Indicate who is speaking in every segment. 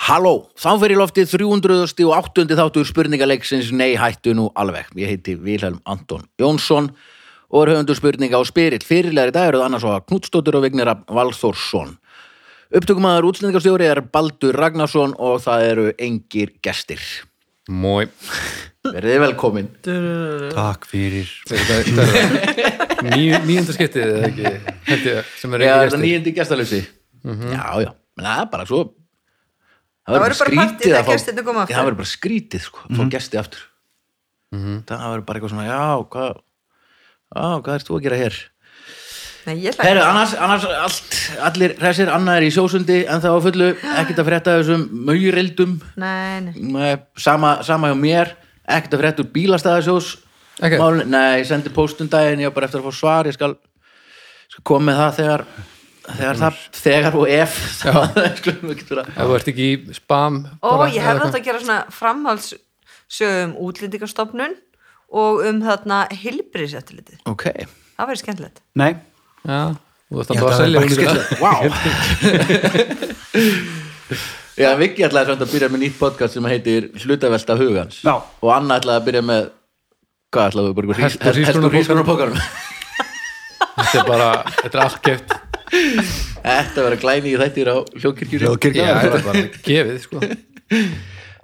Speaker 1: Halló, samferði loftið 308. og 8. þáttur spurningaleiksins Nei hættu nú alveg. Ég heiti Vilhelm Anton Jónsson og er höfundur spurninga á spyrill. Fyrirlegar í dag eru það annars og Knutstóttur og Vignera Valþórsson. Upptökumæður útslendingastjóri er Baldur Ragnarsson og það eru engir gestir.
Speaker 2: Mói
Speaker 1: Verðið velkomin.
Speaker 3: Takk fyrir
Speaker 2: Nýjunda skiptið eða ekki Held ég, sem er
Speaker 1: Já, er
Speaker 2: ekki
Speaker 1: það
Speaker 2: gestir
Speaker 1: nýjandi gestalösi. Já, já. Men það er bara svo...
Speaker 4: Það verður bara partí þegar gestirnir koma
Speaker 1: Já,
Speaker 4: aftur.
Speaker 1: Það verður bara skrítið, sko. Fá gesti aftur. Það verður bara eitthvað svona, já, hvað... Já, hvað ert þú að gera hér?
Speaker 4: Nei, ég ætla
Speaker 1: Herru,
Speaker 4: ekki.
Speaker 1: annars, annars allt, allir hressir, annað er í sjósundi en það var fullu, ekkert að frétta af þessum maurildum,
Speaker 4: Nei, nei.
Speaker 1: sama, sama hjá mér ekkert að frétta úr bílastæðasjós
Speaker 2: Ok.
Speaker 1: nei, ég sendi póstundaginn ég á bara eftir að fá svar, ég skal, skal koma með það þegar þegar, það, þegar og ef það skulum ekki vera
Speaker 2: Ef þú ert ekki í spam
Speaker 4: Ó,
Speaker 2: bara,
Speaker 4: ég
Speaker 2: eða
Speaker 4: hefði átt
Speaker 2: hvað.
Speaker 4: að gera svona framhaldssögu um útlendingastofnun og um þarna hilbriðsjættilitið.
Speaker 1: ok,
Speaker 4: Það verður skemmtilegt.
Speaker 3: Nei,
Speaker 2: Já, þú ert
Speaker 3: Já,
Speaker 2: alltaf að
Speaker 3: það er
Speaker 2: selja
Speaker 3: bara
Speaker 2: hún í það
Speaker 3: skemmtilegt.
Speaker 1: wow Já, Viki ætlaði samt að byrja með nýtt podcast sem heitir Hlutavelta hugans
Speaker 3: Já.
Speaker 1: og Anna ætlaði að byrja með hvað ætlaði við bara
Speaker 2: Hest og hrísgrjónapókanum.
Speaker 1: hrískonarpókarum
Speaker 2: Þetta er bara, þetta er allt geft
Speaker 1: Þetta verður glæni í þættir á hljókirkjur
Speaker 2: Já,
Speaker 3: Hljóðkirkja
Speaker 2: þetta er bara gefið sko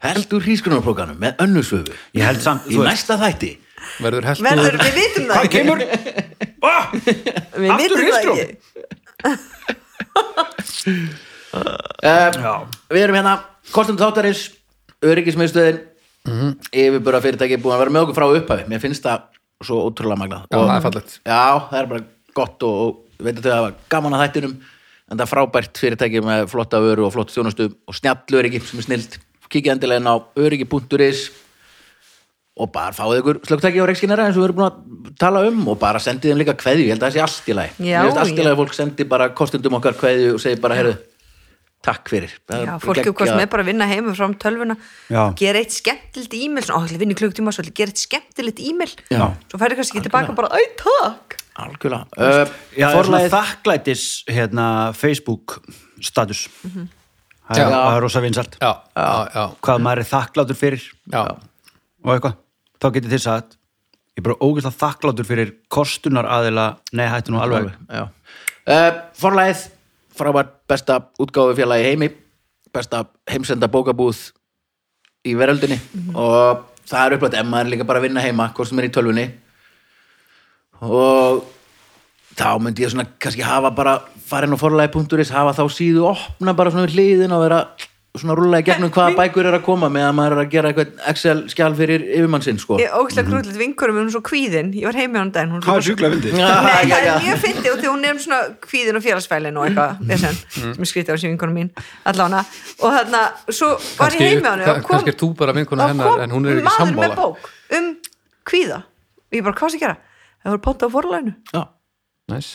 Speaker 1: Held úr hrískonarpókanum með önnusöfu
Speaker 3: Ég held samt,
Speaker 1: í
Speaker 3: þú veist
Speaker 1: næsta þætti
Speaker 2: Verður held
Speaker 4: Verður, við vitum það
Speaker 3: Hvað
Speaker 4: ekki.
Speaker 3: kemur? Ah,
Speaker 4: Við
Speaker 3: Aftur
Speaker 4: vitum það
Speaker 3: hrísgrjón?
Speaker 4: ekki.
Speaker 1: uh,
Speaker 3: Já,
Speaker 1: Við erum hérna Kostum þáttarins, öryggismiðstöðin mm
Speaker 3: Mhm.
Speaker 1: -hmm. Yfirbúra fyrirtæki búin að vera með okkur frá upphafi Mér finnst það svo ótrúlega magnað
Speaker 2: Já,
Speaker 1: Og-
Speaker 2: það er fallegt.
Speaker 1: Já, það er bara gott og, og veit að þau hafa gaman að þættinum En það er frábært fyrirtæki með flotta vöru og flott þjónustu og snjall öryggi sem er snilt Kikið endilega inn á öryggi.is og bara fáið ykkur slögtæki á reikskinnara eins og við erum búin að tala um og bara sendið þeim líka kveðju, ég held að það sé allt í lagi
Speaker 4: Já,
Speaker 1: Mér finnst allt í
Speaker 4: já.
Speaker 1: lagi að fólk sendi bara kostendum okkar kveðju og segir bara, herru, takk fyrir Það er
Speaker 4: Já,
Speaker 1: bara
Speaker 4: fólki
Speaker 1: geggjað.
Speaker 4: hvort með bara að vinna heimum fram tölvuna
Speaker 3: Já.
Speaker 4: gera eitt skemmtilegt e-mail svona, ó, ég ætla að vinna í klukkutíma svo ætla ég að gera eitt skemmtilegt e-mail
Speaker 1: Já.
Speaker 4: svo færðu kannski ekki tilbaka bara, æ, takk
Speaker 1: Algjörlega uh,
Speaker 3: já Forlæð...
Speaker 1: Forlagið
Speaker 3: þakklætis hérna, Facebook status Það
Speaker 2: Já.
Speaker 3: er- það er rosa vinsalt
Speaker 2: Já, já, já,
Speaker 3: Hvað maður er þakklátur fyrir
Speaker 2: já.
Speaker 3: og eitthvað Þá getið þið sagt Ég er bara ógeðslega þakklátur fyrir kostunar aðila Nei, hættu nú alveg
Speaker 1: uh, Forlæðið frábært besta útgáfi félagi í heimi besta heimsenda bókabúð í veröldinni og það er upplætt emma er líka bara að vinna heima hvort sem er í tölvunni og þá myndi ég svona kannski hafa bara farin á forlæði.is hafa þá síðu opna bara svona við hliðin og vera svona rúlega gegnum hvaða bækur er að koma með að maður er að gera eitthvað Excel skjál fyrir yfirmann sinn sko
Speaker 4: ég ógæslega grúðlegt vinkurum hún er svo kvíðin, ég var heimi á hann daginn hún er svo-
Speaker 3: sjúklega fyndið
Speaker 4: Nei, það
Speaker 1: já, já.
Speaker 4: er mjög fyndið og því hún nefn svona kvíðin og félagsfælin og eitthvað
Speaker 2: Mm.
Speaker 4: vesen, sem ég skrítið á sífingunum mín allána og þarna, svo var
Speaker 2: Kannski-
Speaker 4: ég heimi á henni og
Speaker 2: kann- kannski er þú bara vinkona
Speaker 4: og
Speaker 2: hennar,
Speaker 4: kom
Speaker 2: en hún er ekki
Speaker 4: maður
Speaker 2: sammála.
Speaker 4: með bók um kvíða og ég bara, hvað sé gera? Það voru ponta á forlæðinu
Speaker 1: já,
Speaker 2: Næs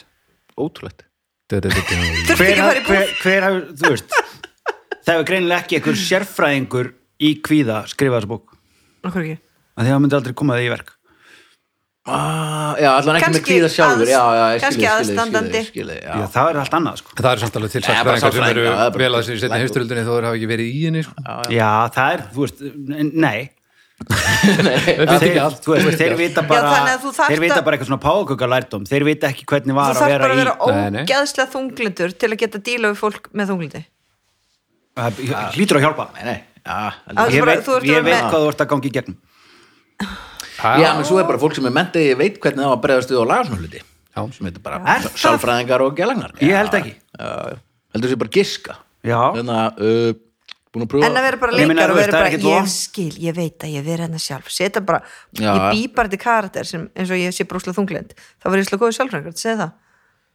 Speaker 1: ótrúlegt
Speaker 2: Þetta
Speaker 3: hver,
Speaker 4: þurfti ekki að fara í
Speaker 3: hver, hver hafur, þú veist það hefur greinilega ekki einhver sérfræðingur í kvíða skrifað þessa bók
Speaker 4: búð Akkur ekki
Speaker 3: að því að það myndi aldrei koma því í verk
Speaker 1: Ah, já, allan ekki með
Speaker 4: Kannski
Speaker 1: kvíða sjálfur
Speaker 4: aðs-
Speaker 1: já, já, ég
Speaker 4: kannski
Speaker 1: skilji, skilji,
Speaker 4: aðstandandi.
Speaker 1: skilji, skilji, já.
Speaker 3: því að það er allt annað sko.
Speaker 2: Það eru samt alveg til
Speaker 1: Nei, bara
Speaker 2: sálfræðingar sem eru
Speaker 1: sálfræðingar, það er bara-
Speaker 2: vel að þessu í setni heimsturöldinni þó er hafa ekki verið í henni sko.
Speaker 3: já, það er, þú veist, n- nei
Speaker 2: Þetta er
Speaker 3: þeir,
Speaker 2: ekki allt
Speaker 3: þú veist, þeir vita bara
Speaker 4: þannig að þú þarft
Speaker 3: þeir vita
Speaker 4: að-
Speaker 3: bara eitthvað svona páköka lærdóm þeir vita ekki hvernig
Speaker 4: Þú
Speaker 3: var að
Speaker 4: þarf
Speaker 3: vera
Speaker 4: bara að
Speaker 3: í
Speaker 4: vera
Speaker 2: Nei, nei.
Speaker 4: ógeðslega þunglindur til að geta díla við fólk með þunglindi
Speaker 3: Það hlýtur að hjálpa
Speaker 1: Nei, nei, já, heldur.
Speaker 4: Að- Þú
Speaker 3: ég
Speaker 4: bara-
Speaker 3: veit,
Speaker 4: þú ert að
Speaker 3: ég
Speaker 4: vera
Speaker 3: veit
Speaker 4: með-
Speaker 3: hvað þú ert að gangi í gegnum
Speaker 1: já,
Speaker 2: Já,
Speaker 1: menn svo er bara fólk sem er mentið ég veit hvernig það var bregðast við á laga svona hluti
Speaker 2: Já.
Speaker 1: sem heitir bara
Speaker 3: Er það?
Speaker 1: sálfræðingar og gelagnar
Speaker 3: Ég held ekki.
Speaker 1: heldur þessi bara giska
Speaker 3: já,
Speaker 1: þannig að uh, búin að pröfa
Speaker 4: en að vera bara
Speaker 3: Ég meina, þú
Speaker 4: leikar og
Speaker 3: veist, það
Speaker 4: vera
Speaker 3: er
Speaker 4: bara
Speaker 3: ekkert von.
Speaker 4: ég skil, ég veit að ég verið hennar sjálf setja bara,
Speaker 1: Já.
Speaker 4: ég bý bara til karakter sem, eins og ég sé brúslega þunglind þá var ég slá góðið sjálfrængur, segði það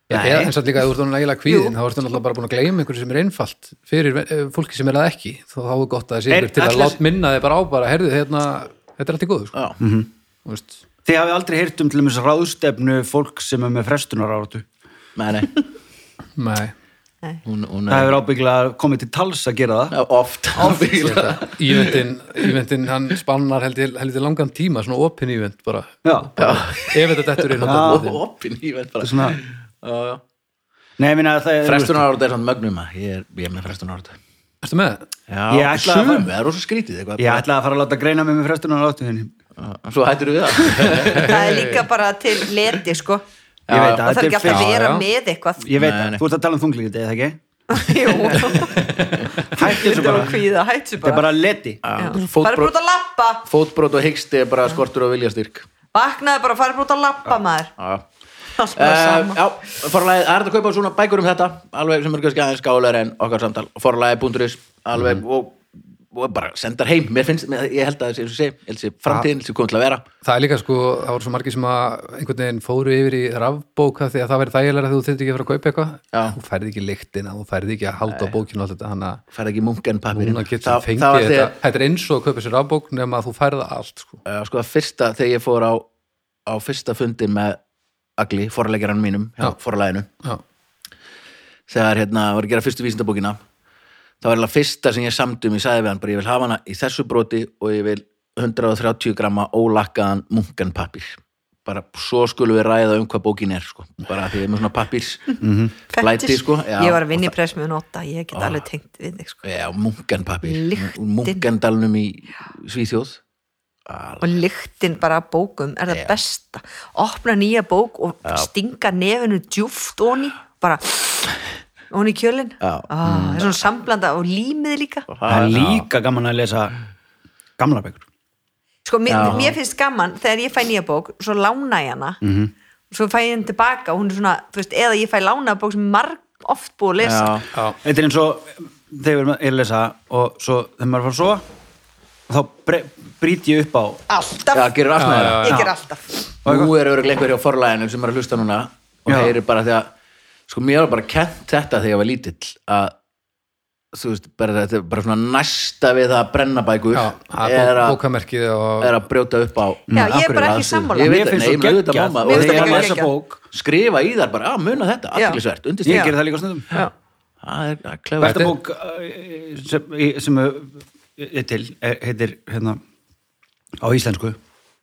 Speaker 2: Já,
Speaker 3: Nei.
Speaker 2: eða eins og líka að þú ert orðin nægilega kvíðin þá ertu náttúrulega bara búin að gleyma einhverju sem er einfalt fyrir eh, fólki sem er það ekki þá þá er gott að það sé
Speaker 3: Er-
Speaker 2: ykkur til að
Speaker 3: ætli-
Speaker 2: láta minna þig bara á bara herðu hérna, þetta er allt í góðu sko.
Speaker 1: Já.
Speaker 3: Mhm.
Speaker 2: Þú veist,
Speaker 3: þið hafið aldrei heyrt um til þess ráðstefnu fólk sem er með frestunar áratu
Speaker 1: nei, nei,
Speaker 2: nei,
Speaker 1: hún, hún
Speaker 3: það
Speaker 1: er
Speaker 3: hefur ábygglega komið til tals að gera það
Speaker 1: oft
Speaker 2: þetta ívendin, ívendin hann spannar heldur held langan tíma svona open ívend bara
Speaker 3: já,
Speaker 2: ef þetta dettur inn
Speaker 3: Já.
Speaker 2: á þetta
Speaker 1: opin, ég veit bara
Speaker 3: svona
Speaker 1: Já, já.
Speaker 3: Nei, ég minna að það er
Speaker 1: frestunar árið er svona mögnum að ég er, ég er með frestunar árið
Speaker 2: Ertu með það?
Speaker 1: Já,
Speaker 3: Ég ætlaði að
Speaker 1: sum,
Speaker 3: fara-
Speaker 1: það er rosa skrítið eitthvað
Speaker 3: Ég ætlaði að fara að láta greina mig með frestunar á áttu þinni.
Speaker 1: Svo hættir við það
Speaker 4: það er líka bara til leti sko
Speaker 3: Ég veit að
Speaker 4: það þarf ekki
Speaker 3: þetta
Speaker 4: alltaf
Speaker 3: er
Speaker 4: að
Speaker 3: fyrst.
Speaker 4: vera
Speaker 2: já.
Speaker 4: með eitthvað
Speaker 3: Ég veit
Speaker 1: Nei,
Speaker 3: að,
Speaker 1: nei.
Speaker 3: þú ert að tala um þunglindi, eða ekki?
Speaker 4: Jú,
Speaker 3: Hættu þessu
Speaker 4: þetta var
Speaker 3: bara.
Speaker 4: kvíða, hættu
Speaker 3: Þetta er bara leti.
Speaker 4: Já.
Speaker 1: Fótbrot-
Speaker 4: Farið bara út að lappa
Speaker 1: Fótbrot og hyggst er bara skortur og viljastyrk
Speaker 4: Vaknaði bara, farið bara út að lappa maður
Speaker 1: Já,
Speaker 4: Allt bara
Speaker 1: Uh,
Speaker 4: sama
Speaker 1: já, forlæði, það er hægt að kaupa svona bækur um þetta alveg sem er kannski aðeins gálar en okkar samtal forlæði.is alveg
Speaker 2: Mhm.
Speaker 1: og, og bara sendar heim mér finnst, mér- ég held að þessi, þessi, þessi
Speaker 2: Ah.
Speaker 1: framtíðin þessi komið til að vera
Speaker 2: Það er líka sko, það voru svo margir sem að einhvern veginn fóru yfir í rafbóka því að það væri þægilega þegar þú þyrfti ekki að fara að kaupa
Speaker 1: Já.
Speaker 2: eitthvað þú færði ekki lyktina, þú færði ekki að halda á bókinu og allt þetta, hann að
Speaker 1: færði ekki mungan pappirinn
Speaker 2: núna getur þú fengið
Speaker 1: Mm. var
Speaker 2: þetta
Speaker 1: þegar,
Speaker 2: Þetta er eins og að kaupa sér rafbók nema að þú færða allt sko.
Speaker 1: uh, sko að fyrsta þegar ég fór á, á fyrsta fundin með Agli, forlægjaran mínum hjá
Speaker 2: Já.
Speaker 1: forlæðinu
Speaker 2: Já,
Speaker 1: þegar hérna var að gera fyrstu vísindabókina þá var það fyrsta sem ég samtum ég sagði við hann bara ég vil hafa hana í þessu broti og ég vil 130 gramma ólakkaðan munkan pappir bara svo skulum við ræða um hvað bókin er sko. bara því ég er með svona pappirs blæti
Speaker 4: Mhm. Fettis.
Speaker 1: sko já,
Speaker 4: Ég var að vinna í pressmiðun óta Ég get alveg tengt við þig sko
Speaker 1: já, munkan pappir
Speaker 4: Lyktin.
Speaker 1: munkandalnum í Svíþjóð
Speaker 4: Og lyktin bara af bókum er það besta Opna nýja bók og stinga nefinu djúft onni Bara onni í kjölin
Speaker 1: Já.
Speaker 4: ah, Það er svona samblanda og límið líka
Speaker 3: Það er líka gaman að lesa gamla bækur.
Speaker 4: Sko, mér,
Speaker 1: Já.
Speaker 4: mér finnst gaman þegar ég fæ nýja bók svo lána ég hana -hmm. svo fæ ég henni tilbaka og hún er svona, þú veist, eða ég fæ lána bók sem er marg oft búið að lesa
Speaker 1: já,
Speaker 2: já,
Speaker 3: Þetta er eins og þegar við erum að lesa og svo þegar maður fara svo þá bre- brýt ég upp á
Speaker 4: alltaf,
Speaker 1: já, gerir aftur
Speaker 2: já,
Speaker 4: ég ger alltaf
Speaker 1: Nú er öruglega einhver hjá forlæðinu sem er að hlusta núna og
Speaker 3: Já.
Speaker 1: heyrir bara þegar sko mér var bara kent þetta þegar ég var lítill að þú veist, bara, þetta er bara svona næsta við það að brenna bækur
Speaker 2: já að
Speaker 1: er,
Speaker 2: bók-
Speaker 1: að,
Speaker 2: bókamerkið og
Speaker 1: er að brjóta upp á
Speaker 4: Já, ég er
Speaker 1: Af hverju
Speaker 4: bara ekki
Speaker 1: aðstöðu?
Speaker 4: sammála.
Speaker 1: Ég
Speaker 3: Mm. Mér
Speaker 1: veit það,
Speaker 3: finnst
Speaker 1: nei,
Speaker 3: svo
Speaker 1: ég mun auðvitað
Speaker 3: geggjað.
Speaker 1: mamma
Speaker 4: Mér
Speaker 1: og
Speaker 4: finnst
Speaker 1: þegar
Speaker 4: það
Speaker 1: ég
Speaker 4: geggjað.
Speaker 1: lesa bók, skrifa í þar bara, að muna þetta,
Speaker 4: Já.
Speaker 1: aðtiklisvert
Speaker 3: ég
Speaker 1: undirstýr,
Speaker 3: gerir það líka snöðum
Speaker 4: Já.
Speaker 1: það er- það er
Speaker 3: Besta
Speaker 1: klefvert
Speaker 3: bók eh, sem, í- sem eh, er til eh, heitir hérna á íslensku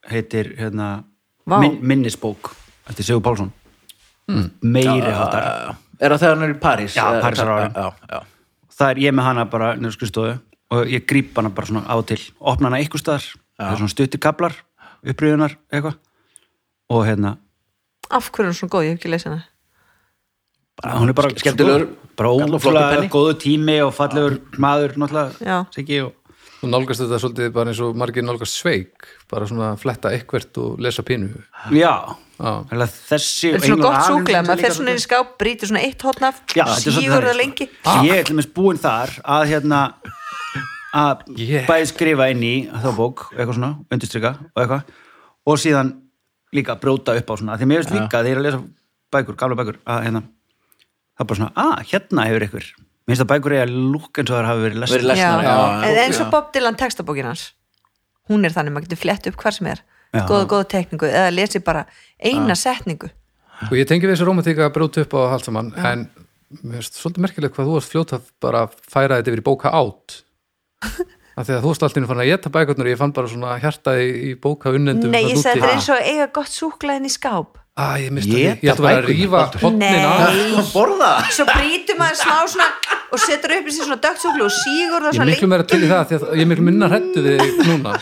Speaker 3: heitir hérna
Speaker 4: Vá.
Speaker 3: min, minnisbók eftir Sigur Pálsson meiri hátar
Speaker 1: er það þegar hann er í París
Speaker 3: Já,
Speaker 1: eða-
Speaker 3: París er á ári.
Speaker 1: já, já,
Speaker 3: það er ég með hana bara nefnir skrifstofu og ég gríp hana bara svona á og til opna hana ykkur staðar, það er svona stuttir kaplar upprýðunar eitthvað og hérna,
Speaker 4: af hverju er hún svona góð, ég hef ekki lesið hana
Speaker 3: hún er bara
Speaker 1: skemmtilegur,
Speaker 3: bara
Speaker 1: kall og flottur penni.
Speaker 3: ótrúlega góðu tími og fallegur maður náttúrulega,
Speaker 4: Já.
Speaker 3: Siggi og
Speaker 2: þú nálgast þetta svolítið bara eins og margir nálgast sveik bara svona fletta eitthvert og lesa pínu
Speaker 3: já,
Speaker 2: Já.
Speaker 3: Þannig að þessi
Speaker 4: þetta er
Speaker 3: og England
Speaker 4: svona gott
Speaker 3: Aron er
Speaker 4: súklega, maður
Speaker 3: líka
Speaker 4: fer svona inn í skáp brýtur svona eitt hotn af,
Speaker 3: Já, þetta er svolítið
Speaker 4: sígur það
Speaker 3: þannig,
Speaker 4: lengi
Speaker 3: sko. Ég er til dæmis búinn þar að hérna að
Speaker 2: Yeah.
Speaker 3: bæði skrifa inn í þá bók eitthvað svona, undirstrika og eitthvað og síðan líka brjóta upp á svona því mér finnst líka þegar ég er að lesa bækur, gamla bækur að hérna, það er bara svona að hérna hefur ykkur, mér finnst að bækur eiga lúk eins og þar hafi verið lest
Speaker 1: Verið lesnar,
Speaker 4: já,
Speaker 1: já,
Speaker 4: en
Speaker 1: já.
Speaker 4: eins og Bob Dylan textabókin hans hún er þannig, maður getur flett upp hvar sem er
Speaker 3: Já.
Speaker 4: góða, góða tekningu, eða lesi bara eina setningu
Speaker 2: og ég tengi við þessi romantíka að brjóta upp á allt saman en mér finnst svolítið merkilegt hvað þú varst fljóta bara að færa þetta yfir í bóka átt af því að þú varst alltaf fann að geta bækurnar og ég fann bara svona hjartaði í bóka unnendum
Speaker 4: Nei, ég segi þetta er eins og að eiga gott súklega inn í skáp
Speaker 2: að ég mista því, ég
Speaker 1: Éta
Speaker 2: ætti bara að
Speaker 1: bækurnar,
Speaker 2: rífa
Speaker 1: Baldur.
Speaker 2: hotnin af
Speaker 4: Nei,
Speaker 1: borða
Speaker 4: svo brýtur maður smá svona og setur upp í sig svona dögtsúklu og sígur
Speaker 2: ég
Speaker 4: það
Speaker 2: er
Speaker 4: svona
Speaker 2: miklu meira til í það því að ég er miklu minna hrættu við þig núna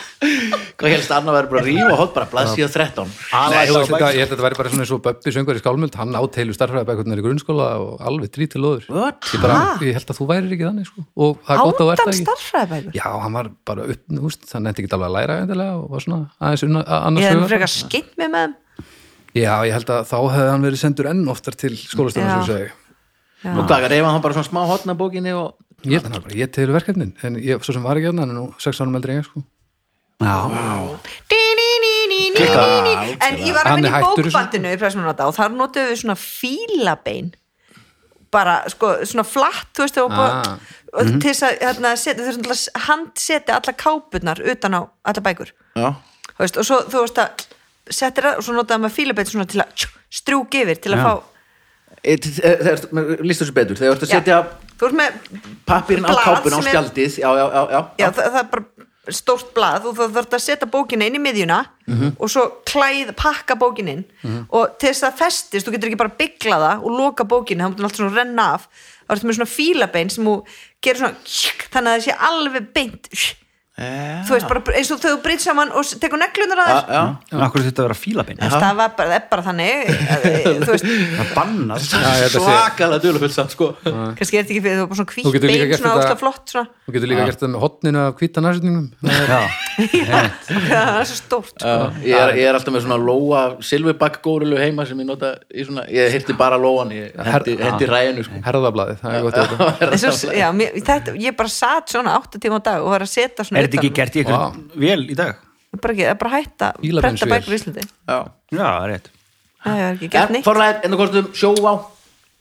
Speaker 1: hvað helst annað verður bara að rífa hótt bara blaðsíða 13
Speaker 2: Nei, þú
Speaker 3: Aðalega
Speaker 2: veist þetta, ég held að þetta væri bara svona eins og Böbbi söngur í skálmöld, hann á teilu starfræðabækurnar í grunnskóla og alveg drítil óður
Speaker 1: What?
Speaker 2: ég, bara, ég held að þú værir ekki þannig sko. og það er gott að þú ert það
Speaker 4: ándan
Speaker 2: ekki
Speaker 4: starfræðabækur
Speaker 2: Já, hann var bara upp, þú veist, hann nefndi ekki alveg að læra endilega og var svona aðeins unna, að-
Speaker 4: ég
Speaker 2: annars
Speaker 4: er
Speaker 2: hugar.
Speaker 4: frekar skitt með með þeim.
Speaker 2: Já, ég held að þá hefði hann verið sendur enn oftar til skólastöðan
Speaker 4: Já.
Speaker 2: sem segi.
Speaker 1: og hvað, reyfa hann bara svona smá hotna bókinni og
Speaker 2: Ég held hann bara, ég til verkefnin, en ég, svo sem var ekki hann, hann er nú sex árum eldri en ég, sko.
Speaker 4: Dí, ní, ní, ní, ní, ní, ní, ní. en ég var að
Speaker 2: Hann er
Speaker 4: vinna í
Speaker 2: hættur þessu.
Speaker 4: bókbandinu í pressmannata og þar notuðum við svona fílabein bara sko, svona flatt þú veist þegar
Speaker 2: Ah.
Speaker 4: ah. og til þess að hérna, setja, þú veist að handsetja alla kápurnar utan á alla bækur
Speaker 1: já,
Speaker 4: Þú veist, og svo þú veist að settir það og svo notaðum við fílabein svona til að strjúk yfir til að
Speaker 3: Já.
Speaker 4: fá
Speaker 1: Eh, þegar, lístu þessu betur þegar þú ert að setja
Speaker 4: þú veist með
Speaker 1: pappirinn á
Speaker 4: Blað
Speaker 1: kápun á
Speaker 4: sem er-
Speaker 1: spjaldið já, já, já, já,
Speaker 4: já, það, það er bara stórt blað og þú þarf að setja bókina inn í miðjuna
Speaker 2: Mhm.
Speaker 4: og svo klæð, pakka bókina inn og til þess að það festist, þú getur ekki bara byggla það og loka bókina, þá mútur allt svona renna af þá ertu með svona fílabein sem þú gerir svona þannig að það sé alveg beint
Speaker 1: Já.
Speaker 4: þú veist bara eins og þegar þú brýtt saman og s- tekur neglunar að
Speaker 1: Já,
Speaker 2: Ah,
Speaker 4: þess
Speaker 1: já.
Speaker 3: en akkur þetta að vera fílabein
Speaker 4: það var bara, það er bara þannig að, þú veist,
Speaker 3: það sko. bannar
Speaker 2: ég held að sé-
Speaker 1: svakalega duðlufull samt sko
Speaker 4: kannski er þetta ekki fyrir þú var bara svona
Speaker 2: Þú
Speaker 4: hvít
Speaker 2: getur líka
Speaker 4: bein
Speaker 2: gert
Speaker 4: svona
Speaker 2: þetta-
Speaker 4: ósla flott svona,
Speaker 2: Þú getur líka gert það með hotninu af hvíta nærsýtningum
Speaker 3: já,
Speaker 4: það er svo stórt
Speaker 1: Já, ég, er, ég er alltaf með svona lóa silfibakk górilu heima sem ég nota í svona, ég heyrti bara lóan ég hendi, hendi ræðinu sko
Speaker 2: Herðablaðið, það er gott í þetta
Speaker 4: Þessu, já, mér, þetta, ég bara satt svona 8 tíma á dag og var að setja svona
Speaker 3: er þetta ekki
Speaker 4: utan um-
Speaker 3: gert í eitthvað vel í dag
Speaker 4: bara ekki, það er bara að hætta að
Speaker 2: Bílabeins
Speaker 4: prenta
Speaker 2: vél.
Speaker 4: bækur í Íslandi Nei,
Speaker 1: Já.
Speaker 3: já, rétt
Speaker 4: það er ekki gert
Speaker 1: en hérna
Speaker 4: neitt
Speaker 1: forlæðið, enn og kostum sjóvá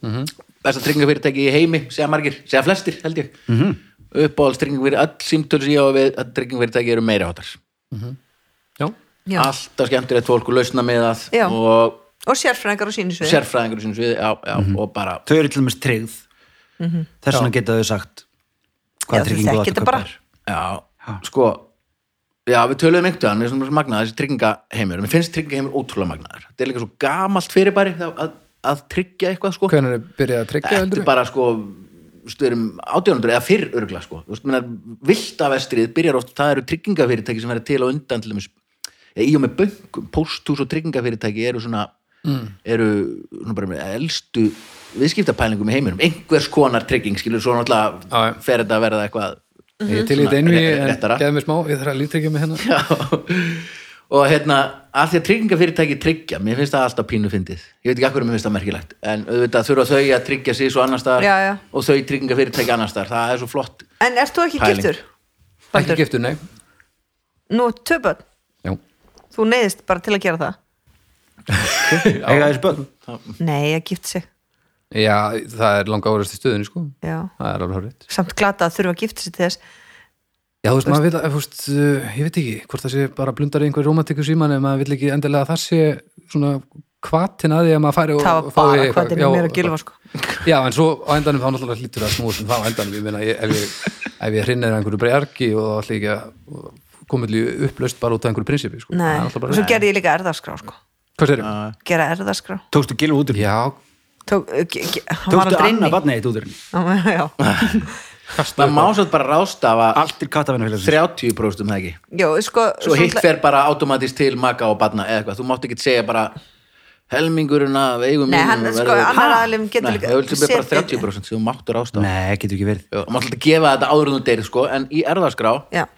Speaker 1: um Mhm. besta tryggingafyrirtæki í heimi segja margir, segja flestir held ég mm -hmm. uppáhalds tryggingafyrirtæki, all símtöl sem ég á við að tryggingafyrirtæki eru meira hátar
Speaker 2: Já,
Speaker 4: Já.
Speaker 1: alltaf skemmtilegt fólk og lausna með
Speaker 4: Já.
Speaker 1: það og
Speaker 4: og sérfræðingar á sínu svið
Speaker 1: sérfræðingur sem sviði, já, já, og bara
Speaker 3: þau eru til dæmis tryggð þess vegna geta þau sagt
Speaker 4: Mhm. Já,
Speaker 3: hvað
Speaker 4: þau
Speaker 3: tryggingu
Speaker 4: þekkja
Speaker 3: þú átt
Speaker 4: þetta
Speaker 3: að
Speaker 4: bara.
Speaker 3: kaupa þér
Speaker 1: Já, sko Já, við töluðum einhvern veginn, við erum svona magnaðar þessi tryggingaheimur, mér finnst tryggingaheimur ótrúlega magnaðar þetta er líka svo gamalt fyrirbæri það- að, að tryggja eitthvað, sko
Speaker 2: hvernig er byrjað að tryggja
Speaker 1: Þetta
Speaker 2: heldur
Speaker 1: er bara, sko, stuðurum átjónundur eða fyrr örgla, sko Þú veist, meina, viltavestrið byrjar oft, það eru tryggingafyrirtæki sem verður til á undan til dæmis eða í og með bönkum, pósthús og tryggingafyrirtæki eru svona
Speaker 2: Mm.
Speaker 1: eru svona bara með elstu viðskiptapælingum í heiminum, einhvers konar trygging skilur svo
Speaker 2: Já, já.
Speaker 1: náttúrulega fer þetta að verða eitthvað
Speaker 2: Ég er til í þetta einu,
Speaker 1: Svona,
Speaker 2: en
Speaker 1: Mm. réttara.
Speaker 2: geða mér smá, ég þarf að líftryggja með hérna. hennar
Speaker 1: Já. og hérna að því að tryggingafyrirtæki tryggja mér finnst það alltaf pínu fyndið ég veit ekki akkur um mér finnst það merkilegt en auðvitað þurfa þau að tryggja sig svo annar staðar
Speaker 4: Já, já.
Speaker 1: og þau tryggingafyrirtæki annar staðar það er svo flott
Speaker 4: en ert þú ekki
Speaker 1: Pæling.
Speaker 4: giftur?
Speaker 2: Ekki
Speaker 4: Baldur?
Speaker 2: giftur, nei
Speaker 4: nú, töpöld,
Speaker 2: Já,
Speaker 4: þú neyðist bara til að gera það
Speaker 3: eiga þessi börn
Speaker 4: nei, að gift sig
Speaker 2: Já það er langa árast í stöðunni, sko
Speaker 4: já.
Speaker 2: Það er alveg horfitt
Speaker 4: samt glata að þurfa að gifta sig til þess
Speaker 2: Já, þú veist, maður vil, að- þú veist, uh, ég veit ekki hvort það sé bara blundar í einhver romantikus í manni maður vil ekki endilega að það sé svona hvatin að því að maður færi og
Speaker 4: það var
Speaker 2: fái
Speaker 4: bara
Speaker 2: eitthvað-
Speaker 4: hvað þetta
Speaker 2: já,
Speaker 4: er meira að gilfa sko.
Speaker 2: Já, en svo á endanum þá náttúrulega hlýtur að snúa sem það á endanum, ég meina ég- ef ég, ef ég hrinnir einhverju breyarki og þá ætla ég ekki að koma til í upplaust bara út af einhverju prinsipi, sko.
Speaker 4: nei,
Speaker 2: Það er
Speaker 4: og
Speaker 2: náttúrulega bara-
Speaker 4: svo gerði ég líka erðaskrá sko.
Speaker 2: Hvað sérum?
Speaker 4: gera erðaskrá
Speaker 3: tókstu gilv út úr henni?
Speaker 2: Já,
Speaker 4: Tók, ge, ge, hann var
Speaker 3: tókstu
Speaker 4: aldrei
Speaker 3: annað
Speaker 4: inni
Speaker 3: barnið eitt út úr henni?
Speaker 4: já,
Speaker 1: það má svo bara rástafa
Speaker 3: allt til kattavennafélagsins
Speaker 1: 30% um það ekki
Speaker 4: já, sko
Speaker 1: svo hitt
Speaker 4: ætla-
Speaker 1: fer bara automatist til maka og barna eða eitthvað, þú mátt ekki segja bara helmingurinn af eigum
Speaker 4: Nei, hann-
Speaker 1: mínum
Speaker 4: sko,
Speaker 1: verður-
Speaker 4: annar
Speaker 1: Ha?
Speaker 4: aðilinn getur
Speaker 1: Nei,
Speaker 4: líka
Speaker 1: það er bara
Speaker 4: setið-
Speaker 1: 30% sem þú mátt rástafa
Speaker 3: nei, getur ekki
Speaker 4: Mm.
Speaker 3: verið
Speaker 1: Já, og maður ætla að gefa þetta áður en þú deyrir sko, en í erðaskrá
Speaker 4: já.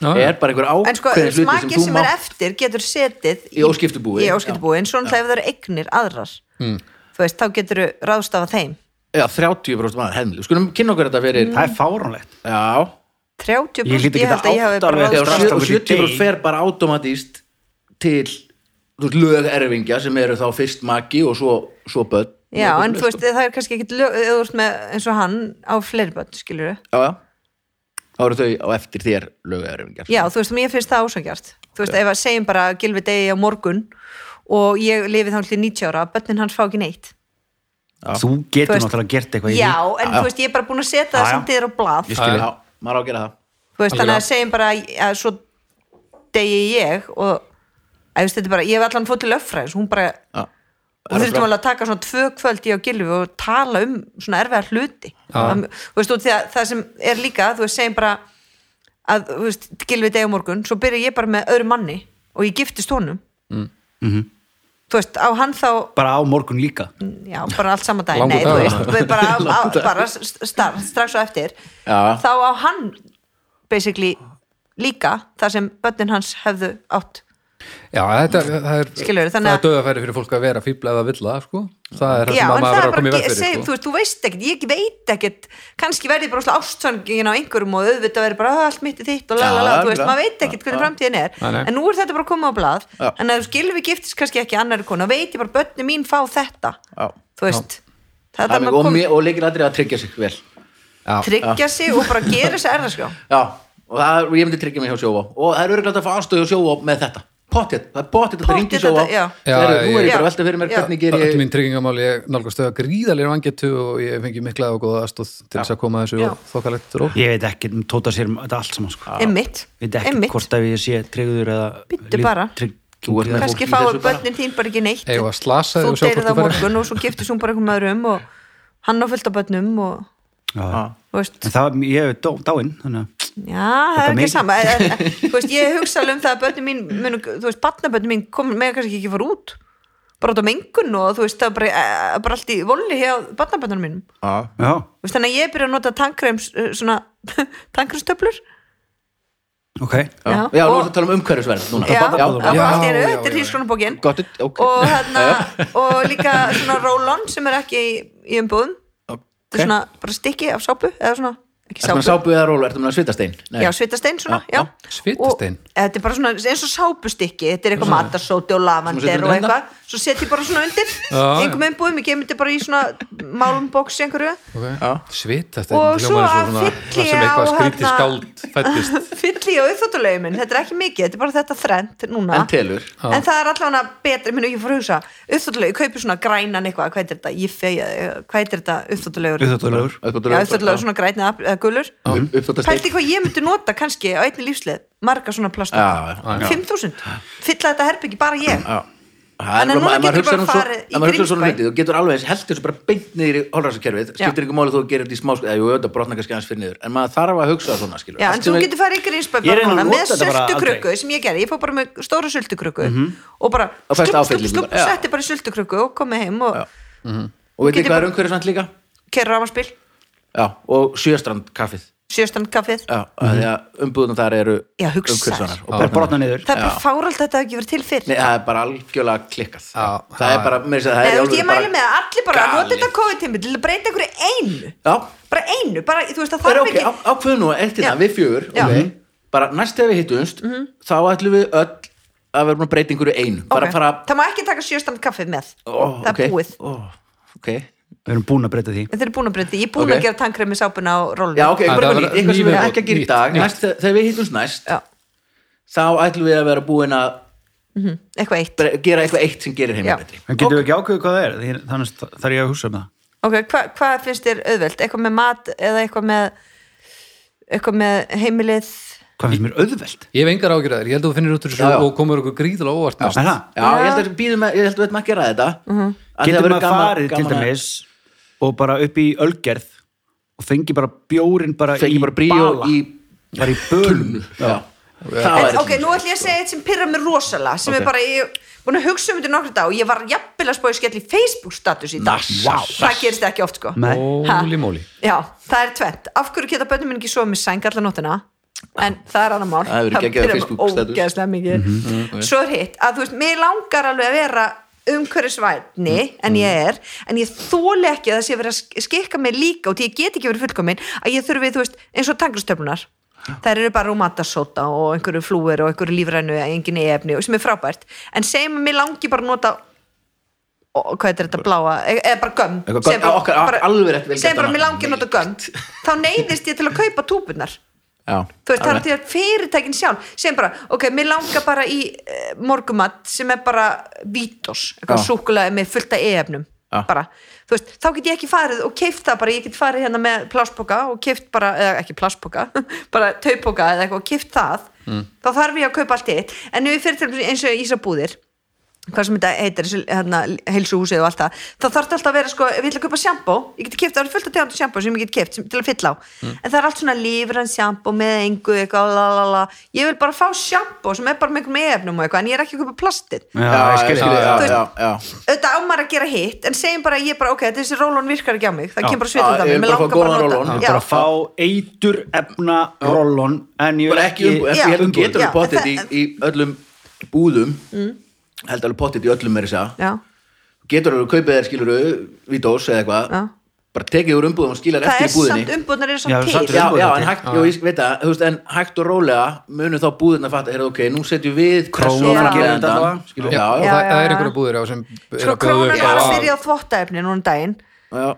Speaker 2: Já, já.
Speaker 1: er bara einhver
Speaker 4: en sko,
Speaker 1: ákveðin hluti sem
Speaker 4: smakið
Speaker 1: þú
Speaker 4: sem er
Speaker 1: mátt
Speaker 4: eftir getur setið
Speaker 1: Í óskiptubúi.
Speaker 4: í óskiptubúi, en svona ef það eru eignir aðrar
Speaker 1: Hmm.
Speaker 4: mm. þú veist, þá getur ráðstafa þeim
Speaker 1: Já, 30% maður, hefnileg. Skulum kynna okkur þetta fyrir,
Speaker 4: Mm.
Speaker 3: það er fáránlegt
Speaker 1: já,
Speaker 4: 30%
Speaker 3: Ég hlýt að
Speaker 4: ég
Speaker 3: geta
Speaker 4: held að ég hafi
Speaker 3: átt
Speaker 4: bara
Speaker 3: alveg
Speaker 1: þegar
Speaker 3: ráðstafað
Speaker 1: sjö- og
Speaker 3: þessu í
Speaker 1: 70%
Speaker 3: degi.
Speaker 1: fer bara automatíst til þú veist, lögerfingja sem eru þá fyrst maki og svo, svo börn.
Speaker 4: já, en þú
Speaker 1: Sko.
Speaker 4: veist, það er kannski ekkit lög, eða þú ert með eins og hann á fleirbönd,
Speaker 1: Já,
Speaker 4: skilur
Speaker 1: já. Þá eru þau á eftir þér lögerfingjar.
Speaker 4: já, þú veist, mér finnst það ásækjart þú veist, ef að segjum bara gilfi degi á morgun og ég lifi þá til 90 ára bönnin hans fá ekki neitt
Speaker 3: þú
Speaker 4: Þú
Speaker 3: getur
Speaker 4: veist-
Speaker 3: náttúrulega gert eitthvað í
Speaker 4: já,
Speaker 3: því.
Speaker 4: en þú veist, ég er bara búin að setja það
Speaker 3: Já, já.
Speaker 4: samt yfir á blað
Speaker 1: Ég skil það, maður á að gera það.
Speaker 4: þú veist, þannig að
Speaker 2: Algjörlega.
Speaker 4: segjum bara að- að svo degi ég og að, þú veist, þetta er bara, ég hef allan fótt til öffræðis hún bara,
Speaker 1: Já.
Speaker 4: og þurftum alveg að taka svona tvö kvöld í á gilfi og tala um svona erfiða hluti það, þú veist, og það, það sem er líka þú veist, segjum bara að, þú veist, gilfi degi á morgun, svo byrja ég bara með öðru manni og ég giftist honum þú veist, á hann þá
Speaker 3: bara á morgun líka
Speaker 4: já, bara allt saman daginn,
Speaker 2: Langur
Speaker 4: nei, þú
Speaker 2: dagur.
Speaker 4: veist við bara, á, á, bara star, strax og eftir
Speaker 1: Já.
Speaker 4: þá á hann basically líka þar sem börnin hans hefðu átt
Speaker 2: Já, þetta, það er,
Speaker 4: Skilurðu,
Speaker 2: það
Speaker 4: þannig
Speaker 2: er
Speaker 4: að-
Speaker 2: döðafæri fyrir fólk að vera fíbla eða villa, sko. Það er það
Speaker 4: já,
Speaker 2: sem að
Speaker 4: en
Speaker 2: maður
Speaker 4: það
Speaker 2: verður
Speaker 4: er
Speaker 2: að koma í veg
Speaker 4: bara, ge-
Speaker 2: fyrir,
Speaker 4: seg,
Speaker 2: sko.
Speaker 4: þú veist, þú veist ekkert ég veit ekkert, kannski verði bara ástsöngin á einhverjum og auðvitað verði bara "Ah, allt mitt er þitt og lalala,
Speaker 1: Já,
Speaker 4: þú veist,
Speaker 1: já.
Speaker 4: maður veit ekkert hvernig framtíðin er,
Speaker 2: Nei, nei.
Speaker 4: en nú er þetta bara að koma á blað,
Speaker 1: Já.
Speaker 4: en að þú skilur við giftist kannski ekki annari konu, þá veit ég bara börnin mín fá þetta,
Speaker 1: Já.
Speaker 4: þú veist það er
Speaker 1: Það
Speaker 4: það
Speaker 1: er
Speaker 4: maður
Speaker 1: og,
Speaker 4: kom
Speaker 1: mér- og leikir að tryggja sig vel.
Speaker 4: tryggja sig og bara gera þess að erða
Speaker 1: Já, og það, er- ég myndi tryggja mig hjá sjóvá. Og það er örgulega að fá aðstöðu hjá sjóvá með þetta. pottet, það er pottet að það
Speaker 4: Pottþétt
Speaker 1: ringi svo á
Speaker 4: þetta, já.
Speaker 2: Já,
Speaker 1: Heyrðu, nú er ég
Speaker 4: já.
Speaker 1: bara að velta fyrir mér
Speaker 4: Já.
Speaker 1: hvernig ger
Speaker 2: Það er
Speaker 1: ég
Speaker 2: mín tryggingamál, ég nálgast þau að gríðalega vangetu og ég fengi mikla og góða aðstóð til þess að koma þessu
Speaker 4: Já.
Speaker 2: og þokkalegt róf.
Speaker 3: Ég veit ekki um tóta sér um þetta allt saman sko.
Speaker 4: Einmitt,
Speaker 3: Veit ekki
Speaker 4: einmitt.
Speaker 3: hvort að ég sé tryggður eða
Speaker 4: Bíddu
Speaker 3: líf-
Speaker 4: bara.
Speaker 1: Þú ert
Speaker 3: trygging
Speaker 1: með-
Speaker 3: eða-
Speaker 1: fólk í
Speaker 4: kannski fáur
Speaker 1: þessu bara.
Speaker 4: börnin þín bara ekki neitt
Speaker 2: Eigum við að slasa þig
Speaker 4: þú
Speaker 2: og sjá hvort þú
Speaker 4: deyrir það á
Speaker 2: ferð?
Speaker 4: morgun og svo giftist hún bara einhverjum öðrum og hann á fullt af börnum og
Speaker 3: Já.
Speaker 4: þú veist,
Speaker 3: En það, ég hef dó, dáinn þannig að
Speaker 4: já, það er
Speaker 3: Þetta
Speaker 4: ekki
Speaker 3: mikið.
Speaker 4: sama en, en, þú veist, ég hugsa alveg um það að börnin mín munu, þú veist, batnabörnin mín kom með kannski ekki fara út bara út á mengun og þú veist, það er bara, eh, bara allt í volni hjá batnabörnunum mínum
Speaker 1: Já.
Speaker 3: Já,
Speaker 4: Þú veist, þannig að ég byrja að nota tankrems eh, svona tankrems
Speaker 3: ok
Speaker 1: Já,
Speaker 4: Já.
Speaker 1: já, nú
Speaker 4: Og-
Speaker 1: erum við að tala um umhverfisverð núna
Speaker 4: já, já,
Speaker 1: já,
Speaker 2: Já,
Speaker 4: allt í einu,
Speaker 2: já,
Speaker 4: þetta er
Speaker 2: já.
Speaker 4: hrískonabókin
Speaker 1: Got it, ok.
Speaker 4: og, hérna, og líka svona roll-on sem er ekki í, í umbúðum okay. svona bara stykki af sápu eða svona, ekki
Speaker 1: Ertu
Speaker 4: sápu,
Speaker 1: með sápu eða rólu, ertu með svitastein? Nei.
Speaker 4: já, svitastein svona,
Speaker 1: Já,
Speaker 4: já,
Speaker 2: Svitastein?
Speaker 4: og, þetta er bara svona eins og sápustykki, þetta er eitthvað
Speaker 1: Svona
Speaker 4: matarsóti og
Speaker 1: setur
Speaker 4: lavander og
Speaker 1: undir
Speaker 4: eitthvað svo set ég bara svona undir,
Speaker 2: Já, já.
Speaker 4: einhverjum umbúðum ég gemi þetta bara í svona málum bóksi einhverju
Speaker 1: Já.
Speaker 2: Ok. Svitastein,
Speaker 4: Og
Speaker 2: þetta
Speaker 4: svo
Speaker 2: hljómar
Speaker 4: að
Speaker 2: eins og svona-
Speaker 4: fylli
Speaker 2: það sem
Speaker 4: ég á,
Speaker 2: eitthvað skrítið
Speaker 4: hérna-
Speaker 2: skáld fættist.
Speaker 4: fyll ég á uppþóttulegu minn, þetta er ekki mikið þetta er bara þetta þrend núna
Speaker 1: En telur
Speaker 4: en það er allavega betri, minn ég fór að hugsa uppþóttulega, ég kaupi svona grænan eitthvað hvað er þetta, ég fegja, hvað er þetta uppþóttulegur
Speaker 3: Uþjóttulegur
Speaker 4: já, uppþóttulegur svona græn eða eða gulur
Speaker 3: Mhm.
Speaker 1: Uppþóttastein
Speaker 4: pælti hvað ég myndi nota kannski á einni lífslið marga svona plasta
Speaker 1: Já, Mm, já,
Speaker 4: 5000, fylla þetta herbyggi bara ég
Speaker 1: Já. Það er
Speaker 4: Þannig
Speaker 1: bara-
Speaker 4: að núna
Speaker 1: ef maður
Speaker 4: getur
Speaker 1: hugsar
Speaker 4: bara
Speaker 1: um svo-
Speaker 4: farið í
Speaker 1: ef maður hugsar svona
Speaker 4: Grímsbæ.
Speaker 1: hluti, þú getur alveg eins held þessu bara beint niður í holræsakerfið skiptir ekki máli þó að gera þetta í smá eða jú, þetta brotna kannski aðeins fyrir niður en maður þarf að hugsa svona skilur
Speaker 4: Já, en þú getur farið í
Speaker 3: Ég
Speaker 4: Grímsbæ bara
Speaker 3: reyni að nota
Speaker 4: núna með
Speaker 3: þetta bara Mhm.
Speaker 4: sultukrukku sem ég gerði, ég fór bara með stóra sultukrukku og bara
Speaker 1: Og fæst
Speaker 4: stup, stup,
Speaker 1: áfyllingu
Speaker 4: stup,
Speaker 1: bara, já.
Speaker 4: setti bara í sultukrukku og komið heim og
Speaker 1: og veit
Speaker 4: getur
Speaker 1: ekki hvað er umhverfisvænt líka?
Speaker 4: kerra rámaspil,
Speaker 1: Já, og sjöstrand kaffið
Speaker 4: sjöstand kaffið
Speaker 1: Já, af því að umbúðunar þar eru
Speaker 4: Já, hugsaðu.
Speaker 1: umhverfisvænar og
Speaker 3: Bara
Speaker 1: brotnar.
Speaker 3: brotna niður
Speaker 4: það er bara fáralt að þetta hafi ekki verið til fyrr
Speaker 1: Nei, það er bara algjörlega klikkað
Speaker 2: Já,
Speaker 1: Það er
Speaker 2: já,
Speaker 1: bara, mér sér, það
Speaker 4: Nei,
Speaker 1: er
Speaker 4: þú veist, ég mæli með að allir bara að nota
Speaker 1: galið.
Speaker 4: þetta COVID-tími til að breyta einhverju einu
Speaker 1: Já,
Speaker 4: bara einu, bara, þú veist, það
Speaker 1: það er
Speaker 4: þarf
Speaker 1: ok,
Speaker 4: ekki
Speaker 1: á- ákveðu nú eftir
Speaker 4: Já.
Speaker 1: það, við fjögur
Speaker 4: Já.
Speaker 3: Mhm.
Speaker 4: Mhm.
Speaker 1: ok, Bara næst þegar við hittumst þá ætlum við öll að vera búin að breyta einhverju einu Bara
Speaker 4: Ok.
Speaker 1: fara
Speaker 4: það má ekki taka sjöstand kaffið með
Speaker 1: Ó,
Speaker 4: það er
Speaker 1: ok.
Speaker 4: búið,
Speaker 1: Ó, Ok
Speaker 3: Við erum búin að breyta því
Speaker 4: þetta er búin að breyta ég er búin
Speaker 1: Ok.
Speaker 4: að gera tankremi sápuna á rólunum
Speaker 1: Já,
Speaker 3: Ah,
Speaker 1: ok,
Speaker 2: Það
Speaker 1: bara
Speaker 2: var
Speaker 1: nýtt, eitthvað sem við erum
Speaker 2: nýviðbót,
Speaker 1: ekki að gera í
Speaker 2: nýtt,
Speaker 1: dag
Speaker 2: nýtt.
Speaker 1: næst, þegar- Þegar við hittumst næst
Speaker 4: Já.
Speaker 1: þá ætlum við að vera búin að
Speaker 4: eitthvað eitt,
Speaker 1: bre- gera eitthvað eitt sem gerir heima
Speaker 4: Já.
Speaker 1: betri
Speaker 3: En getum við ekki ákveðið hvað það er Því- Þannig að þarf ég að hugsa um það
Speaker 4: ok, hva, hvað finnst þér auðvelt eitthvað með mat eða eitthvað með eitthvað með heimilið
Speaker 3: Hvað finnst mér auðvelt?
Speaker 2: Ég hef engar ágjörðar, ég held að þú finnir út úr
Speaker 1: Já, já.
Speaker 2: þessu og komur okkur gríðilega óvart næst.
Speaker 3: Er það?
Speaker 1: Já, ég held að við býðum að, ég held að við ætlum að gera þetta
Speaker 4: Mhm.
Speaker 1: Af því það
Speaker 3: Getum
Speaker 1: verður
Speaker 3: við
Speaker 1: gaman-
Speaker 3: farið til
Speaker 1: gaman að-
Speaker 3: dæmis og bara upp í ölgerð og fengi bara bjórin bara
Speaker 1: Fengi
Speaker 3: í
Speaker 1: bara bríó
Speaker 3: bala
Speaker 1: í-
Speaker 3: bara í bölum
Speaker 1: Já. Það
Speaker 4: en,
Speaker 1: væri
Speaker 4: ok, nú ætlum ég að segja eitt sem pyrra mér rosalega sem
Speaker 1: Ok.
Speaker 4: er bara, ég búin að hugsa um þetta í nokkra dag og ég var jafnvel að spóið skell í Facebook status í dag
Speaker 1: Nass,
Speaker 4: Vá.
Speaker 1: nass.
Speaker 4: það gerist ekki oft sko
Speaker 3: Nei.
Speaker 2: Móli, móli.
Speaker 4: já, það er tvent, af hverju geta bönnum minn ekki svo með sæng allan nóttina en það er annar mál
Speaker 1: Það hefur geggjaður
Speaker 4: pirrar mig
Speaker 1: Facebook status. Mhm.
Speaker 4: ógeðslega mikið svo er hitt að þú veist, mér langar alveg að vera umhverfisvætni
Speaker 1: Mhm.
Speaker 4: en ég er, en ég þóli ekki að það sé verið að sk- skikka mig líka og því ég get ekki verið fullkomin að ég þurfi, þú veist, eins og tanglustöflunar þær eru bara úr matasóta og einhverju flúir og einhverju lífrænu engin efni og sem er frábært, en segjum að mér langi bara að nota og, hvað er þetta bláa, e- eða bara göm
Speaker 1: Eitthvað gömm.
Speaker 4: Segjum
Speaker 1: Já, okkar- alveg rétt vel gert
Speaker 4: segjum bara
Speaker 1: annað.
Speaker 4: mér langi að nota göm þá neyðist ég til að kaupa túpunar
Speaker 1: Já,
Speaker 4: þú veist, það er
Speaker 1: alveg.
Speaker 4: til að fyrirtækin sjálf segjum bara, ok, mér langar bara í e, morgumat sem er bara vítos, eitthvað
Speaker 1: Já.
Speaker 4: súkulega með fullta e-efnum
Speaker 1: Já.
Speaker 4: bara, þú veist, þá get ég ekki farið og keift það bara, ég get farið hérna með pláspoka og keift bara, eða ekki pláspoka bara taupoka eða eitthvað og keift það
Speaker 1: Mm.
Speaker 4: þá þarf ég að kaupa allt eitt en ef ég fyrir til eins og Ísabúðir hvað sem þetta heitir, þessi, hérna, heilsuhúsið og allt það, þá þarf þetta alltaf að vera sko, ef ég ætla að kaupa sjampó, ég geti keft, það eru fullt af tegandu sjampó sem ég geti keft til að fylla á
Speaker 1: Mm.
Speaker 4: en það er allt svona lífrann sjampó með engu eitthvað, lalala, ég vil bara fá sjampó sem er bara með einhverjum efnum og eitthvað en ég er ekki að kaupa plastið,
Speaker 3: Já,
Speaker 1: Já,
Speaker 3: ég
Speaker 1: ég
Speaker 3: skil
Speaker 1: skil,
Speaker 3: þig.
Speaker 1: já,
Speaker 4: Þú veist,
Speaker 1: já, já.
Speaker 4: auðvitað ámar að gera hitt en segjum bara, að ég bara, ok, þessi rólón virkar ekki á mig það kemur bara
Speaker 1: Já,
Speaker 4: svitað
Speaker 1: ég
Speaker 4: á
Speaker 1: vil
Speaker 4: mig, mér
Speaker 1: bara fá
Speaker 4: langar bara
Speaker 1: góðan
Speaker 4: að nota
Speaker 1: roll-on.
Speaker 4: hann.
Speaker 1: Já.
Speaker 3: bara fá eitur efna rollon en ég
Speaker 1: Bara
Speaker 3: vil
Speaker 1: ekki umbúð, ég
Speaker 4: Já.
Speaker 1: held að getur
Speaker 4: Já,
Speaker 1: við pottit í,
Speaker 4: en það-
Speaker 1: í
Speaker 4: Mm.
Speaker 1: öllum búðum held alveg pottit í öllum meiri segja
Speaker 4: Já.
Speaker 1: getur alveg kaupið þér skilur vítós eða eitthvað,
Speaker 4: Já.
Speaker 1: bara tekið úr umbúðum og skilar
Speaker 4: það
Speaker 1: eftir í
Speaker 4: er samt um-
Speaker 1: búðinni
Speaker 4: umbúðnar eru
Speaker 3: Já,
Speaker 4: samt
Speaker 3: samt
Speaker 4: til
Speaker 1: Já,
Speaker 3: Umbúðir,
Speaker 1: já,
Speaker 3: þetta
Speaker 1: en
Speaker 3: er-
Speaker 1: hægt, jú, ég veit það, þú veist, en hægt og rólega munu þá búðin að fatta, er ok, nú setjum við
Speaker 3: Krónan
Speaker 1: pressu á framleiðandann,
Speaker 3: gerir þetta allavega.
Speaker 1: skilur,
Speaker 2: Já,
Speaker 1: já,
Speaker 2: og
Speaker 1: já,
Speaker 2: það,
Speaker 4: já,
Speaker 2: það
Speaker 4: já.
Speaker 2: er einhverja búðir á sem er
Speaker 4: svo
Speaker 2: að bjóða
Speaker 4: krónan
Speaker 2: upp
Speaker 4: var
Speaker 2: á-
Speaker 4: að byrja á þvottaefni núna um daginn
Speaker 1: já,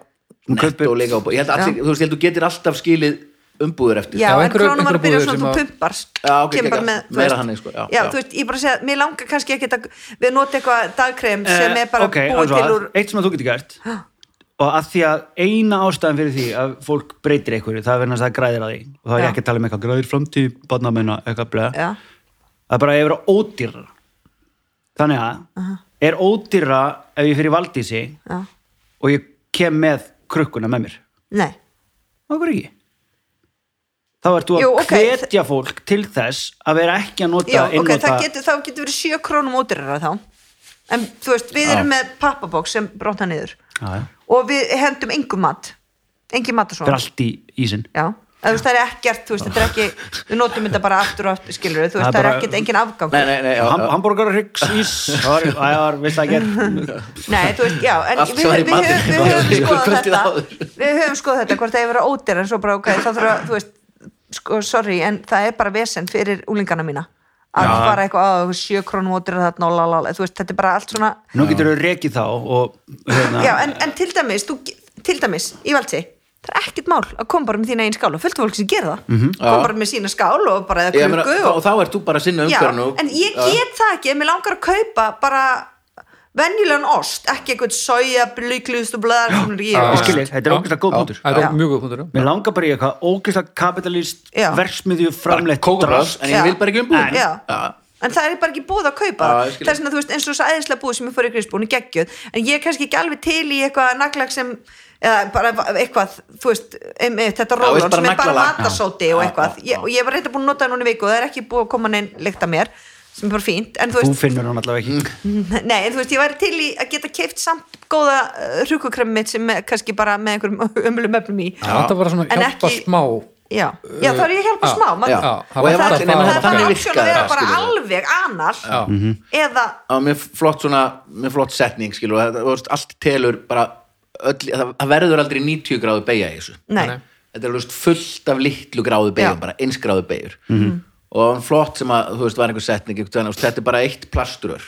Speaker 3: Hún kaupir-
Speaker 1: netto líka á bú- ég held að allir, þú veist, ég held að þú getur alltaf skilið umbúður eftir
Speaker 4: já,
Speaker 2: Já,
Speaker 4: en
Speaker 2: einhverju-
Speaker 4: krónum að
Speaker 2: einhverju
Speaker 4: byrja
Speaker 2: búðir
Speaker 4: svona
Speaker 2: sem
Speaker 4: þú
Speaker 2: að-
Speaker 4: pumpar
Speaker 1: Já, ok,
Speaker 4: kemur bara
Speaker 1: geggjað.
Speaker 4: með, þú
Speaker 1: Meira
Speaker 4: veist-
Speaker 1: þannig, sko, já,
Speaker 4: já,
Speaker 1: já.
Speaker 4: þú veist, ég bara að segja, mér langar kannski ekki að, við nota eitthvað dagkrem sem er bara
Speaker 3: Eh, ok,
Speaker 4: búið
Speaker 3: Andra,
Speaker 4: til úr
Speaker 3: eitt sem að þú getur gert og að því að eina ástæðan fyrir því að fólk breytir einhverju, það er verðan að það græðir að því og þá er
Speaker 4: Já.
Speaker 3: ég ekki að tala um eitthvað græðir framtíð barnamenna, eitthvað bleða
Speaker 4: já,
Speaker 3: það er bara að ég vera ódýrra þannig að er ódýrra ef ég fyrir valdísi
Speaker 4: já,
Speaker 3: og ég kem með krukkuna með mér
Speaker 4: nei
Speaker 3: það verður ekki þá ert þú að
Speaker 4: Jú, ok,
Speaker 3: hvetja fólk til þess að vera ekki að nota
Speaker 4: já, ok,
Speaker 3: einnota
Speaker 4: það getur, þá getur verið 7 krónum ódýrara þá en þú veist, við
Speaker 3: Já.
Speaker 4: erum með pappabóks sem brotna niður
Speaker 3: Já, já.
Speaker 4: og við hendum engum mat engin mat og
Speaker 3: það er
Speaker 4: svona
Speaker 3: allt í ísinn
Speaker 4: já, Eða, þú veist, það er ekkert, þú veist, þetta er ekki við notum þetta bara aftur og aftur, skilur þú veist,
Speaker 3: Það er
Speaker 4: það er
Speaker 3: bara-
Speaker 4: ekkert, engin afgang
Speaker 1: Nei, nei, nei, já,
Speaker 3: Ham,
Speaker 1: já.
Speaker 3: Hamburger Riggs ís Það var- það var, veist það ekki
Speaker 4: Nei, þú veist, já, en
Speaker 1: Allt
Speaker 4: við,
Speaker 1: sem var í
Speaker 4: við, við,
Speaker 1: matinn.
Speaker 4: við höfum
Speaker 1: Ykkur
Speaker 4: skoðað
Speaker 1: kvöldið
Speaker 4: þetta
Speaker 1: áður.
Speaker 4: Við höfum skoðað þetta, hvort það er verið ódýr en svo bara, ok, þá þurfa, þú veist sko, sorry, en það er bara vesen fyrir úlingana mína að
Speaker 3: Já.
Speaker 4: fara eitthvað á sjö krónum ódýr þarna og lalala, þú veist, þetta er bara allt svona
Speaker 3: Nú getur þú rekið þá og, hérna,
Speaker 4: Já, en, en til dæmis, þú, til dæmis í valdi, það er ekkert mál að koma bara með þína einn skál og fullt af fólk sem gera það mm -hmm.
Speaker 1: Já.
Speaker 4: koma bara með sína skál og bara eða
Speaker 1: Ég meina,
Speaker 4: krukku
Speaker 1: þá-
Speaker 4: og,
Speaker 1: þá ert þú bara að sinna
Speaker 4: Já,
Speaker 1: umhverfinu
Speaker 4: en ég get það ekki ef mér langar að kaupa bara venjulegan ost, ekki eitthvað soja, blíkluðst og blæðar sem er í
Speaker 2: Já,
Speaker 3: Ég
Speaker 4: ost.
Speaker 3: skil þig, þetta er ógeðslega góð punktur.
Speaker 2: Þetta
Speaker 4: Já.
Speaker 2: er mjög góð punktur, já
Speaker 3: Mér langar bara í eitthvað ógeðslega kapitalist
Speaker 4: Já.
Speaker 3: versmiðju framleitt
Speaker 1: kókabrás, en
Speaker 4: Já.
Speaker 1: ég vil bara ekki umbúður
Speaker 4: Já. en það er bara ekki búið að
Speaker 1: Já,
Speaker 4: kaupa það.
Speaker 1: ég skil.
Speaker 4: það er svona, þú veist, eins og þess að æðislega búið sem ég fór í grísbúinu geggjöð, en ég er kannski ekki alveg til í eitthvað naglag sem eða bara eitthvað, þú veist um, þetta
Speaker 1: Já, veist bara
Speaker 4: rólón sem er bara
Speaker 1: naglalag.
Speaker 4: matasóti og
Speaker 1: Já,
Speaker 4: eitthvað
Speaker 1: já, já.
Speaker 4: ég, og ég var reynda búin að nota það núna í viku og það er ekki búið að koma neinn líkt að mér sem er bara fínt, en þú
Speaker 3: Þú
Speaker 4: veist
Speaker 3: finnur hann allavega ekki
Speaker 4: Nei, en þú veist, ég væri til í að geta keift samt góða uh, hrúkukremi mitt sem er kannski bara með einhverjum ömulum efnum í
Speaker 2: Þetta var svona
Speaker 4: En
Speaker 2: hjálpa
Speaker 4: ekki-
Speaker 2: smá
Speaker 4: Já, já þá er ég að hjálpa
Speaker 2: Já,
Speaker 4: smá maður-
Speaker 1: Já.
Speaker 2: Já,
Speaker 1: og ég
Speaker 2: var
Speaker 4: það,
Speaker 1: var
Speaker 2: alltaf
Speaker 4: er-
Speaker 2: bara-
Speaker 4: það er bara
Speaker 1: þannig
Speaker 4: option að
Speaker 1: virkaði
Speaker 4: vera
Speaker 1: það,
Speaker 4: bara
Speaker 1: skilurðu.
Speaker 4: alveg anal
Speaker 2: Já.
Speaker 4: eða,
Speaker 1: á, mér flott svona mér flott setning skilur það, það, veist, allt telur bara öll, það, það verður aldrei 90 gráðu beigja í þessu
Speaker 4: nei,
Speaker 2: Nei.
Speaker 1: þetta er veist, fullt af litlu gráðu beigjum
Speaker 4: Já. Mhm.
Speaker 1: bara eins gráðu beigjur og flott sem að þú veist var einhver setning einhvern veginn, þú veist, þetta er bara eitt plasturör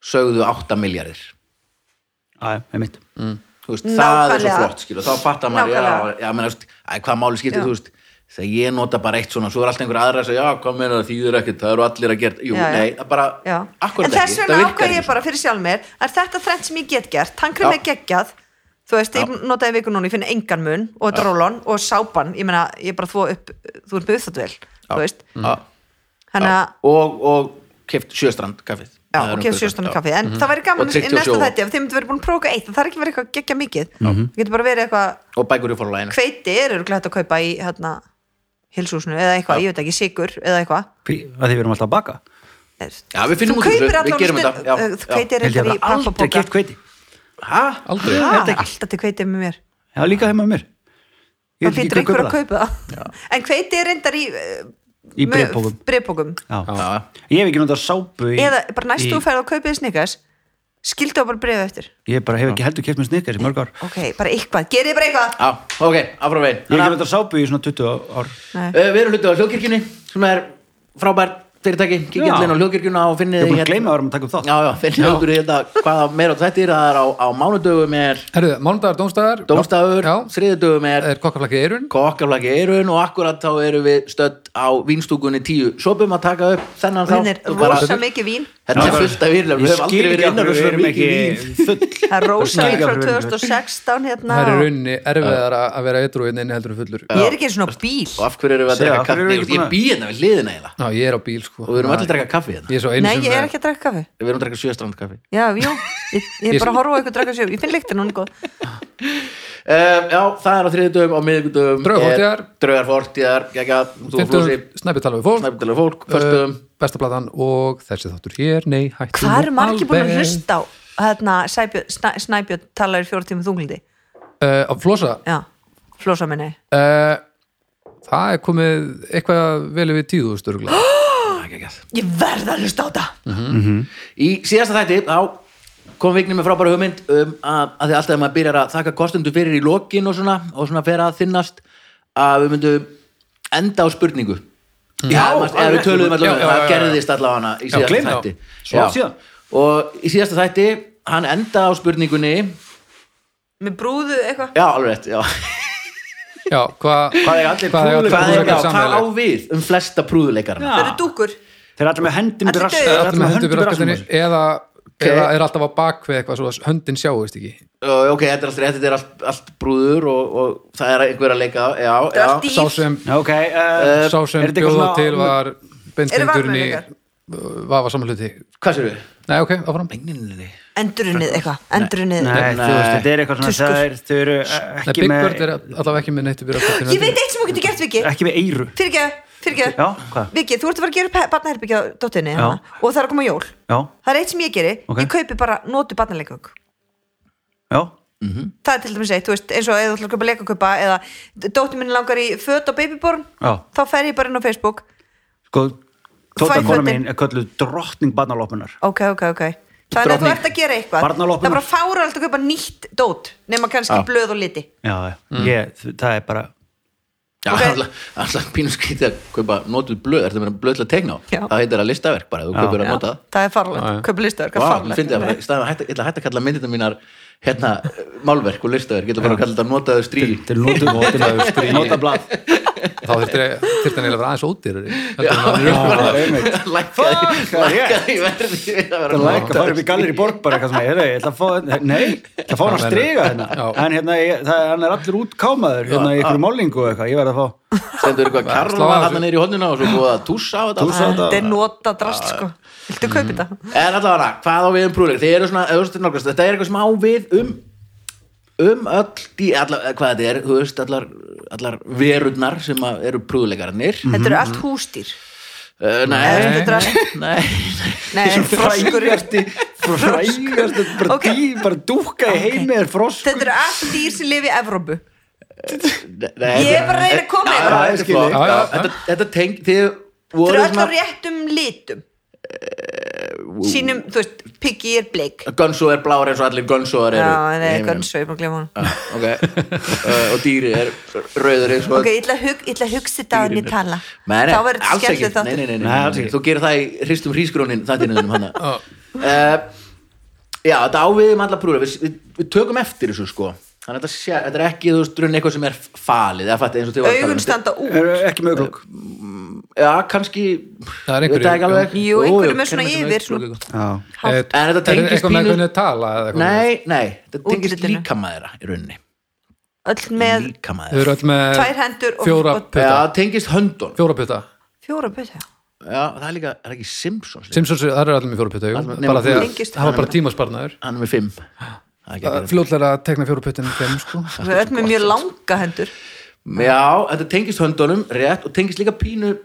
Speaker 1: sögðu 8 miljardir
Speaker 3: Já, ég mitt
Speaker 1: veist, það er svo
Speaker 4: Nákvæmlega.
Speaker 1: flott skilur, þá fattar maður já,
Speaker 4: Nákvæmlega.
Speaker 1: já, menn, veist, að, hvað máli skiptir þú veist þegar ég nota bara eitt svona, svo er alltaf einhver aðra að segja, já, hvað meina það þýðir ekkert, það eru allir að gera jú,
Speaker 4: Já, já.
Speaker 1: nei, það bara,
Speaker 4: já
Speaker 1: akkurat
Speaker 4: en þess
Speaker 1: ekki
Speaker 4: vegna
Speaker 1: það virkar
Speaker 4: ákvað
Speaker 1: ekki
Speaker 4: ég bara fyrir sjálf mér er þetta þrennt sem ég get gert, tankrem
Speaker 1: Já.
Speaker 4: er geggjað þú veist, ég notaði vikun núna, ég finn engan mun og drólon og sápan, ég meina ég bara þvó upp, þú ert með uppþáttuvel þú veist,
Speaker 1: svona. Já.
Speaker 4: þannig að
Speaker 1: og, og keft sjöstrand kaffið
Speaker 4: Já,
Speaker 1: Það er
Speaker 4: og
Speaker 1: umhverfis-
Speaker 4: gefa sjöstunum
Speaker 1: já.
Speaker 4: kaffi en það væri
Speaker 1: Og
Speaker 4: gaman í
Speaker 1: 67.
Speaker 4: næsta þætti ef þeim myndi verið búin að prófa eitt það er ekki verið eitthvað geggja mikið
Speaker 1: Mhm.
Speaker 4: það getur bara verið eitthvað
Speaker 1: og bækur í forlæðinu
Speaker 4: hveiti er eru glætt að kaupa í hérna, hilsúsinu eða eitthvað, ég veit ekki, sigur eða eitthvað
Speaker 3: Því að við erum alltaf að baka
Speaker 1: Já, við finnum
Speaker 4: Þú
Speaker 1: út úr þessu,
Speaker 4: kaupir
Speaker 1: við
Speaker 4: allan
Speaker 1: gerum
Speaker 4: stund-
Speaker 1: þetta, já,
Speaker 4: uh,
Speaker 1: já.
Speaker 4: hveiti er
Speaker 3: Held ég að
Speaker 4: eitthvað í
Speaker 3: það aldrei
Speaker 4: pappabóka
Speaker 3: gett kveiti
Speaker 1: hæ?
Speaker 2: Aldrei
Speaker 3: Held ekki.
Speaker 4: alltaf til hveiti með mér
Speaker 3: Já, líka heima með mér Ég vil
Speaker 4: það fyrir
Speaker 3: ekki
Speaker 4: einhver
Speaker 3: kaupa
Speaker 4: að
Speaker 3: það
Speaker 4: kaupa það en hveiti er reyndar í eh,
Speaker 3: Í bréfpokum.
Speaker 4: breyfbókum
Speaker 3: Já.
Speaker 1: Já.
Speaker 3: Ég hef ekki notað sápu í,
Speaker 4: eða bara næstu
Speaker 3: í,
Speaker 4: þú færið að kaupa því snikas skildu bara breyfi eftir
Speaker 3: Ég bara hef ekki heldur keft með snikkar í mörg ár
Speaker 4: ok, bara eitthvað, gerið bara eitthvað
Speaker 1: já, ok, afrá veginn
Speaker 3: Ég hef ekki
Speaker 1: Þannig að,
Speaker 3: notað sápu í svona 20 ár
Speaker 4: Nei.
Speaker 1: uh, við erum hlutið á hljókirkjunni sem er frábær fyrirtæki
Speaker 3: Já.
Speaker 1: kikillin á hljókirkjuna og finnið
Speaker 3: Ég er búin
Speaker 1: hérna-
Speaker 3: að gleyma að við erum að taka upp þátt
Speaker 1: já, já, finnið út úr hérna hvaða meira á þetta er það er á, á mánudögum er
Speaker 2: Herðu, mánudagar, dómstagar
Speaker 1: dómstafur,
Speaker 2: Já,
Speaker 1: þriðudögum er
Speaker 2: er kokkaflakki eirun
Speaker 1: kokkaflaki eirun og akkurat þá erum við stödd á vínstúkunni tíu sopum að taka upp þennan
Speaker 4: hún er
Speaker 1: þá
Speaker 4: rosa mikið vín
Speaker 1: þetta er fullt af virðlega, við
Speaker 3: Ég
Speaker 1: höfum
Speaker 3: skil
Speaker 1: aldrei
Speaker 3: ekki
Speaker 1: verið
Speaker 3: af
Speaker 1: innan
Speaker 3: hverju
Speaker 1: við
Speaker 3: við
Speaker 1: svo
Speaker 3: erum
Speaker 1: mikið vín
Speaker 3: ekki full
Speaker 4: það er rosa
Speaker 3: skil ekki af
Speaker 4: frá
Speaker 3: hverju við erum-
Speaker 4: 2016 hérna
Speaker 2: Það er í rauninni erfiðara að vera eitthvað en einu heldur en fullur
Speaker 4: ég er ekki eins og ná bíl
Speaker 1: og af hverju erum við að
Speaker 3: Segðu,
Speaker 1: drekka
Speaker 3: af hverju
Speaker 1: kaffi
Speaker 3: erum við ekki
Speaker 1: ég
Speaker 3: búin að-
Speaker 1: býð hérna við hliðina eiginlega
Speaker 2: Já, ég er á bíl, sko
Speaker 1: og við erum allir að drekka kaffi hérna
Speaker 2: Ég er svo einu
Speaker 4: nei,
Speaker 2: sem
Speaker 4: ég er ekki að drekka kaffi
Speaker 1: við erum að drekka sjöstrand kaffi
Speaker 4: já, jú, ég, ég er
Speaker 2: Ég-
Speaker 4: bara að horfa á ykkur drekka sér ég finn lyktin hún er góð
Speaker 1: um, já, það er á þriðdögum, á miðvikudögum
Speaker 2: Draugar fortíðar.
Speaker 1: draugar fortíðar, gegja, þú og flósi
Speaker 2: Snæpið tala við fólk
Speaker 1: snæptilega fólk,
Speaker 2: uh,
Speaker 1: förstum
Speaker 2: Besta platan og þessi þáttur hér Nei, hættu
Speaker 4: hvað
Speaker 2: nú
Speaker 4: eru margir búin að
Speaker 2: alveg.
Speaker 4: hlusta á hérna, Sæbjörn- Snæ- Snæbjörn talar í fjóra tíma þunglindi
Speaker 2: Uh, Á flosa
Speaker 4: já, flosa minni
Speaker 2: uh, Það er komið eitthvað vel við tíðu störuglega
Speaker 1: Ah,
Speaker 4: ég verð að hlusta á það
Speaker 1: í síðasta þætti, þá kom vikni með frábæra hugmynd um að, að því alltaf þegar maður byrjar að þakka kostundu fyrir í lokin og svona, og svona fer að þinnast að við myndum enda á spurningu já, eða við töluðum allavega,
Speaker 2: Já,
Speaker 1: um
Speaker 2: já,
Speaker 1: það
Speaker 2: já, já.
Speaker 1: gerðist allavega hana í
Speaker 2: Já,
Speaker 1: síðasta
Speaker 2: gleymd.
Speaker 1: þætti
Speaker 3: Svo síðan.
Speaker 1: og í síðasta þætti, hann enda á spurningunni
Speaker 4: með brúðu eitthvað
Speaker 1: Já, alveg rétt, já
Speaker 2: já, hvað
Speaker 3: Hvað er allir
Speaker 2: hvað
Speaker 3: prúðuleikar-
Speaker 1: Hvað er
Speaker 2: prúðuleikar
Speaker 1: já, hvað á
Speaker 2: sameiginlegt?
Speaker 1: við um flesta prúðuleikarna?
Speaker 3: Já.
Speaker 4: það eru dúkur
Speaker 3: Þeir eru allir með hendin
Speaker 4: Allir
Speaker 3: yfir rass-
Speaker 4: dauðir.
Speaker 3: þeir eru
Speaker 2: Allir með höndum í raskatinni
Speaker 3: rassnum á sér.
Speaker 2: eða, eða er alltaf á bakvið eitthvað svo að höndin sjáist ekki
Speaker 1: Já, ok, þetta er allt, rétt, þetta er allt, allt brúður og, og það er einhver að leika já,
Speaker 4: er allt
Speaker 1: já,
Speaker 4: í-
Speaker 2: sá sem,
Speaker 3: Já, Ok, uh,
Speaker 2: sá sem
Speaker 3: er þetta eitthvað
Speaker 2: Eh, bjóða
Speaker 3: svona-
Speaker 2: til var beintengurinn í Eh,
Speaker 4: Eru varmleikar?
Speaker 2: vafa samanluti
Speaker 1: hvað sér við?
Speaker 2: nei ok, áfram
Speaker 1: Engninni.
Speaker 4: endurunnið eitthvað, endurunnið
Speaker 3: Nei, þú veist, þetta er eitthvað svona
Speaker 4: Tuskur.
Speaker 3: það er, Þau eru eh,
Speaker 2: Nei,
Speaker 3: ekki
Speaker 2: Big Bird
Speaker 3: með
Speaker 2: er allavega ekki með neitt upp í raskatinni
Speaker 4: ég veit eitt sem þú getur gert Viki
Speaker 3: ekki með eyru
Speaker 4: fyrirgeðu, fyrirgeðu
Speaker 3: Já, hvað?
Speaker 4: Viki, þú ert að fara að gera barnaherbyggja á dottinni
Speaker 3: Já.
Speaker 4: hana, og það er að koma jól
Speaker 3: Já,
Speaker 4: það er eitt sem ég geri,
Speaker 3: Ok.
Speaker 4: ég kaupi bara notu barnalegöng
Speaker 3: já,
Speaker 4: það er til dæmis eitt, þú veist, eins og eða þú ætlar að kaupa leikaköpa eða dóttir minn langar í föt á babyborn,
Speaker 3: já
Speaker 4: þá fer ég bara inn á Facebook
Speaker 3: Sko, Tóta
Speaker 4: Fæ
Speaker 3: kona
Speaker 4: fötin.
Speaker 3: mín er kölluð drottning barnaloppunar
Speaker 4: ok, ok, ok þannig að þú
Speaker 3: Drottning.
Speaker 4: ert að gera eitthvað
Speaker 3: Barnaloppunar.
Speaker 4: það er bara fára alltaf að kaupa nýtt dót nema kannski
Speaker 1: Já.
Speaker 4: blöð og liti
Speaker 3: Já, já, ég, það er bara
Speaker 1: Já,
Speaker 4: Ok.
Speaker 1: okay. alltaf pínu skrítið að kaupa notuð blöð, ertu meira blöð til að tegna á
Speaker 4: Já.
Speaker 1: það heitir að listaverk bara, þú
Speaker 3: Já.
Speaker 1: kaupir að
Speaker 4: Já,
Speaker 1: nota það
Speaker 4: það er farlegt,
Speaker 2: Já, já.
Speaker 4: kaupa listaverk það
Speaker 1: Vá,
Speaker 4: er
Speaker 1: mér
Speaker 4: farlegt.
Speaker 1: fyndi það bara, í staðan að hætta- ég ætla að hætta að kalla myndina mínar hérna, málverk og listaverk, ég ætla bara að kalla þetta notaðu strí
Speaker 3: Þetta er notu-
Speaker 2: Notaðu stríð.
Speaker 3: nota blað
Speaker 2: þá þurfti þurfti hann eiginlega að vera aðeins ódýrari heldur en hann er.
Speaker 3: Já, einmitt
Speaker 1: lækkaði,
Speaker 3: Fuck, það er rétt.
Speaker 1: lækkaði verði við að vera
Speaker 3: Það læk að
Speaker 1: notaður
Speaker 3: fara upp í gallir í borg bara eitthvað sem ég, ég ætla að fá, nei, ég ætla að fá hann að
Speaker 2: Það verður-
Speaker 3: strega hérna,
Speaker 2: Já.
Speaker 3: en hérna, ég, það, hann er allir útkámaður, hérna í ykkur málingu og eitthvað, ég verð að fá,
Speaker 1: stendur eitthvað
Speaker 2: slá
Speaker 1: karfa
Speaker 2: af
Speaker 1: hann
Speaker 2: þessu.
Speaker 1: er í hodnuna og svo búið að tússa á þetta
Speaker 3: Tússa á
Speaker 1: allt.
Speaker 4: þetta er nota drast sko viltu kaupa þetta?
Speaker 1: en allavega, hvað á við um prúðleik þið eru svona, ef þú veist, nálgast, þetta er eitthvað sem á við um um öll dý, allar, hvað þetta er, þú veist, allar, allar verurnar sem að eru prúðleikarnir mm.
Speaker 4: þetta eru allt hústýr
Speaker 1: nei,
Speaker 4: þetta er allt
Speaker 1: nei,
Speaker 4: Nei, froskur
Speaker 3: frægasti, frægasti, bara
Speaker 4: Ok.
Speaker 3: dý, bara dúka í heimi er frosk,
Speaker 4: Þetta eru allt dýr sem lifi í Evrópu
Speaker 1: nei, nei
Speaker 4: Ég er bara að reyna að koma
Speaker 1: Já,
Speaker 4: yfir.
Speaker 1: já, þetta er
Speaker 3: Skil ég.
Speaker 1: flott,
Speaker 2: Já, já,
Speaker 1: já,
Speaker 2: já.
Speaker 1: þetta- þetta teng, þið
Speaker 4: Þetta eru
Speaker 1: voru
Speaker 4: öll á
Speaker 1: svona
Speaker 4: réttum litum
Speaker 1: Eh,
Speaker 4: Sínum, þú veist, Piggy er bleik
Speaker 1: Gunso er blár eins og allir Gunsoar
Speaker 4: Já,
Speaker 1: eru
Speaker 4: en það
Speaker 1: í
Speaker 4: er
Speaker 1: heiminum.
Speaker 4: gönnsveig, maður glemma hann
Speaker 1: Já, ok uh, og dýri er rauður eins og
Speaker 4: Ok, ég ætla að hug- ég ætla að hugsa þetta að ég tala
Speaker 1: Nei, nei,
Speaker 4: Þá verður þetta
Speaker 1: alls ekki. Nei,
Speaker 4: skemmtileg
Speaker 1: nei,
Speaker 4: þáttur
Speaker 1: nei, nei,
Speaker 3: Nei, alls
Speaker 1: nei,
Speaker 3: ekki.
Speaker 1: Þú gerir það í hristum hrísgrónin þættinuðum hana uh, Já, þetta á við um alla prúra við, við, við tökum eftir þessu sko Þannig að þetta, sé, þetta er ekki, þú veist, runni eitthvað sem er falið eða fatti eins og þið var að tala um.
Speaker 4: Augun standa út
Speaker 3: er ekki með auglokk,
Speaker 1: Já, kannski
Speaker 2: Það er
Speaker 1: ég veit
Speaker 2: einhverju-
Speaker 1: ekki alveg.
Speaker 4: Jú, einhverju með svona
Speaker 1: kennir
Speaker 4: yfir,
Speaker 1: svona-
Speaker 4: svona-
Speaker 3: já,
Speaker 2: Eh,
Speaker 4: Hátt.
Speaker 1: En þetta
Speaker 2: er
Speaker 1: tengist
Speaker 2: eitthvað með
Speaker 1: pínu-
Speaker 2: hvernig þau tala eða eitthvað?
Speaker 1: Nei, nei, þetta tengist
Speaker 4: Útlitinu.
Speaker 1: líkamæðra í runni
Speaker 4: Öll með
Speaker 2: þau
Speaker 1: Líkamæðra
Speaker 2: eru öll með
Speaker 4: Tvær hendur og-
Speaker 2: fjóra
Speaker 1: Já,
Speaker 4: og-
Speaker 2: putta
Speaker 1: tengist höndun
Speaker 2: fjóra putta
Speaker 4: fjóra bötja
Speaker 1: Já, það er líka, er ekki Simpsons
Speaker 2: Simpsons, það eru allir með fjóra putta jú.
Speaker 1: Allir- nema
Speaker 2: bara því að
Speaker 4: Tengist-
Speaker 2: það var bara tímasparnaður
Speaker 1: Hann er með fimm Það er ekki að gera.
Speaker 2: fljóðlega að tekna fjóra puttin þeim sko
Speaker 1: Ah,
Speaker 4: Öll með mjög langa hendur
Speaker 1: Já, þetta tengist höndunum rétt og tengist líka pínu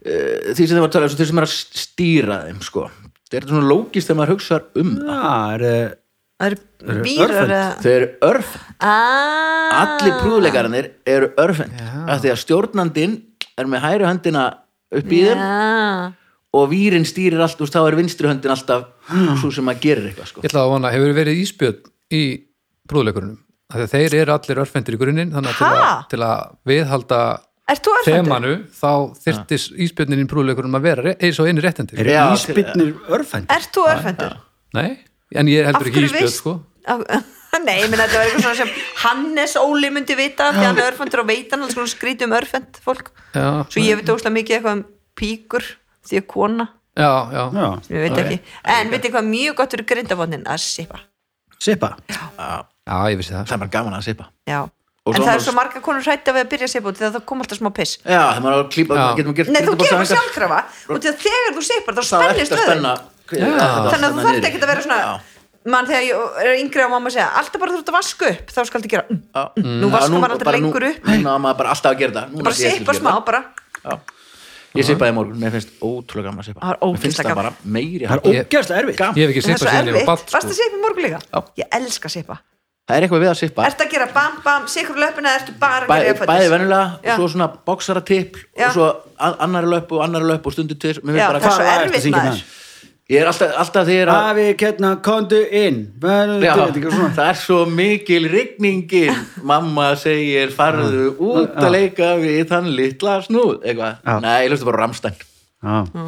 Speaker 1: uh, því sem þið var að tala um, svo þeir sem er að stýra þeim sko. Þetta er svona lókist þegar maður hugsar um það
Speaker 3: það er, eh,
Speaker 4: Það eru
Speaker 3: eru
Speaker 4: býrar
Speaker 3: örvhent.
Speaker 4: eða-
Speaker 1: Þau eru örf,
Speaker 4: Ah.
Speaker 1: allir prúðleikarinnir eru örfend af því að stjórnandinn er með hæri höndina upp í þeim
Speaker 4: Já.
Speaker 1: og výrin stýrir allt og þá er vinstri höndin alltaf
Speaker 4: Ah.
Speaker 1: svo sem maður gerir eitthvað sko.
Speaker 2: ég ætla að vona, hefur verið íspjöld í brúðleikurunum Af því að þeir eru allir örfendur í grunninn þannig að til, að
Speaker 4: Ha?
Speaker 2: til að viðhalda
Speaker 4: Ert þú örfendur?
Speaker 2: þemanu þá þyrtis íspjöldnin í brúðleikurunum að vera re- eins og einu réttindi
Speaker 3: eru
Speaker 1: Já,
Speaker 3: ísbytnir örfænd,
Speaker 4: Ert þú örfendur?
Speaker 2: Nei, en ég er heldur ekki íspjöld sko
Speaker 4: Á- Nei, menn þetta var eitthvað svona sem Hannes Óli myndi vita því hann er örfendur og veit hann alls konar skrítið um örfend fólk
Speaker 2: Já.
Speaker 4: Svo ég veit óslega mikið eitthvað um píkur því að kona,
Speaker 2: Já, já,
Speaker 3: já,
Speaker 4: sem ég veit ekki En veit eitthvað mjög gott fyrir grindavotnin að sipa
Speaker 3: sipa,
Speaker 2: já, ég vissi það
Speaker 1: Það er bara gaman að sipa
Speaker 4: Já,
Speaker 1: Og
Speaker 4: en
Speaker 1: svo
Speaker 4: það
Speaker 1: annars-
Speaker 4: er svo marga konur hrætti að við að byrja að sipa út því að það kom alltaf smá piss
Speaker 1: Já, það maður á að klípa,
Speaker 2: Já.
Speaker 1: getum að gera
Speaker 4: Nei, þú gerir það
Speaker 1: grindabólsæfingar.
Speaker 4: sjálfkrafa og því að þegar þú sipar þá
Speaker 1: Það er
Speaker 4: spennist
Speaker 1: eftir að
Speaker 4: höðin
Speaker 1: spenna
Speaker 4: Þannig að þú þarft ekki að vera svona
Speaker 1: Já.
Speaker 4: mann þegar ég er yngri og mamma segja alltaf bara þú ert að vaska upp, þá skal gera mm,
Speaker 1: Já.
Speaker 4: Nú vaskar maður aldrei
Speaker 1: bara
Speaker 4: lengur
Speaker 1: nú,
Speaker 4: upp.
Speaker 1: Núna á maður bara alltaf að gera það Núna
Speaker 4: bara
Speaker 1: sé ég
Speaker 4: sipa
Speaker 1: ekki
Speaker 4: smá,
Speaker 1: að gera
Speaker 4: bara
Speaker 1: það. Já. Ég sipaði í morgun, mér finnst ótrúlega gaman að sipa
Speaker 4: Það er
Speaker 1: Mér finnst
Speaker 4: ógeðslega
Speaker 1: það bara meiri
Speaker 3: það er ógæðslega erfitt,
Speaker 1: Gaman.
Speaker 2: Ég hef ekki
Speaker 4: En það er
Speaker 2: sipað
Speaker 4: svo
Speaker 2: síðan ég
Speaker 4: erfitt,
Speaker 2: var batt
Speaker 4: varst
Speaker 2: sko.
Speaker 4: að seipa í morgun líka?
Speaker 1: Já.
Speaker 4: ég elska að seipa
Speaker 1: Það er eitthvað við að sipa
Speaker 4: ertu að gera bam bam, sikur löpuna ertu bara að
Speaker 1: Bæ,
Speaker 4: gera
Speaker 1: Bæði
Speaker 4: eftir
Speaker 1: venjulega,
Speaker 4: Já.
Speaker 1: og svo svona boxaratipp
Speaker 4: Já.
Speaker 1: og svo a- annari löp og annari löp og stundu til Mér
Speaker 4: Já,
Speaker 1: finnst bara
Speaker 4: það er
Speaker 1: hvað
Speaker 4: svo
Speaker 3: Hvað ertu að
Speaker 4: erfitt
Speaker 3: syngja
Speaker 4: maður
Speaker 3: með?
Speaker 1: Ég er alltaf, alltaf því ég er að
Speaker 3: afi, hérna, kondu inn, verður,
Speaker 1: Já,
Speaker 3: þetta er eitthvað svona,
Speaker 1: það er svo mikil rigningin mamma segir farðu út að leika við þann litla snúð eitthvað,
Speaker 3: Já.
Speaker 1: nei, ég hlustu bara á Rammstein
Speaker 3: já,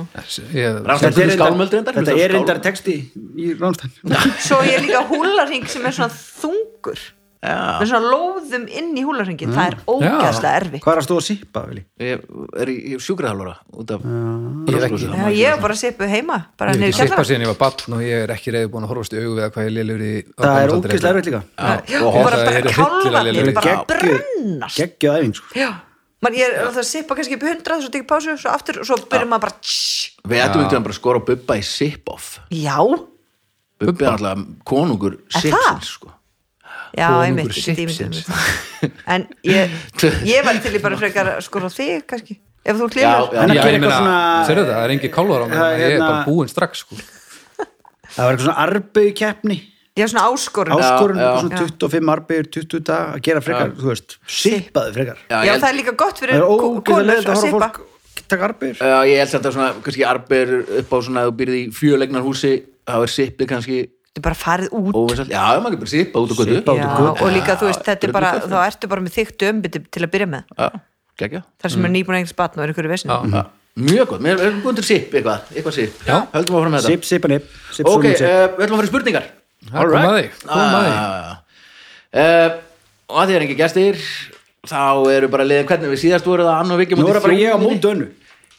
Speaker 2: Ég-
Speaker 3: Þetta
Speaker 1: Rammstein
Speaker 3: er
Speaker 1: fyrir
Speaker 3: reyndar-
Speaker 1: skálmöld reyndar
Speaker 3: þetta
Speaker 1: hlustaðu á
Speaker 3: er reyndar
Speaker 1: skálmöld.
Speaker 3: texti í Rámstæn
Speaker 4: svo ég er líka húlaring sem er svona þungur
Speaker 1: Já,
Speaker 4: með svona lóðum inn í húlarhengin það er ógæslega erfitt
Speaker 3: Hvað er að stóða að sípa, Vili?
Speaker 1: ég er í ég er sjúkraþjálfara út af
Speaker 2: Ég er ekki-
Speaker 1: Rósrúsum.
Speaker 4: Já, ég var bara sippu heima bara
Speaker 2: Ég hef
Speaker 4: niður í
Speaker 2: ekki seipa
Speaker 4: kjallara
Speaker 2: síðan ég var barn og ég er ekki reyði búin að horfast í augu við að hvað ég lélur í
Speaker 3: Það er ógeðslega erfitt líka.
Speaker 1: Já,
Speaker 4: og
Speaker 1: og
Speaker 2: Ég held að
Speaker 4: bara bara
Speaker 2: það eru
Speaker 4: kálfa
Speaker 2: hryllilega
Speaker 4: ég er
Speaker 2: lélegir.
Speaker 4: bara að
Speaker 3: Geggjuð-
Speaker 4: brunnast
Speaker 3: Geggjuð æfing, sko.
Speaker 4: Já, mann ég er alltaf að sippa kannski upp í 100 svo tekið pásu, svo aftur, svo byrjum maður bara tss.
Speaker 1: Við ættum ekki að bara skora Bubba í Sip-Off
Speaker 4: Já,
Speaker 1: Bubba er alltaf konungur
Speaker 4: Er það?
Speaker 1: Sipsins sko.
Speaker 4: já,
Speaker 2: Konungur
Speaker 4: einmitt ég get ímyndað
Speaker 2: sipsins.
Speaker 4: mér. En ég, ég var til í bara frekar skora þig kannski Ef þú klifur
Speaker 1: Já,
Speaker 3: En að
Speaker 2: Já,
Speaker 3: gera
Speaker 2: ég meina,
Speaker 3: eitthvað svona-
Speaker 2: serðu það, það er engi kálvar á mér
Speaker 3: Það er
Speaker 2: þannig að ég er
Speaker 3: hérna-
Speaker 2: bara búinn strax sko.
Speaker 3: Það var eitthvað svona arbegu keppni,
Speaker 4: Ég var svona áskorun
Speaker 3: áskorun,
Speaker 1: já.
Speaker 3: eitthvað svona 25 arbegur, 20 dag, að gera frekar, þú veist, sípaðu frekar.
Speaker 1: Já,
Speaker 4: Já,
Speaker 1: ég held-
Speaker 4: það er líka gott
Speaker 3: Það
Speaker 4: fyrir
Speaker 3: er
Speaker 4: ko-
Speaker 3: ógeðslega
Speaker 4: konur
Speaker 3: leðið að horfa
Speaker 4: að
Speaker 3: á
Speaker 4: sippa
Speaker 3: fólk taka arbegur.
Speaker 1: Já, ég held samt að svona, kannski Arber upp á svona, að þú byrðið í fjölegnar húsi þá er Sipið kannski
Speaker 4: Þetta er bara farið út
Speaker 1: óvinsalt Já, maður getur bara Sipa út og götu
Speaker 3: Sippa út
Speaker 4: Já,
Speaker 3: og götu.
Speaker 4: og líka þú veist,
Speaker 1: Já,
Speaker 4: þetta er
Speaker 1: þetta
Speaker 4: bara
Speaker 1: er
Speaker 4: þá ertu bara með þykkt umbyti til að byrja með
Speaker 1: Já, gekkja
Speaker 4: þar
Speaker 3: Mm.
Speaker 4: sem er nýbúin eigin spatt og er ykkur í vesin
Speaker 2: Já.
Speaker 1: Mjög gott, mér erum góðum til Sip eitthvað, eitthvað Sip
Speaker 2: Já.
Speaker 1: Höldum áfram með þetta
Speaker 3: Sip, sipa, nip, sip,
Speaker 1: Ok,
Speaker 3: svona,
Speaker 1: uh,
Speaker 3: sip.
Speaker 1: við ætlum að fara í spurningar Ah,
Speaker 2: Já, kom að því, kom að því.
Speaker 1: uh, Og að því er ekki gestir þá eru bara liðin hvernig við síðast voru það Anna og Viggi á
Speaker 3: Nú
Speaker 1: móti
Speaker 3: er það bara ég á
Speaker 1: Þjóðinni.
Speaker 3: móti önnu.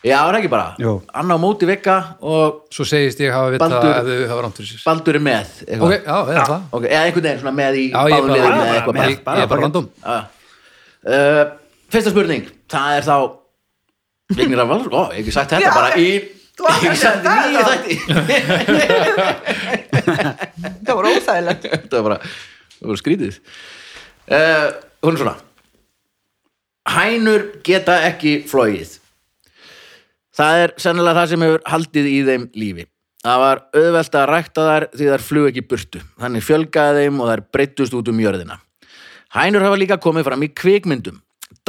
Speaker 1: Já, er það ekki bara
Speaker 3: Jú.
Speaker 1: Anna á móti Vigga og
Speaker 2: Svo segist ég hafa vita
Speaker 1: Baldur.
Speaker 2: ef þau hafa rámt fyrir sér
Speaker 1: Baldur er með eitthvað.
Speaker 2: Ok, já, eða það
Speaker 1: Ok, eða einhvern veginn svona með í
Speaker 2: Já, ég er
Speaker 1: báðum
Speaker 2: bara-
Speaker 1: liðum eða
Speaker 2: bara-
Speaker 1: eitthvað
Speaker 2: bara-
Speaker 1: bara.
Speaker 2: ég- ég er bara random
Speaker 1: Já. Uh, fyrsta spurning, það er þá Vignir af Valur, ó, ég hef ekki sagt þetta
Speaker 4: Já,
Speaker 1: bara í
Speaker 4: þú
Speaker 1: Ég
Speaker 4: átt
Speaker 1: hef ekki
Speaker 4: að
Speaker 1: sagt
Speaker 4: segja
Speaker 1: nýju
Speaker 4: það
Speaker 1: þætti
Speaker 4: það voru óþægilegt
Speaker 1: Þetta var bara, það var skrítið uh, Hún er svona Hænur geta ekki flóið Það er sennilega það sem hefur haldið í þeim lífi. Það var auðvelt að rækta þær því þær flug ekki í burtu. Þannig fjölgaði þeim og þær breyttust út um jörðina. Hænur hafa líka komið fram í kvikmyndum.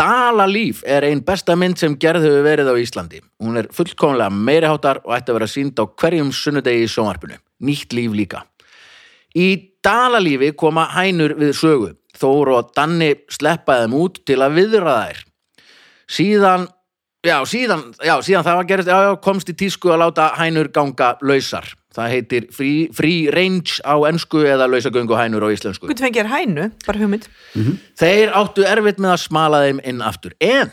Speaker 1: Dalalíf er ein besta mynd sem gerð hefur verið á Íslandi. Hún er fullkomlega meiriháttar og ætti að vera sínd á hverjum sunnudegi í sjónvarpinu. Nýtt líf líka. Í dalalífi koma hænur við sögu. Þór og Danni sleppa þeim út til að viðra þær. Síðan, já, síðan, já, síðan það var gerist, já, já, komst í tísku að láta hænur ganga lausar. Það heitir free, free range á ensku eða lausagöngu hænur á íslensku.
Speaker 4: hvernig fengið er hænu, bara hugmynd
Speaker 1: Þeir áttu erfitt með að smala þeim inn aftur. En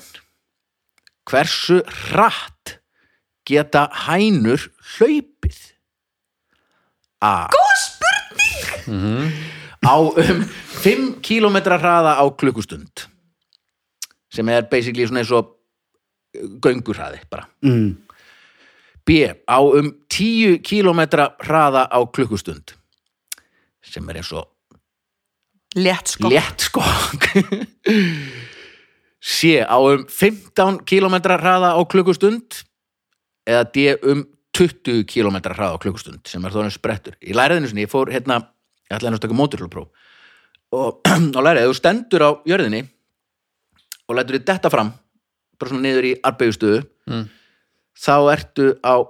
Speaker 1: hversu hratt geta hænur hlaupið? A. Góð spurning! Á um 5 km hraða á klukkustund sem er basically svona eins og uh, göngurhraði bara.
Speaker 3: Mm.
Speaker 1: B. Á um 10 km hraða á klukkustund sem er eins og
Speaker 4: létt sko
Speaker 1: létt skokk sé á um 15 km hraða á klukkustund eða D um 20 km hraða á klukkustund sem er þóðan sprettur í læriðinu sinni, ég fór hérna ég ætlaði að taka móturlupróf og, og lærið, ef þú stendur á jörðinni og lætur þið detta fram bara svona niður í arbeigustöðu
Speaker 2: Mm.
Speaker 1: þá ertu á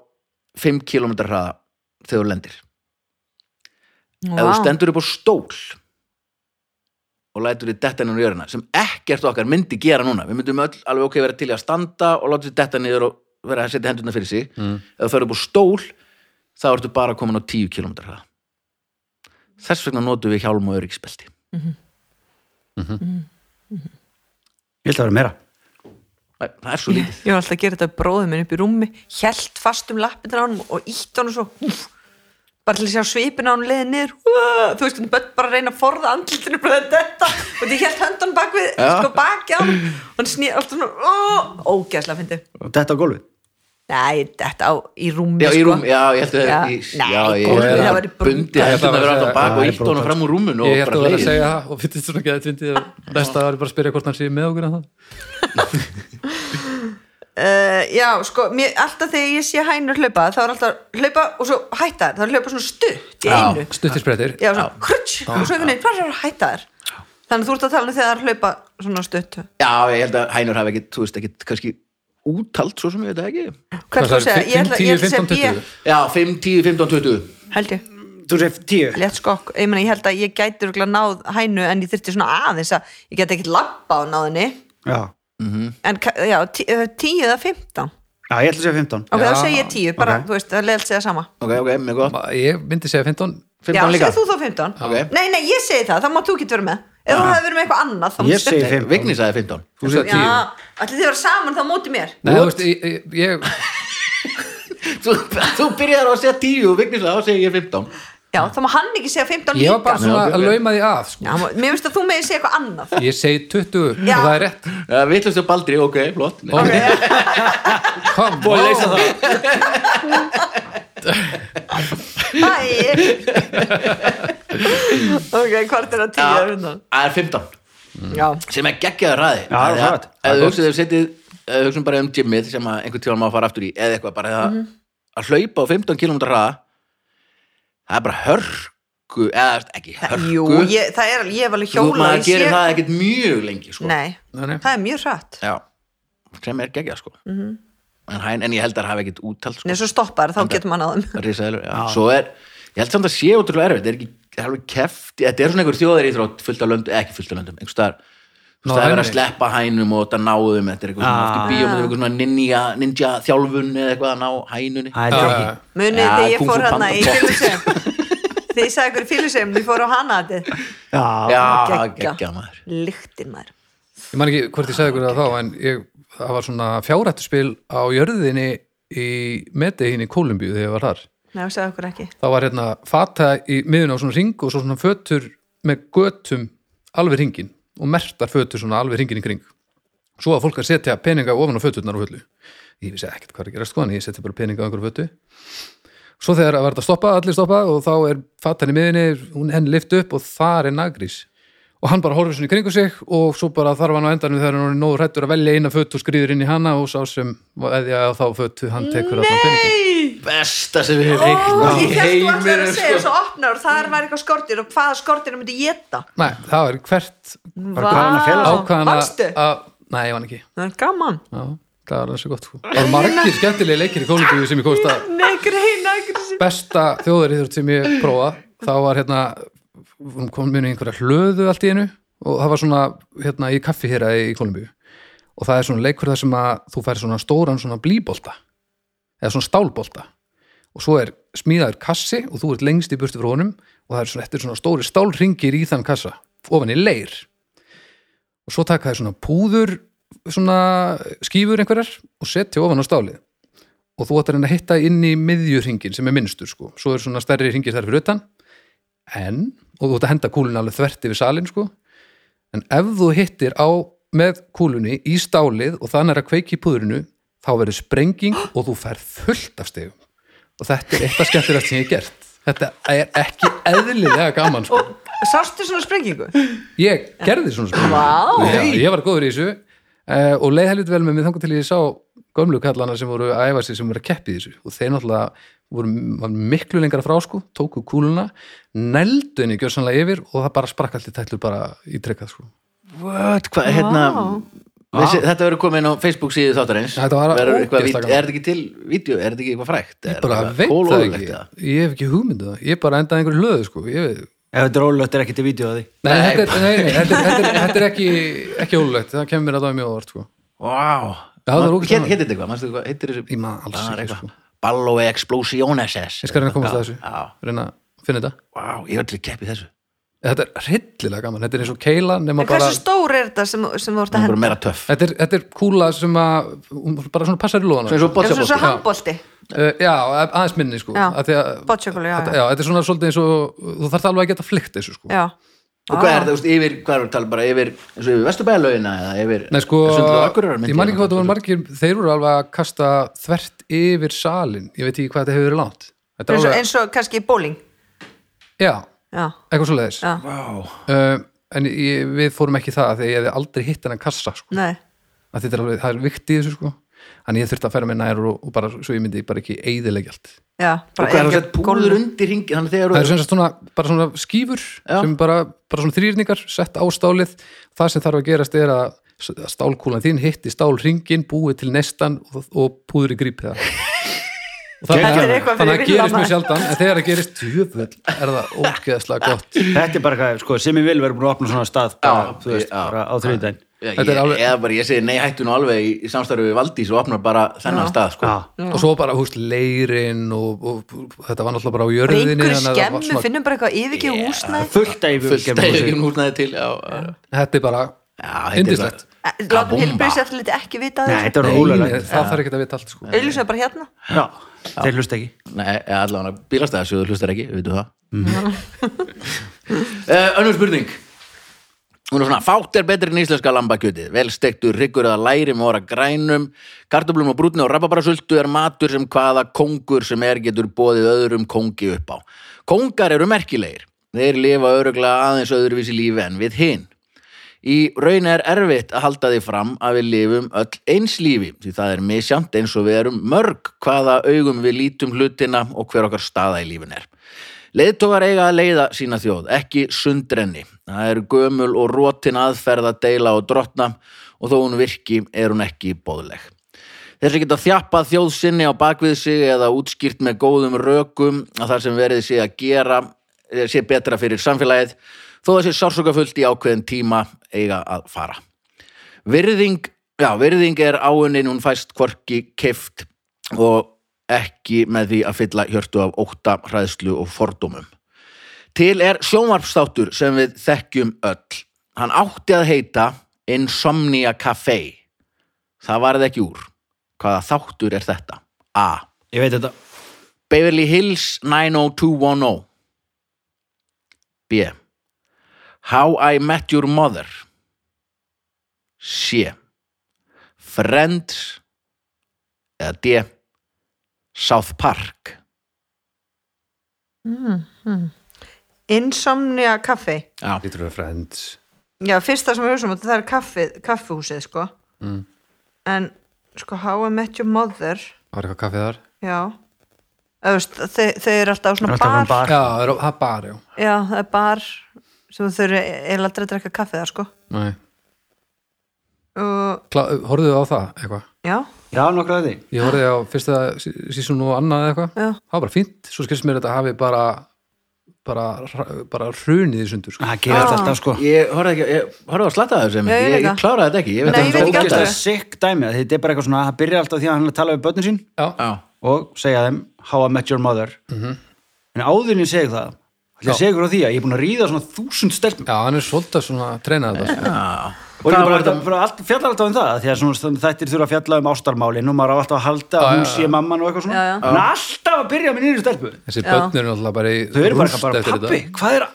Speaker 1: 5 km hraða þegar þú lendir ef þú
Speaker 4: Vá.
Speaker 1: stendur upp á stól og lætur þið detta niður á jörðina sem ekkert okkar myndi gera núna við myndum öll alveg ok vera til í að standa og láta þið detta niður og vera að setja hendurna fyrir sig
Speaker 2: Mm.
Speaker 1: ef þú ferð upp á stól þá ertu bara komin á 10 km hraða þess vegna notum við hjálm og öryggisbelti
Speaker 3: Ég held að vera meira.
Speaker 1: Æ, það er svo lítið
Speaker 4: ég var alltaf að gera þetta bróðum minn upp í rúmi held fast um lappin á hann og ítt hann og svo úf, bara til að sjá svipin á hann leiði niður Úah, þú veist, hann börn bara að reyna að forða andlutinu bara þetta og ég held höndan bak við
Speaker 1: Já.
Speaker 4: sko baki á hann og hann snýr alltaf svona ó, ógæslega fyndi
Speaker 3: Og Þetta á gólfið.
Speaker 4: Nei, þetta á, í rúmi
Speaker 1: já, í
Speaker 4: sko.
Speaker 1: rúm, já, ég held að
Speaker 4: Já,
Speaker 1: í,
Speaker 4: nei,
Speaker 1: já, ég
Speaker 4: gólfið, það
Speaker 1: held
Speaker 4: væri
Speaker 1: að
Speaker 4: brú-
Speaker 1: bundi
Speaker 2: Ég
Speaker 1: að
Speaker 2: held að
Speaker 1: þetta verið
Speaker 2: vera-
Speaker 1: alltaf bak
Speaker 3: það
Speaker 1: og
Speaker 3: er
Speaker 1: ítt honum
Speaker 3: brútal.
Speaker 1: fram úr rúminu
Speaker 2: Ég
Speaker 1: og
Speaker 2: held
Speaker 1: bara
Speaker 2: að vera að
Speaker 1: hlegið.
Speaker 2: segja það og finnst svona ekki að þetta fyndið og næsta var ég bara að spyrja hvort hann sé með okkur en það
Speaker 4: Uh, já, sko, mér, alltaf þegar ég sé hænur hlaupa þá er alltaf hlaupa og svo hætta þær þá er hlaupa svona stutt í
Speaker 1: Já.
Speaker 4: einu
Speaker 2: Stuttisbrettir
Speaker 4: já, svona krutsch og svo einhvern veginn hvað er að hætta þær þannig að þú ert að tala um þegar þær hlaupa svona stutt
Speaker 1: já, ég held að hænur hafi ekki, þú veist ekki kannski úttalt svo sem ég veit það ekki
Speaker 4: hvað er það að segja, ég ætla, ég ætla að segja
Speaker 2: 15, 20
Speaker 4: B,
Speaker 1: já, 5, 10, 15, 20
Speaker 4: held ég,
Speaker 3: Þú séf tíu.
Speaker 4: létt skokk ég, meni, ég held að ég gæti örugglega náð hænu en ég þyrfti svona aðeins að ég gæti ekkert labba á náðinni
Speaker 3: Já.
Speaker 4: en ka- já, tí- eh, 10 eða 15
Speaker 3: Já, ég ætla að segja 15.
Speaker 4: ok,
Speaker 2: Já,
Speaker 4: þá segi ég 10, bara,
Speaker 3: ok.
Speaker 4: þú veist, það leðilt segja sama
Speaker 1: ok, ok, mjög gott
Speaker 2: Ma- Ég myndi segja 15
Speaker 4: já,
Speaker 1: 15 líka
Speaker 4: segð þú þá 15
Speaker 1: Ok.
Speaker 4: nei, nei, ég segi það, þá má þú ekki vera með ef þú hefði verið með eitthvað annað þá-
Speaker 3: Ég segi fimm.
Speaker 1: Vigni sagði 15
Speaker 2: Þú segir
Speaker 4: já,
Speaker 2: 10
Speaker 4: allir þið vera saman þá móti mér
Speaker 2: Nei, þú veist, ég, ég, ég
Speaker 1: Þú, þú byrjar á að segja 10 og Vigni sagði þá segi ég 15
Speaker 4: já, þá má hann ekki segja 15
Speaker 2: Ég
Speaker 4: líka
Speaker 2: var bara svona
Speaker 1: Já, ok,
Speaker 2: að
Speaker 1: ok.
Speaker 2: lauma því að
Speaker 4: já,
Speaker 2: sko.
Speaker 4: má- mér finnst að þú megin segja eitthvað annað
Speaker 2: Ég segi 20
Speaker 4: Já.
Speaker 2: og það er rétt
Speaker 1: uh, Vittlustu Baldri, ok, flott
Speaker 2: Ó, Kom,
Speaker 3: Búið að
Speaker 2: ó.
Speaker 3: leysa það
Speaker 4: Æ. ok, hvort er að tíu
Speaker 1: Já,
Speaker 4: er hérna
Speaker 1: Það er 15
Speaker 4: já,
Speaker 1: sem er geggjaður ræði
Speaker 3: Já, það er hratt.
Speaker 1: ef þú hugsið þau setið ef þú hugsum bara um gymmið sem að einhvern tíma má fara aftur í eða eitthvað bara mm
Speaker 4: Mhm.
Speaker 1: að hlaupa á 15 km hraða það er bara hörku eða þú veist, ekki hörku
Speaker 4: jú, ég, það er alveg ég hef alveg
Speaker 1: þú
Speaker 4: hjóla
Speaker 1: maður gerir það ekkert mjög lengi sko.
Speaker 4: nei,
Speaker 2: Nei, nei.
Speaker 4: það er mjög hratt
Speaker 1: Já, sem er geggjað sko. en, hæn, en ég held að það hafa ekkert úttalt sko.
Speaker 4: en Mhm. svo stoppar þá getur maður að það
Speaker 1: risaðilur, já. svo er ég held samt að sé ótrúlega erfitt, það er ekki það er alveg keft, þetta er svona einhver þjóðar íþrótt fullt af löndum, ekki fullt af löndum, einhver staðar
Speaker 2: Ná,
Speaker 1: það er verið að
Speaker 2: henni.
Speaker 1: sleppa hænum og þetta náðum þetta er eitthvað svona
Speaker 3: Ah.
Speaker 1: oft í bíómyndum, eitthvað svona ninja, ninja þjálfun eða eitthvað að ná hænunni
Speaker 3: Það er
Speaker 2: Já,
Speaker 3: ekki
Speaker 2: já, já.
Speaker 4: munið
Speaker 1: Já,
Speaker 4: þegar ég
Speaker 1: Kung Fu
Speaker 4: fór hann
Speaker 1: Panda
Speaker 4: í
Speaker 1: Pop.
Speaker 4: fylgusem þegar ég sagði ykkur fylgusem ég fór á hana þetta
Speaker 3: Já,
Speaker 1: já,
Speaker 4: geggja.
Speaker 1: geggja maður
Speaker 4: lyktin maður
Speaker 2: Ég man ekki hvort ég sagði ykkur það þá en ég, það var svona fjárættuspil á jörðinni í Medein í Kolumbíu þegar ég var þar
Speaker 4: Nei, þú sagði okkur ekki
Speaker 2: þá var hérna fata í miðun á svona ring og svo svona fötur með götum alveg ringin og mertar fötur svona alveg ringin í kring svo að fólk að setja peninga ofan á föturnar á fullu ég vissi ekkert hvað er að gera sko en ég setja bara peninga á einhverju fötu svo þegar að verða að stoppa, allir stoppa og þá er fatan í miðunni, hún henni lift upp og þar er nagrís og hann bara horfir svona í kringu sig og svo bara þarf hann á endanum þegar hann er nógu hrættur að velja eina fötu og skrýður inn í hana og sá sem veðja á þá fötu hann tekur allan peningin
Speaker 4: Nei,
Speaker 1: besta sem við hefum
Speaker 4: ó,
Speaker 1: eignast í
Speaker 4: ég held þú allir að
Speaker 1: heiminum
Speaker 4: segja
Speaker 1: sko.
Speaker 4: svo opnar og þar var eitthvað skortir og hvaða skortir myndi geta
Speaker 2: Nei, það var hvert
Speaker 4: Vá.
Speaker 3: hvaðan að fela sig.
Speaker 2: ákvaðan
Speaker 4: Vannstu?
Speaker 2: að Nei, ég vann ekki
Speaker 4: Það er gaman
Speaker 2: Já, Það var alveg svo gott sko Það var margir skemmtilegi leikir í Kólumbíu sem ég komst að
Speaker 4: Nei, greina, greina
Speaker 2: besta þjóðaríþjóð sem ég prófa þá var hérna hún kom minni einhverja hlöðu allt í einu og það var svona hérna í kaffi hér í Kólumbíu og það er svona leikur þar sem að þú færi svona stóran svona blíbolta eða svona stálbolta og svo er smíðaður kassi og þú ert lengst í burtu frá honum og það er svona, þetta er svona stóri stálringir í þann kassa ofan í leir og svo taka þér svona púður svona skífur einhverjar og setja ofan á stálið og þú ættir henni að hitta inn í miðjuringin sem er minnstur sko, svo eru svona stærri ringir þar fyrir utan en, og þú ætti að henda kúlun alveg þvert yfir salin sko en ef þú hittir á með kúlunni í stálið og þannig er að kveiki í púðrinu þá verður sprenging og þú fær fullt af stegum og þetta er eitt af skemmtilegt sem ég hef gert þetta er ekki eðlilega gaman sko.
Speaker 4: Sástu svona sprengingu?
Speaker 2: ég gerði svona sprenging
Speaker 4: Vá.
Speaker 2: Já, ég var góður í þessu uh, og leið helviti vel með mig þangar til ég sá gömlu kallana sem voru að æfa sig sem voru að keppi í þessu og þeir náttúrulega voru var miklu lengra frá sko, tóku kúluna nældu henni gjörsanlega yfir og það bara sprakk allt í tætlur bara í trekkað sko.
Speaker 1: What, hvað, hérna
Speaker 4: Vá.
Speaker 1: Þessi, þetta verður komið inn á Facebook síðu þáttarins
Speaker 2: Þetta var
Speaker 1: Verður eitthvað
Speaker 2: ógeðslega
Speaker 1: vít-
Speaker 2: gaman.
Speaker 1: Er þetta ekki til vídeo, er þetta ekki eitthvað frægt
Speaker 2: ég bara veit það ekki, ég hef ekki hugmyndu það ég bara endaði einhverju hlöðu sko. ég...
Speaker 3: Ef þetta er ólögt er ekki til vídeo að því
Speaker 2: nei, þetta, er, nei, nei, þetta, er, þetta, er, þetta er ekki ekki ólulegt, það kemur mér að það mjög óvart sko.
Speaker 1: Vá
Speaker 2: Já, það er ógeðslega
Speaker 1: Hét-
Speaker 2: gaman.
Speaker 1: Heitir þetta eitthvað, manstu hvað heitir þessu
Speaker 2: Ég man alls
Speaker 1: Það er
Speaker 2: ekki,
Speaker 1: eitthvað.
Speaker 2: sko.
Speaker 1: Ballo Explosiones Ég
Speaker 2: ég skal reyna að komast að þessu
Speaker 1: Já,
Speaker 2: reyna að finna þetta
Speaker 1: vá, ég er allir keppið þessu
Speaker 2: þetta er hryllilega gaman, þetta er eins og keila nema
Speaker 4: En
Speaker 2: bara,
Speaker 4: hversu stór er þetta sem, sem þú ert
Speaker 1: Það
Speaker 4: að
Speaker 1: er bara
Speaker 4: henda?
Speaker 1: meira töff
Speaker 2: þetta er, þetta er kúla sem að, hún bara svona passar í lóðana
Speaker 1: Svo eins og
Speaker 4: Er þetta
Speaker 1: boccia
Speaker 4: svo
Speaker 1: boccia
Speaker 4: handbólti?
Speaker 2: uh, já, aðeins minni sko
Speaker 4: Já,
Speaker 2: Af því að-
Speaker 4: bocciakúlu, já,
Speaker 2: þetta,
Speaker 4: já.
Speaker 2: já, þetta er svona svolítið eins og þú þarft alveg að geta flykt þessu sko
Speaker 4: Já
Speaker 1: Og hvað
Speaker 4: Ah.
Speaker 1: er það, þú veist, yfir, hvað er það tala bara yfir eins og yfir Vesturbæðalögina eða yfir
Speaker 2: Nei sko,
Speaker 1: Sundlaug og Akureyrar, myndi
Speaker 2: ég man ekki hvað það
Speaker 1: halda.
Speaker 2: var margir þeir voru alveg að kasta þvert yfir salin, ég veit ekki hvað þetta hefur verið langt Þetta er
Speaker 4: Eins og,
Speaker 2: alveg,
Speaker 4: eins og kannski í bóling
Speaker 2: já,
Speaker 4: Já,
Speaker 2: eitthvað svo leiðis
Speaker 4: já,
Speaker 1: Vá,
Speaker 2: En ég, við fórum ekki það þegar ég hefði aldrei hitt hennan kassa sko.
Speaker 4: nei
Speaker 2: að þetta er alveg, það er vikt í þessu sko Þannig ég þurfti að færa mér nær og, og bara svo ég myndi bara ekki eyðilegja allt
Speaker 4: Já,
Speaker 1: og hvað er það
Speaker 4: ekki-
Speaker 1: sett púður undir hringi þannig þegar
Speaker 2: Það
Speaker 1: þú
Speaker 2: er sem sagt svona, bara svona skífur
Speaker 1: Já.
Speaker 2: sem bara, bara svona þrýrningar sett á stálið það sem þarf að gerast er að s- að stálkúlan þín hitti stálringin búið til nestan og, og púður í grípið það Og það-
Speaker 4: Þetta er eitthvað fyrir
Speaker 2: þannig að
Speaker 4: villan
Speaker 2: gerist mjög
Speaker 4: mann.
Speaker 2: sjaldan en þegar það gerist tjöfull er það ógeðslega gott
Speaker 3: Þetta er bara hvað, sko, sem ég vil verður búin að opna svona stað bara,
Speaker 1: Já,
Speaker 3: þú veist,
Speaker 1: já,
Speaker 3: bara á þriðdæn
Speaker 1: Ég,
Speaker 2: Þetta er alveg-
Speaker 1: eða bara ég segi nei hættu nú alveg í, í samstarfi við Valdís og opnar bara þennan
Speaker 4: Já.
Speaker 1: stað sko.
Speaker 3: Já.
Speaker 2: og svo bara húst leirinn og, og, og þetta var náttúrulega bara á
Speaker 4: bara
Speaker 2: jörðinni
Speaker 4: einhverju
Speaker 2: þannig að það var
Speaker 4: skemmu,
Speaker 2: svona-
Speaker 4: finnum bara eitthvað yfirgið yeah. húsnæð
Speaker 3: fullt af
Speaker 1: fullt
Speaker 3: yfirgefnum
Speaker 1: stæði
Speaker 3: húsi.
Speaker 1: ekki húsnaði til já, já.
Speaker 2: þetta er bara
Speaker 1: þetta er
Speaker 2: indislegt
Speaker 4: Eh, látum
Speaker 1: Kabúmba.
Speaker 4: heilbriðseftiliti ekki vita
Speaker 3: Nei,
Speaker 4: það
Speaker 3: þetta var
Speaker 2: það
Speaker 3: ólöglegt
Speaker 2: þarf ekki að vita allt sko.
Speaker 4: auðvitað bara hérna
Speaker 3: Já, þeir hlusta ekki
Speaker 1: Nei, eða allavega bílastæðasjóður hlustar ekki, við veitum það uh, Önnur spurning Hún er svona, fátt er betri en íslenska lambakjötið, velstektur, hryggur eða læri með óra grænum, kartöflum og brúnni og rababarasöldu er matur sem hvaða kongur sem er getur bóðið öðrum kongi upp á. Kongar eru merkilegir, þeir lifa öruglega aðeins öðruvísi lífi en við hinn. Í raun er erfitt að halda því fram að við lifum öll eins lífi því það er misjant eins og við erum mörg hvaða augum við lítum hlutina og hver okkar staða í lífin er. Leiðtogar eiga að leiða sína þjóð, ekki sundrenni. Það er gömul og rótin aðferð að deila og drottna og þó hún virki er hún ekki bóðleg. Þeir sem geta þjappað þjóð sinni á bakvið sig eða útskýrt með góðum rökum að það sem verið sé að gera eh, sé betra fyrir samfélagið þó þessi sársokafullt í ákveðin tíma eiga að fara. Virðing, já, virðing er áunin hún fæst hvorki keift og ekki með því að fylla hjörtu af ótta, hræðslu og fordómum. Til er sjónvarpstáttur sem við þekkjum öll. Hann átti að heita Insomnia Café. Það varð ekki úr. Hvaða þáttur er þetta? A.
Speaker 3: Ég veit þetta
Speaker 1: Beverly Hills 90210 B. How I Met Your Mother C. Friends eða D. South Park
Speaker 4: insomnia kaffi
Speaker 1: Já, Sko.
Speaker 2: Lítur við friends
Speaker 4: já, fyrsta sem við hugsaum það er kaffi, kaffihúsið sko en sko How I Met Your Mother
Speaker 2: var eitthvað kaffið þar
Speaker 4: já Eða, veist, þau, þau eru alltaf á svona
Speaker 3: Alltaf
Speaker 4: bar,
Speaker 3: hann bar
Speaker 2: já, það er- það er bara, já
Speaker 4: já, það er bar sem þau eru eiginlega aldrei að drekka kaffi þar sko
Speaker 2: Nei.
Speaker 4: og
Speaker 2: Kla- horfðu á það eitthvað
Speaker 4: já,
Speaker 3: Já, nokkra af því
Speaker 2: ég horfði á fyrsta sísun og annað eða eitthvað
Speaker 4: Já.
Speaker 2: það var bara fínt, svo skilst mér að þetta hafi bara bara, bara hrunið í sundur sko.
Speaker 3: Það gerast alltaf sko
Speaker 1: ég horfði ekki ég horfði að slatta þessu
Speaker 4: Já,
Speaker 1: ég,
Speaker 4: ég
Speaker 1: ég,
Speaker 4: líka.
Speaker 1: ég kláraði þetta ekki ég
Speaker 4: Nei, ég
Speaker 1: ekki hvað
Speaker 4: veit
Speaker 1: þetta
Speaker 4: ekki
Speaker 3: Ógeðslega
Speaker 1: er.
Speaker 4: af
Speaker 3: sick dæmi að Þetta er bara eitthvað svona, það byrjar alltaf því að hann er að tala við börnin sín
Speaker 2: já,
Speaker 1: Já,
Speaker 3: og segja þeim How I Met Your Mother En áðurinn ég segi það Það
Speaker 2: Já.
Speaker 3: ég segi frá því að ég er búin að ríða svona þúsund stelpum
Speaker 2: já, hann er svolítið svona treinað þetta
Speaker 3: og
Speaker 2: sko.
Speaker 3: ég
Speaker 1: Hvað
Speaker 3: er bara
Speaker 1: var þetta?
Speaker 3: alltaf, bara allt, fjallar alltaf um það því að svona stöðum þættir þurfa að fjalla um ástarmálin og maður á alltaf að halda að hún sé mamman og eitthvað svona
Speaker 4: Já, já.
Speaker 3: en alltaf að byrja með nýri stelpu
Speaker 2: þessi börn eru náttúrulega bara í
Speaker 3: þau eru bara,
Speaker 2: rúst
Speaker 3: bara
Speaker 2: eftir
Speaker 3: pappi,
Speaker 2: þetta.
Speaker 3: hvað er,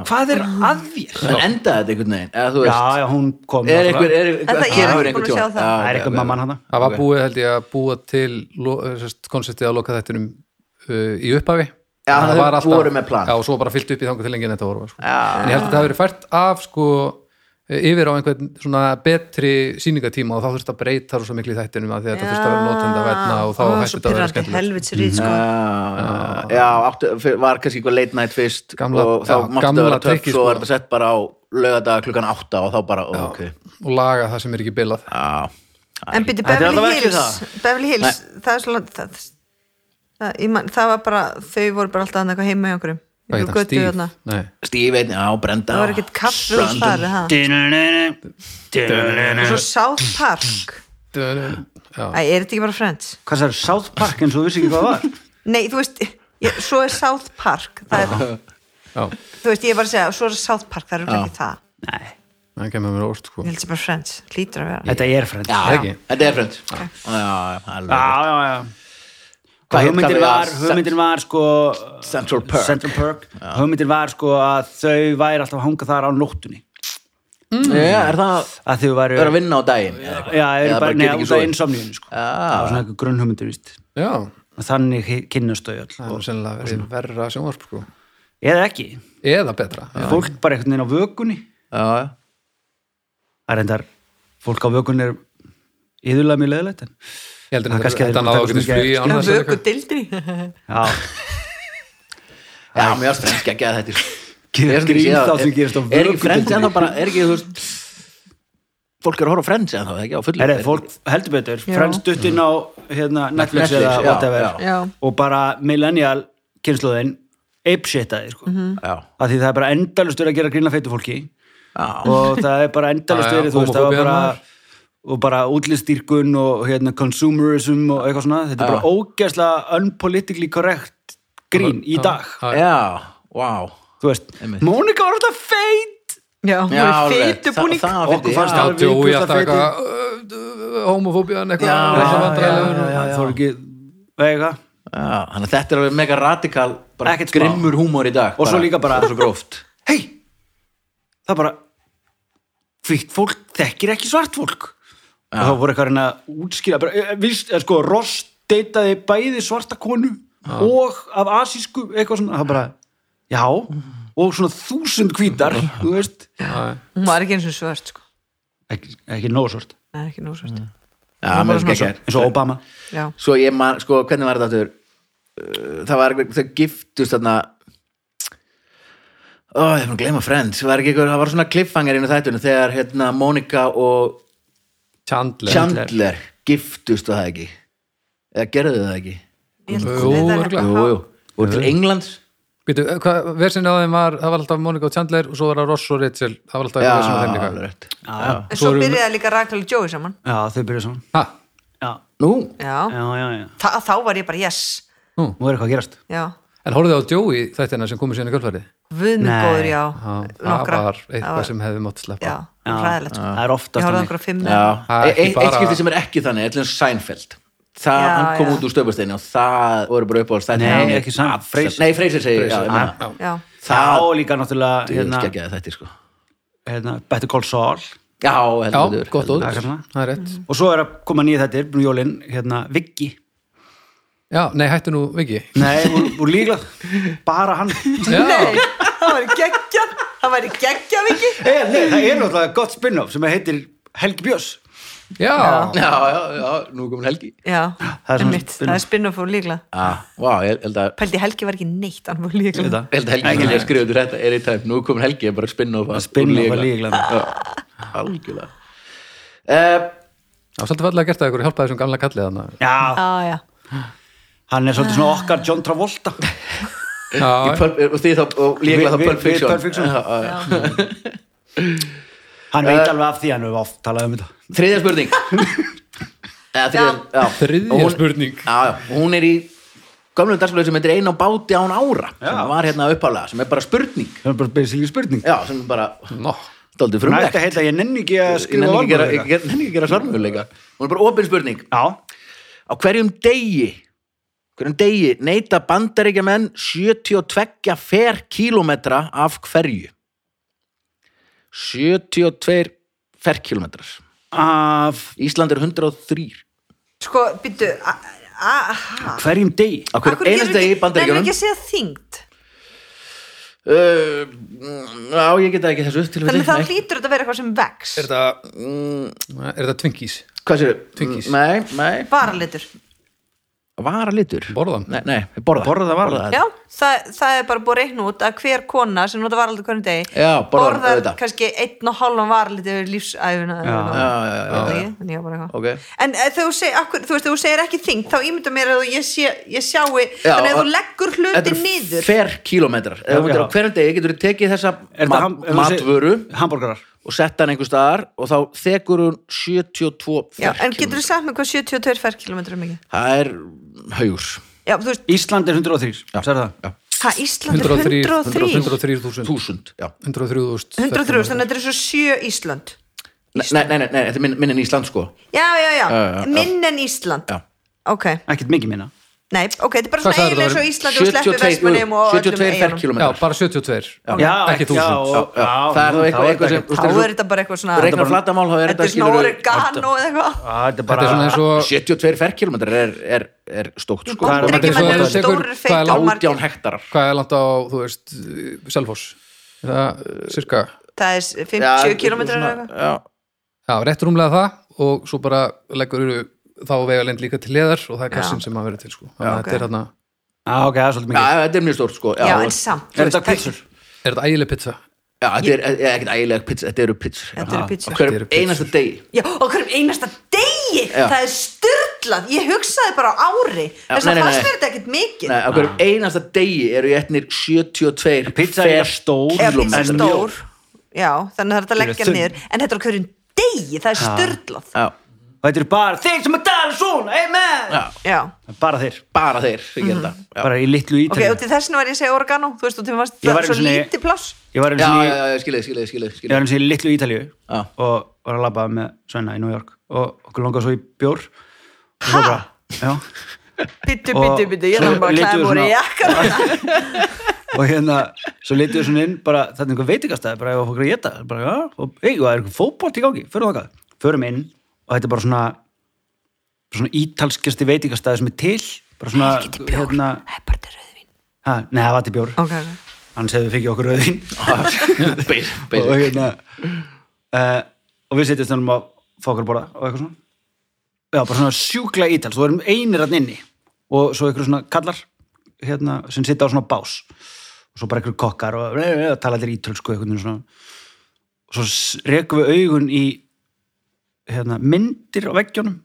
Speaker 3: hvað er að þér?
Speaker 1: En endaði þetta einhvern veginn eða þú
Speaker 3: Já,
Speaker 1: veist
Speaker 3: já, hún kom
Speaker 1: er
Speaker 3: náttúrulega.
Speaker 1: einhver, er,
Speaker 4: Þetta- ég er
Speaker 1: kemur einhver
Speaker 4: ekki búin að sjá
Speaker 1: tjón?
Speaker 4: það.
Speaker 1: Já,
Speaker 3: það er
Speaker 1: já,
Speaker 3: eitthvað mamman hann
Speaker 2: það var búið held ég að búa til lo- eh, sest, konceptið að loka þættinum uh, í upphafi
Speaker 1: Já,
Speaker 2: Þannig að
Speaker 1: þau
Speaker 2: var
Speaker 1: voru með plan.
Speaker 2: já, og svo bara fyllt upp í þangu til lengi en þetta voru sko.
Speaker 1: Já.
Speaker 2: en ég held að það hafi verið fært af sko, eh, yfir á einhvern svona betri sýningatíma og þá þurfti að breyta svo miklu í þættinum að því að þetta þurfti að vera notenda verna og þá
Speaker 4: Ó, svo
Speaker 2: hætti þetta að vera
Speaker 4: pirrandi,
Speaker 2: skemmtilegt
Speaker 4: helvitsrýt sko
Speaker 1: Já, já, áttu, fyr- var kannski eitthvað late night fyrst
Speaker 2: Gamla-
Speaker 1: og þá
Speaker 2: já,
Speaker 1: máttu
Speaker 2: gamla
Speaker 1: það vera töff
Speaker 2: trikkið,
Speaker 1: svo
Speaker 2: sko.
Speaker 1: var þetta sett bara á lögadag klukkan átta og þá bara, ó, ok
Speaker 2: og laga það sem er ekki bilað
Speaker 1: Já,
Speaker 4: En byrju,
Speaker 3: Þetta er
Speaker 4: Beverly
Speaker 3: allavega ekki
Speaker 4: Hills Beverly Hills, það er svolítið það, það, ég man- það var bara, þau voru bara alltaf annað eitthvað heima hjá okkurum
Speaker 2: Hvað heitir hann? Steve? Nei,
Speaker 1: Steve einn, já, brenda
Speaker 4: Það var ekkert kaffi og þar ha?
Speaker 3: hann
Speaker 4: Og svo South Park
Speaker 2: Mm. Já.
Speaker 4: Æ, er þetta ekki bara Friends?
Speaker 3: Hvað það er South Park eins og þú vissi ekki hvað það var?
Speaker 4: Nei, þú veist, ég, svo er South Park það er,
Speaker 2: já,
Speaker 4: Þú veist, ég er bara að segja, svo er South Park það er örugglega ekki það,
Speaker 3: Nei,
Speaker 2: það kemur mér óst sko
Speaker 4: ég held sér bara Friends hlýtur að vera
Speaker 3: þetta er frend
Speaker 1: Já,
Speaker 2: Það ekki?
Speaker 1: þetta er frönd Já, já, alveg
Speaker 3: já, já, já.
Speaker 1: Hvað
Speaker 3: Hvað
Speaker 1: hét
Speaker 3: hugmyndin
Speaker 1: kaffi
Speaker 3: var,
Speaker 1: var?
Speaker 3: hugmyndin var sko
Speaker 1: Central Perk.
Speaker 3: Central Perk. Hugmyndin var sko að þau væri alltaf að hanga þar á nóttunni
Speaker 1: Mm. Já, er það,
Speaker 3: að þau væri
Speaker 1: er að vinna á daginn eða eitthvað?
Speaker 3: Mm. Já, eru bara,
Speaker 1: Eða bara
Speaker 3: neða,
Speaker 1: geta ekki
Speaker 3: út af
Speaker 1: sofið?
Speaker 3: insomníun sko. Það var svona eitthvað grunnhugmyndir, víst
Speaker 2: Já,
Speaker 3: Og Þannig hi- kynnast þau öll
Speaker 2: það er sennilega verið verra sjónvarp sko
Speaker 3: Eða ekki,
Speaker 2: eða betra já.
Speaker 3: fólk bara einhvern veginn á vökunni
Speaker 1: Já, já
Speaker 3: Það er endar, fólk á vökunni er yðurlega mjög leðilegt en
Speaker 2: ég heldur
Speaker 3: Það
Speaker 2: að
Speaker 3: kannski
Speaker 2: þetta
Speaker 3: hefði maður
Speaker 2: náðu að geta
Speaker 3: takað
Speaker 2: flugi
Speaker 3: sem
Speaker 2: annars
Speaker 4: Vöku dildri
Speaker 3: Já,
Speaker 1: Já, mér varst frends ekki að þetta sko.
Speaker 3: Gera grín þá sem gerist á
Speaker 1: Er ekki frends
Speaker 3: vökunni.
Speaker 1: en bara, er ekki, þú veist Fólk er að horfa á frends en ekki á fullu
Speaker 3: er það fólk heldur betur
Speaker 4: Já.
Speaker 3: Friends dutt inn á hérna, Netflix,
Speaker 1: Netflix,
Speaker 3: eða
Speaker 1: já,
Speaker 3: whatever
Speaker 1: já.
Speaker 4: Já.
Speaker 3: og bara millennial kynnslóðin apeshitaði sko.
Speaker 1: Já,
Speaker 4: Mhm.
Speaker 3: að því það er bara endalust verið að gera grína feitu fólki og það er bara endalast
Speaker 2: Já, já,
Speaker 3: verið þú veist, það var
Speaker 2: homofóbía
Speaker 3: bara
Speaker 2: maður.
Speaker 3: og bara útlistýrkun og hérna consumerism og eitthvað svona þetta er bara ógeðslega unpolitically correct grín í dag
Speaker 2: Já,
Speaker 1: já, wow
Speaker 3: þú veist,
Speaker 1: Einmitt.
Speaker 3: Mónika var alltaf feit
Speaker 4: já, hún
Speaker 1: já,
Speaker 4: er
Speaker 1: alveg.
Speaker 4: feitu
Speaker 1: Þa-
Speaker 4: búning
Speaker 1: það var
Speaker 3: Okkur
Speaker 1: fyndið,
Speaker 3: fannst
Speaker 1: já.
Speaker 2: já,
Speaker 3: alveg
Speaker 2: djói
Speaker 3: ykkur
Speaker 2: alltaf
Speaker 3: það
Speaker 2: eitthvað uh, uh, homofóbían
Speaker 1: Já,
Speaker 2: eitthvað
Speaker 1: já,
Speaker 2: rosa
Speaker 1: já,
Speaker 2: vandræðalegur.
Speaker 1: já.
Speaker 3: þú er ekki vega
Speaker 1: Já, þannig að þetta er alveg mega radikal bara
Speaker 3: Ekkert smá.
Speaker 1: grimmur húmor í dag
Speaker 3: Og svo líka bara-
Speaker 1: og svo gróft
Speaker 3: hei, það er bara hvitt fólk þekkir ekki svart fólk og þá voru eitthvað að reyna að útskýra bara, eh, víst, eh, sko, Ross deytaði bæði svarta konu og af asísku eitthvað svona, það bara já, og svona þúsund hvítar þú veist,
Speaker 2: Já,
Speaker 4: hún var ekki eins og svört sko.
Speaker 3: ekki, ekki nóg svart
Speaker 4: Nei, ekki nú svört
Speaker 1: Já,
Speaker 4: var
Speaker 1: mér
Speaker 4: svona
Speaker 1: finnst ekki
Speaker 3: eins og Obama
Speaker 4: já,
Speaker 1: Svo ég man, sko, hvernig var þetta aftur Uh, það var, einhver- þau giftust þarna ó, ég fann að gleyma Friends var ekki ykkur, það var svona cliffhanger inn á þættunum þegar hérna Mónika og
Speaker 2: Chandler
Speaker 1: Chandler giftust og það ekki eða gerðu þau það ekki
Speaker 4: Ég held-
Speaker 2: Jú,
Speaker 4: Nei, það er-
Speaker 2: örugglega.
Speaker 1: jú, jú, og til Englands
Speaker 2: Býtu, hvað, versin á þeim var, það var alltaf Monika og Chandler og svo var það Ross og Rachel það var alltaf eitthvað versin á þeim
Speaker 1: alveg
Speaker 2: líka
Speaker 1: rétt
Speaker 3: já,
Speaker 4: En svo
Speaker 2: Svo erum við-
Speaker 4: byrjaði líka Rakel og Joey saman
Speaker 3: já þau byrjuðu saman
Speaker 2: ha,
Speaker 3: já,
Speaker 1: Nú,
Speaker 4: já,
Speaker 3: já, já, já,
Speaker 4: Þa, þá var ég bara yes
Speaker 3: nú er eitthvað að gerast
Speaker 4: já,
Speaker 2: en horfðu á Joey þættina sem komið síðan í kvöldfæri
Speaker 4: viðminn
Speaker 3: Nei.
Speaker 4: góður, já
Speaker 2: það
Speaker 4: nokkra,
Speaker 2: var
Speaker 4: Það
Speaker 2: eitthvað
Speaker 4: var-
Speaker 2: sem hefði mátt sleppa
Speaker 4: já, ræðilegt sko.
Speaker 3: það er
Speaker 4: ég
Speaker 3: oftast
Speaker 4: horfði á
Speaker 3: þannig.
Speaker 4: einhverja fimm
Speaker 1: já,
Speaker 2: Það er
Speaker 1: e
Speaker 2: ekki
Speaker 1: eitt
Speaker 2: bara-
Speaker 1: skipti sem er ekki þannig eitthvað Seinfeld það,
Speaker 4: Já,
Speaker 1: hann kom út
Speaker 4: já.
Speaker 1: úr stöpulsteinu og það voru bara upp á alls þetta
Speaker 3: Nei, ekki Seinfeld, Frasier.
Speaker 1: nei, Freyser segi, já, ég meina
Speaker 2: Já.
Speaker 4: já,
Speaker 3: það
Speaker 1: það,
Speaker 3: og líka náttúrulega
Speaker 1: ég
Speaker 3: hérna,
Speaker 1: vil ekki að þetta sko
Speaker 3: hérna, Better Call Saul
Speaker 1: já, heldur
Speaker 2: Já,
Speaker 1: betur,
Speaker 2: gott
Speaker 1: heldur
Speaker 2: og
Speaker 1: betur.
Speaker 3: betur.
Speaker 2: það er
Speaker 4: Mm.
Speaker 2: rétt
Speaker 3: og svo er að koma nýja þetta er jólinn, hérna, Viggi
Speaker 2: já, nei, hættu nú Viki
Speaker 3: Nei, úr, úr líklega bara hann
Speaker 2: já,
Speaker 4: nei, það var geggja það var geggja viki
Speaker 3: hey, Eh, nei, Það er náttúrulega gott spin-off sem heitir Helgi Björns
Speaker 2: já,
Speaker 1: já, já, já, nú komin helgi
Speaker 4: já,
Speaker 3: Það er svona
Speaker 4: einmitt,
Speaker 3: spin-off.
Speaker 4: það er spin-off og líkla
Speaker 1: ah, wow, ég held að
Speaker 4: pældi Helgi var ekki neitt, hann var líkla
Speaker 3: Þetta.
Speaker 1: Ég held að helgi sem ég skrifa út þetta er í tæm nú komin helgi, ég bara spinn og
Speaker 3: Spin-off að líklega
Speaker 1: algjörlega uh,
Speaker 2: það var svolítið fallega gert að ykkur hjálpa þessum gamla kallið þarna
Speaker 3: Já,
Speaker 4: já, já,
Speaker 3: hann er svolítið svona okkar John Travolta
Speaker 1: í
Speaker 2: já,
Speaker 1: Pulp- og þið þá, og líklega þá
Speaker 3: Við- við-
Speaker 1: Pulp
Speaker 3: við
Speaker 1: Fiction
Speaker 3: Pulp Fiction.
Speaker 1: Já, já, já.
Speaker 3: Hann veit alveg af því hann hefur oft talað um þetta
Speaker 1: þriðja spurning Eða, þriðja, já.
Speaker 2: Þriðja
Speaker 1: Og hún-
Speaker 2: spurning.
Speaker 1: já, já, og hún er í gömlum dagsflöðu sem heitir einn á báti án ára sem var hérna uppálega, sem er bara spurning
Speaker 3: Það er bara basically spurning
Speaker 1: já, sem er bara
Speaker 2: no
Speaker 1: daldið
Speaker 3: Hún
Speaker 1: frumlegt
Speaker 3: ætti að heita ég nenni ekki að
Speaker 1: ég
Speaker 3: skrifa
Speaker 1: nenni ekki að gera-
Speaker 3: orðmöguleika.
Speaker 1: ég nenni ekki að gera svarmöguleika hún er bara opin spurning
Speaker 3: Já,
Speaker 1: á hverjum degi hverjum degi neyta bandaríkjamenn 72 fer kílómetra af hverju 72 fer kílómetrar
Speaker 3: af
Speaker 1: Ísland er 103
Speaker 4: sko, býttu a- a- ha.
Speaker 3: hverjum degi
Speaker 1: á
Speaker 4: Af
Speaker 1: hverjum
Speaker 4: hverju
Speaker 1: einast
Speaker 4: getur
Speaker 1: degi í
Speaker 4: ekki- nennir
Speaker 1: bandaríkjunum
Speaker 4: ekki að segja þyngd
Speaker 1: uh, mm, já, ég geta ekki þessu til
Speaker 4: þannig
Speaker 1: við
Speaker 4: að það hlýtur þetta að vera eitthvað sem vex
Speaker 2: er þetta, er þetta Twinkies
Speaker 1: hvað séu?
Speaker 2: Twinkies.
Speaker 1: nei, nei,
Speaker 4: varalitur,
Speaker 1: vara litur
Speaker 2: Borða.
Speaker 1: nei, nei, borða
Speaker 3: Borða vara.
Speaker 1: Borða.
Speaker 4: já, það, það er bara búið að reikna út að hver kona sem nota varalitur hvernig degi
Speaker 1: Já, borðar,
Speaker 4: borðar
Speaker 1: auðvitað.
Speaker 4: kannski einn og hálfan varalitur yfir lífsæfuna já,
Speaker 1: já, já,
Speaker 4: já, já.
Speaker 1: Ok.
Speaker 4: en eh, þegar þú segir, akkur, þú veist, þegar þú segir ekki þyngd þá ímynda mér að þú- ég, sé, ég sjái
Speaker 1: Já,
Speaker 4: þannig að
Speaker 1: að-
Speaker 4: þú leggur
Speaker 1: Þetta
Speaker 4: hlutin
Speaker 1: eru
Speaker 4: niður
Speaker 1: fer kílómetrar Ef
Speaker 3: Já,
Speaker 1: þú myndir
Speaker 3: já.
Speaker 1: á hverjum degi getur þú tekið þessa
Speaker 3: Er
Speaker 1: mat,
Speaker 3: þetta ham- ef þú segir-
Speaker 1: matvöru
Speaker 3: Hamborgarar
Speaker 1: og setta hann einhver staðar og þá þekur hún 72
Speaker 4: já, en
Speaker 1: ferkílómetra.
Speaker 4: getur þú sagt með hvað 72 ferkilometrar er mikið
Speaker 1: það er haugur
Speaker 4: já, þú veist,
Speaker 3: Ísland er 103, sagði það
Speaker 4: hvað Ísland er
Speaker 2: 103
Speaker 4: 103
Speaker 2: 103.000
Speaker 1: þúsund, já
Speaker 2: 103.000
Speaker 4: 103, þannig að þetta er svo 7 Ísland
Speaker 1: nei, nei, nei, nei, þetta er minn, minn en Ísland sko
Speaker 4: já, já, já,
Speaker 1: Já, já, já.
Speaker 4: minn en Ísland
Speaker 1: Já.
Speaker 4: ok,
Speaker 3: Ekkert mikið minna
Speaker 4: nei, ok, þetta er bara
Speaker 2: Hvað
Speaker 4: svona
Speaker 2: sagðirðu,
Speaker 4: eiginlega
Speaker 2: það
Speaker 4: svo
Speaker 2: væri-
Speaker 4: Ísland og sleppi vestmannum og
Speaker 1: 72
Speaker 4: eiginum
Speaker 2: já,
Speaker 1: ferkilometrar
Speaker 2: bara 72
Speaker 3: Já,
Speaker 2: Ekki
Speaker 3: já,
Speaker 2: þúsund.
Speaker 3: og-
Speaker 1: Já, já.
Speaker 3: já,
Speaker 1: Það er þá
Speaker 3: nú,
Speaker 1: eitthvað-
Speaker 3: þá
Speaker 1: eitthvað
Speaker 3: þetta
Speaker 1: sem-
Speaker 3: ekkert-
Speaker 4: þá er þetta bara eitthvað svona
Speaker 1: reikna flatamál þá er
Speaker 4: þetta
Speaker 1: þetta
Speaker 4: er svona
Speaker 1: skilur
Speaker 4: oregano eða eitthvað
Speaker 3: Já, Þetta er
Speaker 2: þetta er
Speaker 3: bara
Speaker 2: svona eins og
Speaker 1: 72 ferkilometrar er, er, er stókt sko
Speaker 3: Hvað er-
Speaker 2: Þetta er svo-
Speaker 4: Bandaríkjamenn
Speaker 2: þetta er
Speaker 4: eru stórir,
Speaker 2: hvað er
Speaker 4: feitir og
Speaker 2: langt-
Speaker 4: margir.
Speaker 1: 18 hektarar
Speaker 2: hvað er langt á, þú veist, Selfoss Er það, cirka,
Speaker 4: það er 50 kilometrar eða eitthvað
Speaker 1: já,
Speaker 2: já, rétt rúmlega það og svo bara leggur eru þá vega lend líka til leðar og það er
Speaker 4: Já.
Speaker 2: kassin sem að vera til sko. þannig að
Speaker 4: ok.
Speaker 2: þetta er þarna,
Speaker 3: Já, ok, það er svolítið
Speaker 1: já,
Speaker 3: mikið
Speaker 1: þetta er mjög stórt sko
Speaker 4: já,
Speaker 1: og-
Speaker 4: en samt
Speaker 3: Er þetta pizzur?
Speaker 2: er þetta ægileg pizza
Speaker 1: Já, þetta er er- er ekkert ægilega pizza, þetta eru pizzur já.
Speaker 4: Þetta eru pizzur.
Speaker 1: Á
Speaker 2: Þetta eru
Speaker 1: hverjum
Speaker 2: pizzur.
Speaker 1: einasta degi
Speaker 4: já, og hverjum einasta degi
Speaker 1: Já.
Speaker 4: það er styrlað, ég hugsaði bara á ári þess
Speaker 1: nei,
Speaker 4: að
Speaker 1: nei,
Speaker 4: fannst
Speaker 1: nei.
Speaker 4: mér þetta ekkert mikið
Speaker 1: Nei, á hverjum einasta degi eru ég etnir 72
Speaker 3: Pizza er
Speaker 1: fer
Speaker 3: stór
Speaker 4: eða pizza
Speaker 1: kílómetra.
Speaker 4: stór já, þannig það er þetta að
Speaker 3: Þau eru
Speaker 4: leggja
Speaker 3: þunn.
Speaker 4: niður en þetta er á hverjum degi, það er störlað
Speaker 1: já,
Speaker 3: og þetta er bara þeir sem að tala svona amen,
Speaker 1: já,
Speaker 4: já,
Speaker 3: Það er bara þeir,
Speaker 1: bara þeir ég
Speaker 4: Mhm.
Speaker 1: held að já.
Speaker 3: bara í litlu
Speaker 4: ok,
Speaker 3: ítalíu
Speaker 4: og til þessinu var ég að segja oregano þú veist, og til varst
Speaker 3: Ég
Speaker 4: það
Speaker 3: var
Speaker 4: er svo
Speaker 3: einu sinni-
Speaker 4: lítið pláss
Speaker 3: ég var einu
Speaker 1: já,
Speaker 3: sinni
Speaker 1: já,
Speaker 3: í-
Speaker 1: já, skiljaði, skiljaði,
Speaker 3: ég
Speaker 1: skiljaði,
Speaker 3: var
Speaker 1: skiljaði.
Speaker 3: eins og í litlu Ítalíu
Speaker 1: Já.
Speaker 3: og var að labba með Svenna í New York og okkur langaði svo í bjór ha? Já,
Speaker 4: bittu,
Speaker 3: Og-
Speaker 4: bittu, bittu, ég
Speaker 3: svo
Speaker 4: er bara að
Speaker 3: litum við
Speaker 4: klæða múri
Speaker 3: svona-
Speaker 4: jakkar
Speaker 3: og hérna svo litið við svona inn, bara þetta er einhver veitingastæði bara ef að fólk er að geta, bara já og ei, og það er einhver fótbolt í gangi, förum þangað förum inn og þetta er bara svona bara svona ítalskjasti veitingastæði sem er til bara svona,
Speaker 4: ekki bjór,
Speaker 3: hérna
Speaker 4: það er bara til rauðvin
Speaker 3: ha, nei, það var til bjór,
Speaker 4: ok, ok.
Speaker 3: annars hefði við fengið okkur rauðin
Speaker 1: Basic,
Speaker 3: og
Speaker 1: basic.
Speaker 3: hérna uh, og við setjum stundum að fá okkur að borða og eitthvað svona já, bara svona sjúkla ítal, svo erum einir að inni og svo einhverjum svona kallar hérna, sem sitja á svona bás og svo bara einhverjum kokkar og e, e, tala allir ítölsku einhvern veginn svona og svo s- rekum við augun í hérna, myndir á veggjónum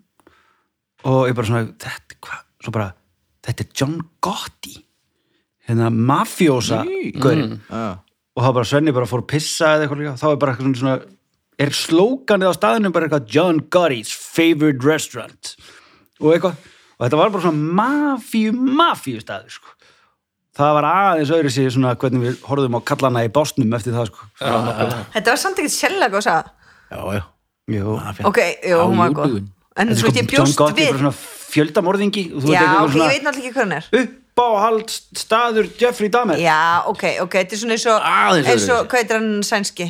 Speaker 3: og ég bara svona þetta, hvað, svo bara þetta er John Gotti hérna, mafjósa gaurinn
Speaker 1: Já.
Speaker 3: og það bara Svenni bara fór að pissa eða eitthvað líka, þá er bara eitthvað svona er slókanið á staðinu bara eitthvað John Gotti's favorite restaurant og eitthvað og þetta var bara svona mafíu, mafíu staður sko. það var aðeins öðru sér svona hvernig við horfðum á kallana í básnum eftir það sko.
Speaker 4: þetta var samt ekkert sjálflega góð saga.
Speaker 1: já, já
Speaker 3: Jú.
Speaker 1: Það fer-
Speaker 4: ok, jú,
Speaker 1: Á
Speaker 4: hún var góð
Speaker 1: YouTube-un.
Speaker 4: en
Speaker 3: En
Speaker 4: þú veist,
Speaker 3: sko
Speaker 4: ég
Speaker 3: John
Speaker 4: bjóst
Speaker 3: Gotti er
Speaker 4: við
Speaker 3: bara svona fjöldamorðingi og þú
Speaker 4: já, ok,
Speaker 3: veit
Speaker 4: ég
Speaker 3: eitthvað
Speaker 4: veit náttúrulega ekki hvað hann er
Speaker 3: svona uppáhald staður Jeffrey Dahmer
Speaker 4: já, ok, ok, þetta er svona eins og
Speaker 1: Aðeins
Speaker 4: eins og,
Speaker 1: öðruvísi.
Speaker 4: hvað heitir hann sænski?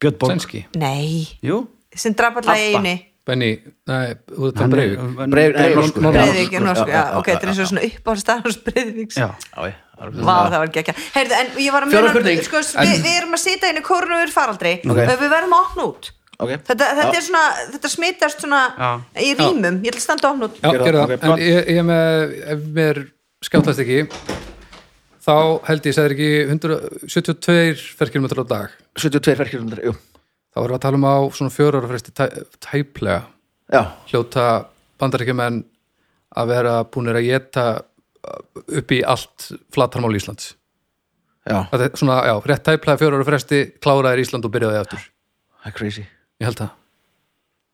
Speaker 3: Björn Borg
Speaker 2: Sænski,
Speaker 4: nei,
Speaker 3: Jú,
Speaker 4: sem draf alltaf
Speaker 3: Abba.
Speaker 4: einu
Speaker 2: Benny, nei, þú ert
Speaker 3: hann er-
Speaker 2: að breyfi
Speaker 3: hann-
Speaker 1: Breif- nei, norskur.
Speaker 2: Norður-
Speaker 4: Breiðvík,
Speaker 1: Já,
Speaker 4: já, norsku, já,
Speaker 1: já,
Speaker 4: ok, þetta er eins og svona uppáhaldstafn hos Breiðvíks
Speaker 3: Já.
Speaker 1: Já, já, það er-
Speaker 4: Vá, það var gekkja. Heyrðu, en ég var að
Speaker 1: Fjóra
Speaker 4: muna,
Speaker 1: spurning.
Speaker 4: sko, við, við erum að sita inn í kórun og við erum faraldri og við verðum að opna út.
Speaker 1: Ok.
Speaker 4: Þetta, þetta
Speaker 1: Já.
Speaker 4: er svona, þetta smitast svona
Speaker 3: Já.
Speaker 4: í rýmum, ég ætla að standa að opna út.
Speaker 2: Já,
Speaker 1: Gerðu
Speaker 2: gerðu
Speaker 1: það,
Speaker 2: það,
Speaker 1: ok, bra.
Speaker 2: en ég, ég er með ef mér skjáttast ekki þá held ég segir ekki 172 ferkilometrar á dag
Speaker 1: 72 ferkjörnundar, jú
Speaker 2: þá erum við að tala um á svona fjör ára fresti tæ, tæplega
Speaker 1: já,
Speaker 2: hljóta bandaríkjumenn að vera búinir að geta upp í allt flatarmál Íslands
Speaker 1: já,
Speaker 2: Þetta er svona, já, rétt tæplega fjör ára fresti kláraðir Ísland og byrjaði aftur
Speaker 1: það er crazy
Speaker 2: ég held það,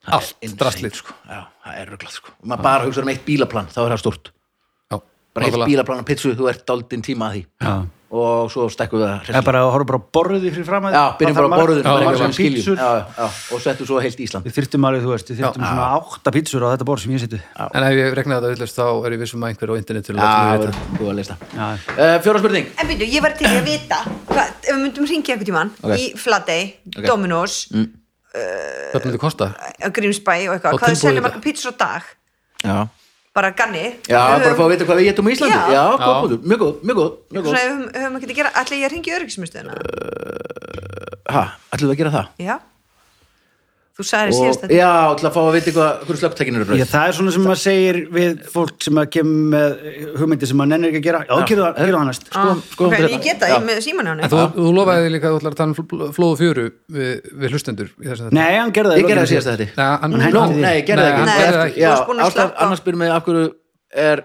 Speaker 1: Það er
Speaker 2: Allt
Speaker 1: insane,
Speaker 2: draslið.
Speaker 1: sko. já, það er rugglað sko og maður bara hugsaður um eitt bílaplan, þá er það stort
Speaker 2: já,
Speaker 1: bara eitt
Speaker 2: nákvæmlega.
Speaker 1: bílaplan og pitsu, þú ert daldinn tíma að því
Speaker 3: Já.
Speaker 1: og svo stekkum við það
Speaker 3: Það er
Speaker 1: hressilega.
Speaker 3: bara að horfa bara á borðið fyrir fram að
Speaker 1: já, byrjum bara að borðun
Speaker 2: bara
Speaker 1: bara
Speaker 2: eitthvað
Speaker 1: eitthvað skiljum
Speaker 3: pítsur
Speaker 1: já, já, já, og settum svo heilt Ísland
Speaker 3: Við þyrftum alveg, þú veist, við þyrftum svona átta pítsur á þetta borð sem ég seti
Speaker 2: en ef ég regnaði þetta villast þá er ég vissum að einhver á internet til að
Speaker 1: já,
Speaker 2: láta mig
Speaker 1: það
Speaker 2: vita.
Speaker 1: er búið að lista
Speaker 3: Já.
Speaker 1: Eh, fjóra spurning
Speaker 4: En byrju, ég var til í að vita, hvað, ef við myndum ringja einhvern tímann
Speaker 1: Ok.
Speaker 4: í Flatey,
Speaker 1: Ok.
Speaker 4: Dominos, mm.
Speaker 2: Hvað myndi kosta?
Speaker 4: Grímsbæ og eitthvað,
Speaker 2: Og
Speaker 4: hvað
Speaker 2: tilbúið
Speaker 4: þau selja
Speaker 2: þetta.
Speaker 4: margar pítsur á dag?
Speaker 1: já,
Speaker 4: Bara ganni.
Speaker 1: já bara fá að vita hvað við getum í Íslandi
Speaker 4: Já.
Speaker 1: já, góð
Speaker 2: Já.
Speaker 1: búið, mjög góð, mjög góð, mjög góð.
Speaker 4: Svona, ef við höfum- höfum ekki að gera, ætla ég að ringja öryggismistuðina?
Speaker 1: ha, ætlum við að gera það
Speaker 4: Já. Þú sagði
Speaker 1: og,
Speaker 4: síðast þetta.
Speaker 1: já, ætlum að fá að vita hvað, hverju slökkutækinu eru
Speaker 3: Já,
Speaker 1: rauð
Speaker 3: það er svona sem maður segir við fólk sem að kemur með hugmyndi sem maður nennir ekki að gera Já, gerðu það, gerðu það næst
Speaker 4: Ah,
Speaker 1: skoðum
Speaker 4: ok,
Speaker 1: þetta.
Speaker 4: ég geta,
Speaker 1: Já.
Speaker 4: ég með síman á henni
Speaker 2: En þú, þú lofaði líka að þú ætlar að tala um fl- flóð og fjöru við, við hlustendur í þessum þetta.
Speaker 3: Nei, hann gerði það
Speaker 1: ég
Speaker 3: í
Speaker 1: gerði
Speaker 3: lokin
Speaker 1: það síðast
Speaker 3: síðast.
Speaker 1: þetta
Speaker 2: Nei, hann,
Speaker 3: Nei,
Speaker 2: hann,
Speaker 1: Nó,
Speaker 3: Hætti því.
Speaker 1: nei, ég gerði
Speaker 2: Nei, hann
Speaker 1: það ekki
Speaker 2: gerði það
Speaker 1: Eftir-
Speaker 2: ekki.
Speaker 1: Já,
Speaker 4: Þú varst búin að
Speaker 1: Áslaug,
Speaker 4: sleppa.
Speaker 1: annars spyrum við af hverju er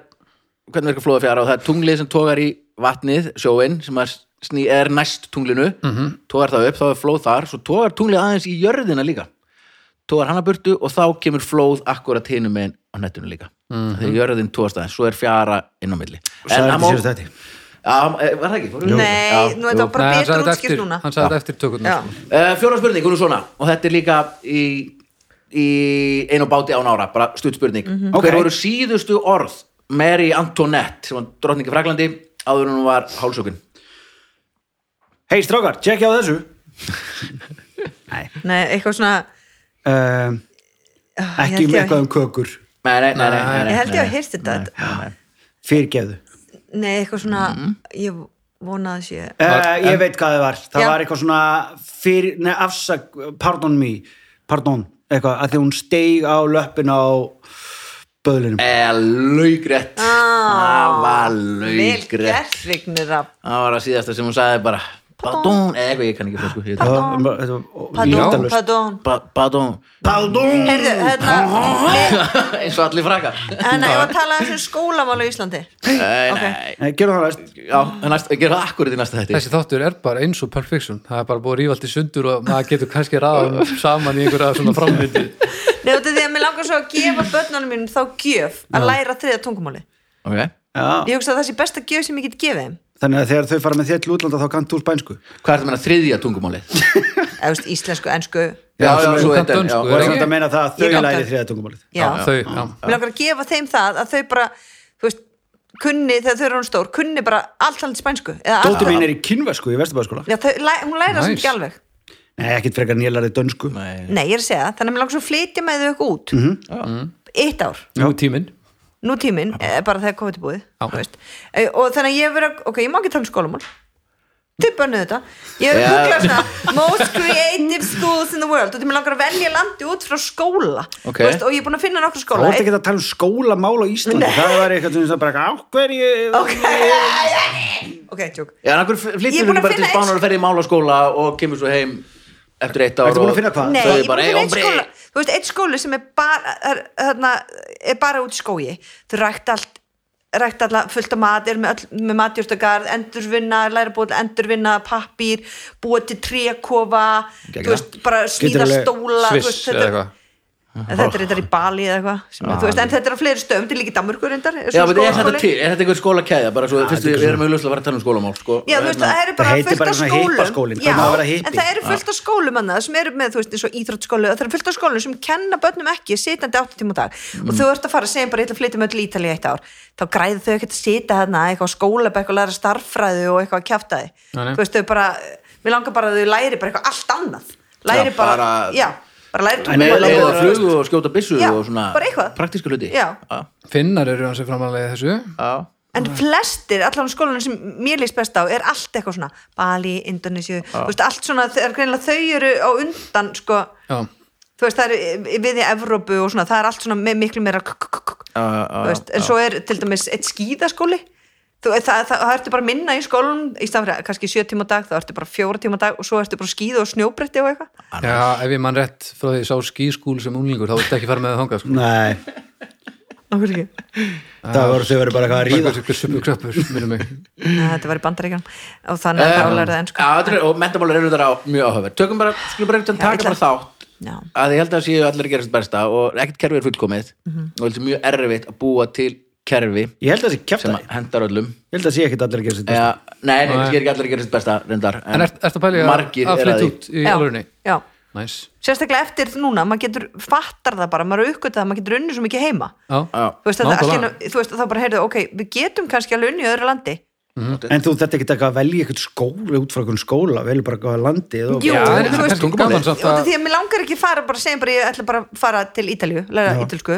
Speaker 1: hvernig verka flóða fjara og það er tunglið sem tógar í vatnið, sjóin sem að sný, er næst tunglinu
Speaker 4: Mhm.
Speaker 1: tógar það upp, þá er flóð þar svo tógar tunglið aðeins í jörðina líka tógar hana burtu og þá kemur flóð akkurat hinum megin á nettinu líka
Speaker 4: Mhm.
Speaker 1: þegar jörðin tógast aðeins, svo er fjara inn á milli
Speaker 3: Og sagði
Speaker 1: En
Speaker 3: þetta
Speaker 1: það má-
Speaker 3: síðast þetta.
Speaker 1: Já, eh, var það ekki? Fórum við- Já,
Speaker 4: Nei, nú er
Speaker 1: jú.
Speaker 4: þetta bara
Speaker 2: Nei, hann
Speaker 4: betur
Speaker 2: sagði þetta
Speaker 4: útskipt
Speaker 2: eftir,
Speaker 4: núna
Speaker 2: hann sagði þetta eftir tökurnar.
Speaker 4: Já,
Speaker 2: sko.
Speaker 1: Uh, fjóra spurning, hún er svona og þetta er líka í, í einu báti án ára, bara stutt spurning
Speaker 4: Mhm.
Speaker 3: Ok.
Speaker 1: hver voru síðustu orð Mary Antoinette sem var drottningi Fraklandi áður en hún var hálsökun
Speaker 3: Hei, strákar, tjekkja á þessu Nei
Speaker 4: nei, eitthvað svona ah,
Speaker 3: um,
Speaker 4: ég
Speaker 3: Ekki
Speaker 4: held
Speaker 3: um
Speaker 4: ég-
Speaker 3: eitthvað um kökur
Speaker 1: nei, nei, nei, nei, nei,
Speaker 2: um
Speaker 1: nei,
Speaker 4: Ég held ég að
Speaker 1: nei.
Speaker 4: heyrst þetta
Speaker 3: Fyrirgefðu
Speaker 4: Nei, eitthvað svona
Speaker 2: Mm.
Speaker 4: Ég vonaði sé
Speaker 3: uh, Ég veit hvað það var Það
Speaker 4: Já.
Speaker 3: var eitthvað svona fyrir, Nei, afsak, pardon me Pardon, eitthvað, að því hún steig á löppin á böðlinum
Speaker 1: Eh, laugrétt það var
Speaker 4: Ah, Vel
Speaker 1: laugrétt
Speaker 4: gert, Vignir Rapp
Speaker 1: það var að síðasta sem hún sagði bara Badón, eða eitthvað, ég kann ekki fransku
Speaker 3: Já,
Speaker 1: Ég-
Speaker 3: um bara- þetta var
Speaker 4: Padón,
Speaker 3: lýtalust.
Speaker 4: padón
Speaker 1: Ba- Badón
Speaker 3: Badum.
Speaker 4: Heyrðu, hérna
Speaker 1: Eins og allir frakar
Speaker 4: En ég var að tala aðeins um skólamál á Íslandi
Speaker 1: Nei,
Speaker 4: Ok.
Speaker 1: nei
Speaker 3: Nei, Gerum Eh, það næst
Speaker 1: Já, næst, ég gerði það akkurat í næsta þetta
Speaker 2: Þessi þáttur er bara eins og Pulp Fiction það er bara búið rífaldi sundur og maður getur kannski ráðum saman í einhverja svona framviti
Speaker 4: Nei, út af því að mér langar svo að gefa börnunum mínum þá gjöf að læra þriða tungumáli
Speaker 1: Ok
Speaker 3: Já,
Speaker 4: Ég hugsa að það sé besta gjöf sem ég get gefið þeim
Speaker 3: þannig að þegar þau fara með þér til útlanda þá kannt þú spænsku
Speaker 1: Hvað er það meina þriðja tungumálið?
Speaker 4: Eða, veist, íslensku, ensku Já,
Speaker 1: Já, já,
Speaker 2: sem er
Speaker 1: svo
Speaker 2: samt
Speaker 1: þetta
Speaker 2: dönsku,
Speaker 3: og
Speaker 1: já.
Speaker 3: það er
Speaker 2: ekki?
Speaker 3: samt að meina það að
Speaker 4: Ég
Speaker 3: þau
Speaker 4: náttúrulega-
Speaker 3: læri þriða tungumálið
Speaker 2: þau, já,
Speaker 4: Mér langar að gefa þeim það að þau bara þú veist, kunni þegar þau eru hún stór kunni bara allt alveg spænsku eða allt,
Speaker 3: Dóttir mín er í kynversku í Vesturbæðaskóla
Speaker 4: já, þau, læ, hún læra það sem
Speaker 2: Nice.
Speaker 4: ekki alveg
Speaker 3: Nei, ekkit frekar en ég lærið dönsku
Speaker 1: Nei.
Speaker 4: Nei, ég er að segja það, þannig að mér langar svo að flytja með þau eitthvað út
Speaker 3: Mhm.
Speaker 4: mm Eitt ár,
Speaker 2: nú er tíminn
Speaker 4: nú tíminn eh, bara þegar COVID er búið þú veist. Eh, og þannig að ég hef verið, að- ok, ég má ekki tala um skólamál tippa nöðu þetta ég hef
Speaker 1: Já.
Speaker 4: googlað svona most creative schools in the world og því mér langar að velja landi út frá skóla
Speaker 1: Ok.
Speaker 4: Þú veist, og ég er búin að finna nokkra
Speaker 3: Þú
Speaker 4: skóla
Speaker 3: ert ekki að tala um skólamál á Íslandi Það var eitthvað sem það bara, á hverju
Speaker 4: ok, ok, tjók
Speaker 1: Já, en akkur
Speaker 4: Ég er
Speaker 1: flyttir
Speaker 4: búin
Speaker 1: hún
Speaker 4: að
Speaker 1: bara til
Speaker 4: finna
Speaker 1: Spánar og ferði í málaskóla og kemur svo heim eftir eitt ár
Speaker 3: Ertu búin að
Speaker 1: og-
Speaker 3: finna hvað?
Speaker 4: Nei,
Speaker 1: Svo
Speaker 4: ég
Speaker 1: er bara,
Speaker 4: búin
Speaker 1: "Ey,
Speaker 4: til einn
Speaker 1: hombre."
Speaker 4: skóla Þú veist, einn skóli sem er bara er, þarna, er bara út í skói þau rækt allt rækt allar fullt af mat, er með, öll, með matjórtagarð endurvinna, læra búið til að endurvinna pappír, búið til trékofa
Speaker 1: Geggjað.
Speaker 4: þú veist, bara smíða
Speaker 3: alveg
Speaker 4: stóla þú veist,
Speaker 2: Sviss eða
Speaker 4: þetta,
Speaker 2: eitthvað
Speaker 4: en þetta er þetta er í Bali eða eitthvað, sem, þú veist, en þetta er á fleiri stöðum til líka í Danmörku reyndar er
Speaker 1: Ah, Já,
Speaker 4: svona
Speaker 1: menn er þetta
Speaker 4: skólaskóli.
Speaker 1: til? Er þetta einhver skólakæða? Bara svo, fyrst við við erum auðvitað að vera að tala um skólamál, sko
Speaker 4: Já, þú veist, það eru
Speaker 3: hérna, Það
Speaker 4: bara
Speaker 3: heitir
Speaker 4: fullt
Speaker 3: bara
Speaker 4: af
Speaker 3: svona
Speaker 4: skólum
Speaker 3: hippaskólinn, hvað
Speaker 4: Já,
Speaker 3: maður að vera Ah. hippi?
Speaker 4: en það eru fullt af skólum annað, sem eru með, þú veist, eins og íþróttskólu það eru fullt af skólum sem kenna börnum ekki sitandi 8 tíma á dag
Speaker 3: Mm.
Speaker 4: og þú ert að fara að segja bara, ég ætla að flytja með öll Ítali í eitt ár þá græðu þau ekkert að sita hérna eitthvað á skólabekk og læra starffræðu og eitthvað að kjafta
Speaker 2: Nei, nei.
Speaker 4: þið þú veist, þau bara, mér langar bara að þau læri bara eitthvað allt annað læri
Speaker 1: Já,
Speaker 4: bara,
Speaker 1: bara-
Speaker 4: já, bara læri
Speaker 1: Með
Speaker 4: tungumálið
Speaker 1: leiða
Speaker 4: og-
Speaker 1: flugu og skjóta byssu
Speaker 4: Já,
Speaker 1: og svona
Speaker 4: bara eitthvað.
Speaker 1: praktísku hluti
Speaker 4: Já.
Speaker 2: Finnar eru hans framalega þessu
Speaker 1: Já.
Speaker 4: en flestir, allan skólanum sem mér líst best á er allt eitthvað svona Bali, Indonesia,
Speaker 3: Ah.
Speaker 4: þú veist, allt svona þegar greinilega þau eru á undan sko,
Speaker 2: já,
Speaker 4: þú veist, það eru við í Evrópu og svona, það er allt svona með miklu meira k- k- k- k-
Speaker 1: Já, já,
Speaker 4: þú
Speaker 1: já,
Speaker 4: veist, en svo er til dæmis eitt skíðaskóli þú, það, það, það, það ertu bara minna í skólanum í stafri, kannski sjö tíma á dag, þá ertu bara fjóra tíma á dag og svo ertu bara á skíða og snjóbretti og eitthvað
Speaker 2: já, ef ég mann rétt frá því ég sá skískúl sem unglingur þá viltu ekki fara með það þangað sko.
Speaker 3: Nei,
Speaker 4: Nákvæmlega ekki.
Speaker 3: það voru þau verið bara eitthvað að ríða
Speaker 2: Hver suppu kröppur, minnum mig
Speaker 4: Nei, þetta var í bandaríkjum og þannig
Speaker 2: Um,
Speaker 4: að þá lærði ennsku
Speaker 1: Um, Já, þetta er- og menntamálur eru þetta á mjög áhöfver Tökum bara, skulum bara eitthvað taka
Speaker 4: illa.
Speaker 1: bara þátt
Speaker 4: Já.
Speaker 1: að ég held að séu allir að gera sitt besta og ekkert kerfi er fullkomið
Speaker 4: Mhm.
Speaker 1: og þetta er mjög erfitt að búa til kerfi
Speaker 3: Ég held að það sé
Speaker 1: sem
Speaker 3: kjaftaði
Speaker 1: að hendar öllum
Speaker 3: Ég held að það sé ekkit allir að gera sitt besta
Speaker 1: Já, nei, nei, kannski er ekki allir að gera sitt besta reyndar,
Speaker 2: En ert ert að pæli að
Speaker 1: margir eru að
Speaker 2: að flytja
Speaker 1: því.
Speaker 2: út í alvörunni?
Speaker 4: já, já.
Speaker 2: Næs,
Speaker 4: sérstaklega eftir núna, maður getur fattar það bara, maður er aukvitað að maður getur unni svo mikið heima
Speaker 2: já
Speaker 1: Já.
Speaker 4: þú veist, þetta allt í
Speaker 2: Nákvæmlega.
Speaker 4: einu- þú veist þá bara heyrðu, ok, við getum kannski alveg unni í öðru landi
Speaker 3: En þú þetta ekkit eitthvað að velja eitthvað skóla út frá eitthvað skóla, velja bara eitthvað landið og
Speaker 4: Jú,
Speaker 2: Já,
Speaker 4: en
Speaker 2: en
Speaker 4: þú veist,
Speaker 2: kannski gaman samt
Speaker 4: út af
Speaker 2: að
Speaker 4: því að mér langar ekki að fara bara að segja bara, ég ætla bara að fara til Ítalju læra ítalsku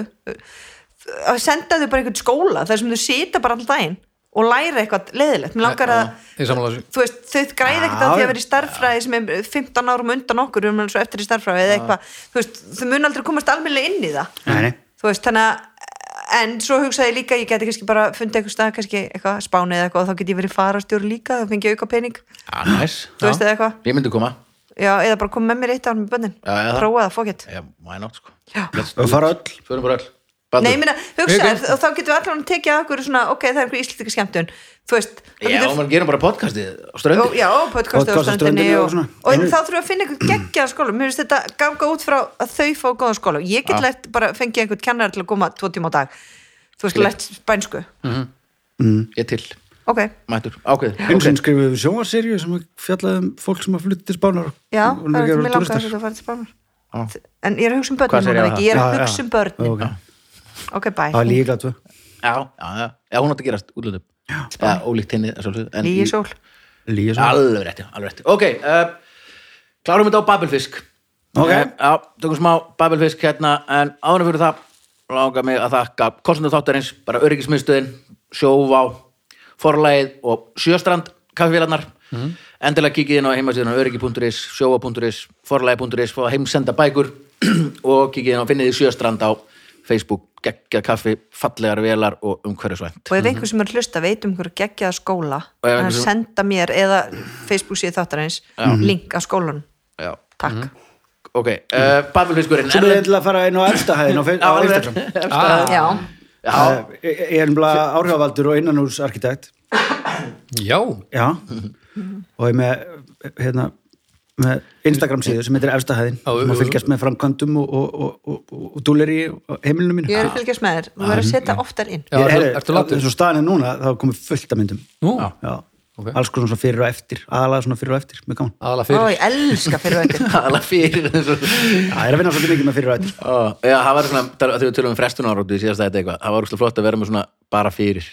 Speaker 4: að senda þau bara einhvern skóla þar sem þau sita bara alltaf daginn og læra eitthvað leiðilegt, mér langar að
Speaker 2: Ég sammála þessu
Speaker 4: þú veist, þau græði ekkert á
Speaker 3: Já,
Speaker 4: því
Speaker 3: já.
Speaker 4: að vera í starffræði sem er 15 árum undan okkur um svo eftir í starffræði eða eitthvað þú veist, þau mun aldrei komast almennilega inn í það
Speaker 3: Nei, nei.
Speaker 4: þú veist, þannig að en svo hugsaði ég líka, ég geti kannski bara fundið eitthvað stað, kannski eitthvað spáni eða eitthvað og þá geti ég verið farastjóri líka, þá fengi ég auka pening
Speaker 1: Já, næs
Speaker 4: þú veist eða eitthvað,
Speaker 1: Ég myndi koma
Speaker 4: já, eða bara koma með mér eitt ár með bönnin,
Speaker 1: Já, já, það.
Speaker 4: prófa það, fókett
Speaker 1: Já, why not, sko
Speaker 4: Já.
Speaker 1: Let's do
Speaker 3: Og
Speaker 1: it.
Speaker 3: fara öll
Speaker 1: Förum bara öll Baldur.
Speaker 4: Nei, ég meina, hugsaði,
Speaker 2: Ok, ok.
Speaker 4: og þá getum við allan að tekja okkur svona, ok, það er einhver íslítika skemmtun þú veist, þá
Speaker 1: Já,
Speaker 4: getum
Speaker 1: maður gerum bara podcastið á ströndin
Speaker 4: og, já, podcastu á
Speaker 3: Podcast á
Speaker 4: strandinni
Speaker 3: ströndinni og
Speaker 4: og,
Speaker 3: svona.
Speaker 4: og, og þá þurfum við að finna einhvern geggjaða skóla mér finnst þetta ganga út frá að þau fá góðan skóla ég get lært bara að fengja einhvern kennar til að koma tvo tíma á dag þú veist, lært spænsku
Speaker 1: Ég til,
Speaker 4: ok,
Speaker 1: mættur, ákveðið
Speaker 3: Einu sinni skrifuðu sjónvarserju sem fjallaði um fólk sem að flytta til spánar og-
Speaker 4: já,
Speaker 3: og
Speaker 4: það er
Speaker 3: leikir
Speaker 4: mér
Speaker 3: og
Speaker 4: langar
Speaker 3: túristar.
Speaker 4: að fara til
Speaker 1: Já.
Speaker 4: spánar en ég er að hugsa um börnin
Speaker 1: Hvað segir ég
Speaker 4: núna,
Speaker 1: á
Speaker 4: Viki, ég er
Speaker 3: Já,
Speaker 4: að
Speaker 3: já.
Speaker 4: hugsa um börnin
Speaker 3: Ok.
Speaker 4: ok,
Speaker 3: Það
Speaker 4: bæ,
Speaker 3: var líka glætt,
Speaker 1: Já, já, já, já, hún átti að gerast útlöndum Já, ólíkt henni að sjálfsögðu, en
Speaker 4: lígi
Speaker 1: í-
Speaker 4: sól
Speaker 3: Líka svo
Speaker 1: Alveg rétt, já, alveg rétt Ok, uh, klárum þetta á Babelfisk
Speaker 3: Ok.
Speaker 1: Eh, Já, tökum smá Babelfisk hérna En ánum fyrir það langar mig að þakka Kostnum þáttarins, bara öryggismiðstöðin Sjóvá, forlægið og Sjöstrand kaffifélarnar
Speaker 3: Mhm.
Speaker 1: Endilega kikið inn á heimasíðan öryggi.is, sjóvá.is, forlægi.is Fá heimsenda bækur og kikið inn á finniði Sjöstrand á Facebook, geggja kaffi, fallegar velar og umhverfisvænt
Speaker 4: og ef einhver sem er að hlusta veit um hverju geggjaða skóla
Speaker 1: Mhm. Og ef
Speaker 4: en
Speaker 1: einhver sem- Mhm.
Speaker 4: senda mér eða Facebook síðu þáttarins link að skólanum,
Speaker 1: Já,
Speaker 4: takk
Speaker 1: Mhm. ok, uh, Babelfiskurinn
Speaker 3: Svo er ég til að fara inn á efstahæðin á, fe- á Instagram
Speaker 2: Ah,
Speaker 4: já,
Speaker 1: Já,
Speaker 3: Eh, Ég ég er nefnilega áhrifavaldur og innanúsarkitekt
Speaker 2: já,
Speaker 3: Já
Speaker 4: Mhm.
Speaker 3: Og ég með hérna með Instagram síðu sem heitir efstahæðin
Speaker 2: Já,
Speaker 3: og
Speaker 2: jú, jú.
Speaker 3: fylgjast með framkvæmdum og, og, og, og, og, og dúleri á heimilinu mínu
Speaker 4: ég er að fylgjast með þér þú
Speaker 1: Mhm.
Speaker 4: verður að setja oftar inn
Speaker 2: já
Speaker 3: Ég-
Speaker 2: er,
Speaker 3: heyrðu,
Speaker 2: ertu látið?
Speaker 3: eins og staðan er núna, þá er komið fullt af myndum
Speaker 2: Nú,
Speaker 3: já,
Speaker 2: Ok.
Speaker 3: alls konar svona fyrir og eftir aðalega svona fyrir og eftir, mjög gaman
Speaker 2: aðalega
Speaker 4: ó,
Speaker 2: fyrir
Speaker 4: ég elska fyrir veitir
Speaker 1: tala fyrir þessu
Speaker 3: það er að vinna svolítið mikið með fyrir og eftir
Speaker 1: Ó, Já, það var svona, þegar við tölum um frestun árótu í síðasta þetta eitthvað, það var úrslega flott að vera með svona bara fyrir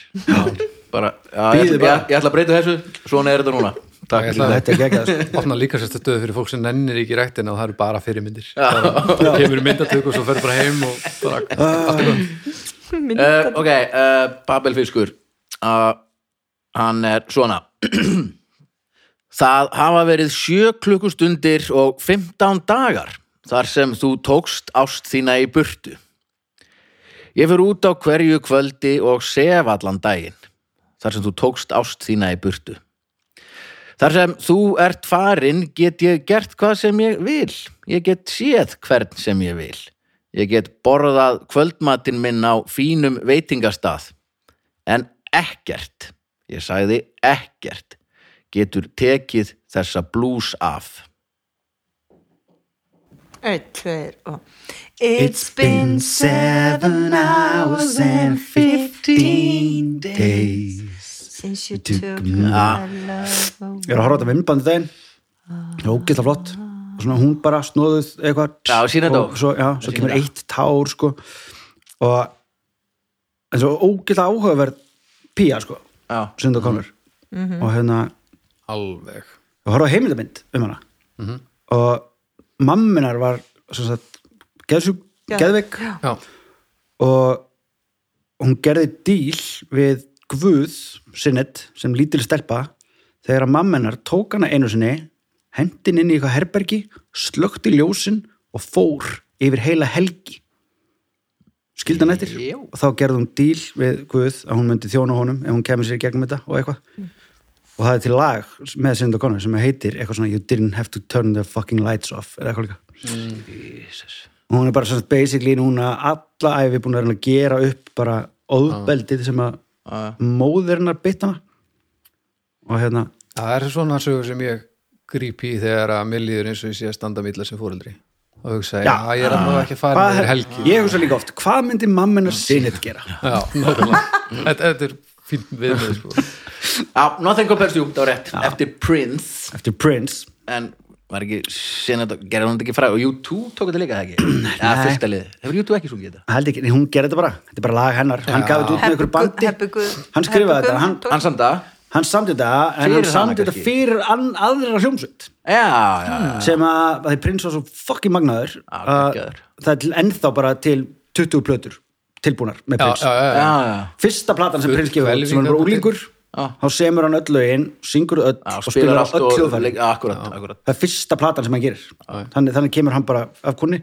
Speaker 1: bara, já, ég,
Speaker 3: Bíðu
Speaker 1: ætla,
Speaker 3: bara.
Speaker 1: ég, ég ætla að breyta þessu, svona er þetta núna Takk
Speaker 2: ætla-
Speaker 3: þetta er ekki ekki
Speaker 2: opna líka sér stöðu fyrir fólk sem nennir ekki í rektina og það eru bara fyrirmyndir bara, kemur í myndatök og svo fer bara heim og bara, allt er gott
Speaker 1: uh, Ok, uh, Babelfiskur uh, Hann er svona Það hafa verið sjö klukkustundir og 15 dagar þar sem þú tókst ást þína í burtu Ég fyrir út á hverju kvöldi og sef allan daginn þar sem þú tókst ást þína í burtu Þar sem þú ert farin get ég gert hvað sem ég vil. Ég get séð hvern sem ég vil. Ég get borðað kvöldmatinn minn á fínum veitingastað. En ekkert, ég sagði ekkert, getur tekið þessa blús af.
Speaker 4: Eitt, tveir og It's been seven hours and fifteen days Since you took my
Speaker 1: ah.
Speaker 4: love away.
Speaker 3: ég er að horfa á þetta vinnbandi daginn
Speaker 4: Ah.
Speaker 3: það er ógeðslega flott og svona hún bara snóðuð eitthvað
Speaker 1: Já, sýna þetta
Speaker 3: og
Speaker 1: á.
Speaker 3: svo, já, svo kemur eitt tár sko og en svo ógeðslega áhugaverð pía sko,
Speaker 1: Já.
Speaker 3: sem það komur
Speaker 4: Mhm.
Speaker 3: og hérna,
Speaker 2: alveg
Speaker 3: ég horfa á heimildamind um hana og mamminar var sem sagt, geðsug,
Speaker 4: Já.
Speaker 3: geðveik
Speaker 2: já,
Speaker 3: og hún gerði díl við Guð sinnet sem lítil stelpa þegar að mamma hennar tók hana einu sinni hendin inn í eitthvað herbergi slökkti ljósin og fór yfir heila helgi skildi hann eftir
Speaker 1: Jú.
Speaker 3: og þá gerði hún díl við Guð að hún myndi þjóna honum ef hún kemur sér í gegnum þetta og eitthvað
Speaker 2: Mm.
Speaker 3: og það er til lag með Sinda Connor sem heitir eitthvað svona You didn't have to turn the fucking lights off eða eitthvað líka og hún er bara svona basically núna alla æfi búin að reyna að gera upp bara ofbeldið sem að
Speaker 2: Ah.
Speaker 3: móðir hennar bytt hana og hérna
Speaker 2: það er svona sögur sem ég gríp í þegar að mér líður eins og ég sé að standa milla sem fóreldri og hugsa, já,
Speaker 3: Já.
Speaker 2: ég er alveg ekki að fara
Speaker 3: hvað,
Speaker 2: með helgi Ah.
Speaker 3: ég hugsa líka oft, hvað myndi mamminar sinnið gera?
Speaker 2: já, nákvæmlega þetta, þetta er fínt viðmið sko.
Speaker 1: Já, nothing compares to you, það var rétt. Eftir Prince,
Speaker 3: Eftir Prince
Speaker 1: en var ekki, sinna, gerði hann þetta ekki fræ og U2 tók þetta líka það ekki? Já, fyrsta lið. Hefur U2 ekki sungið þetta?
Speaker 3: held ekki, nei, hún gerði þetta bara, þetta er bara lag hennar hann gaf þetta út með ykkur
Speaker 4: Guð-
Speaker 3: bandi
Speaker 4: Happy Guð-
Speaker 3: hann skrifaði
Speaker 4: Happy
Speaker 3: þetta,
Speaker 4: Guð-
Speaker 3: hann,
Speaker 4: tók-
Speaker 1: Hann samt að?
Speaker 3: hann samdi þetta en hann
Speaker 1: Fyrir hana
Speaker 3: samdi þetta
Speaker 1: kannski.
Speaker 3: fyrir an, aðra hljómsveit
Speaker 1: Já, já, já.
Speaker 3: sem að, að því prins var svo fucking magnaður
Speaker 1: Já,
Speaker 3: að
Speaker 1: geggjaður.
Speaker 3: það er til, ennþá bara til 20 plötur tilbúnar með
Speaker 2: já,
Speaker 3: prins
Speaker 2: já, já,
Speaker 1: já,
Speaker 2: já.
Speaker 1: já.
Speaker 3: fyrsta platan sem
Speaker 2: Full
Speaker 3: prins gefur út, sem hann var
Speaker 2: hvelfingar-
Speaker 3: úlingur
Speaker 1: Já.
Speaker 3: þá semur hann öll lögin, syngur öll
Speaker 1: Já,
Speaker 3: og spilar á öll hljóðfæri
Speaker 1: leik- Akkurat, akkurat.
Speaker 3: það er fyrsta platan sem hann gerir þannig, þannig kemur hann bara af kunni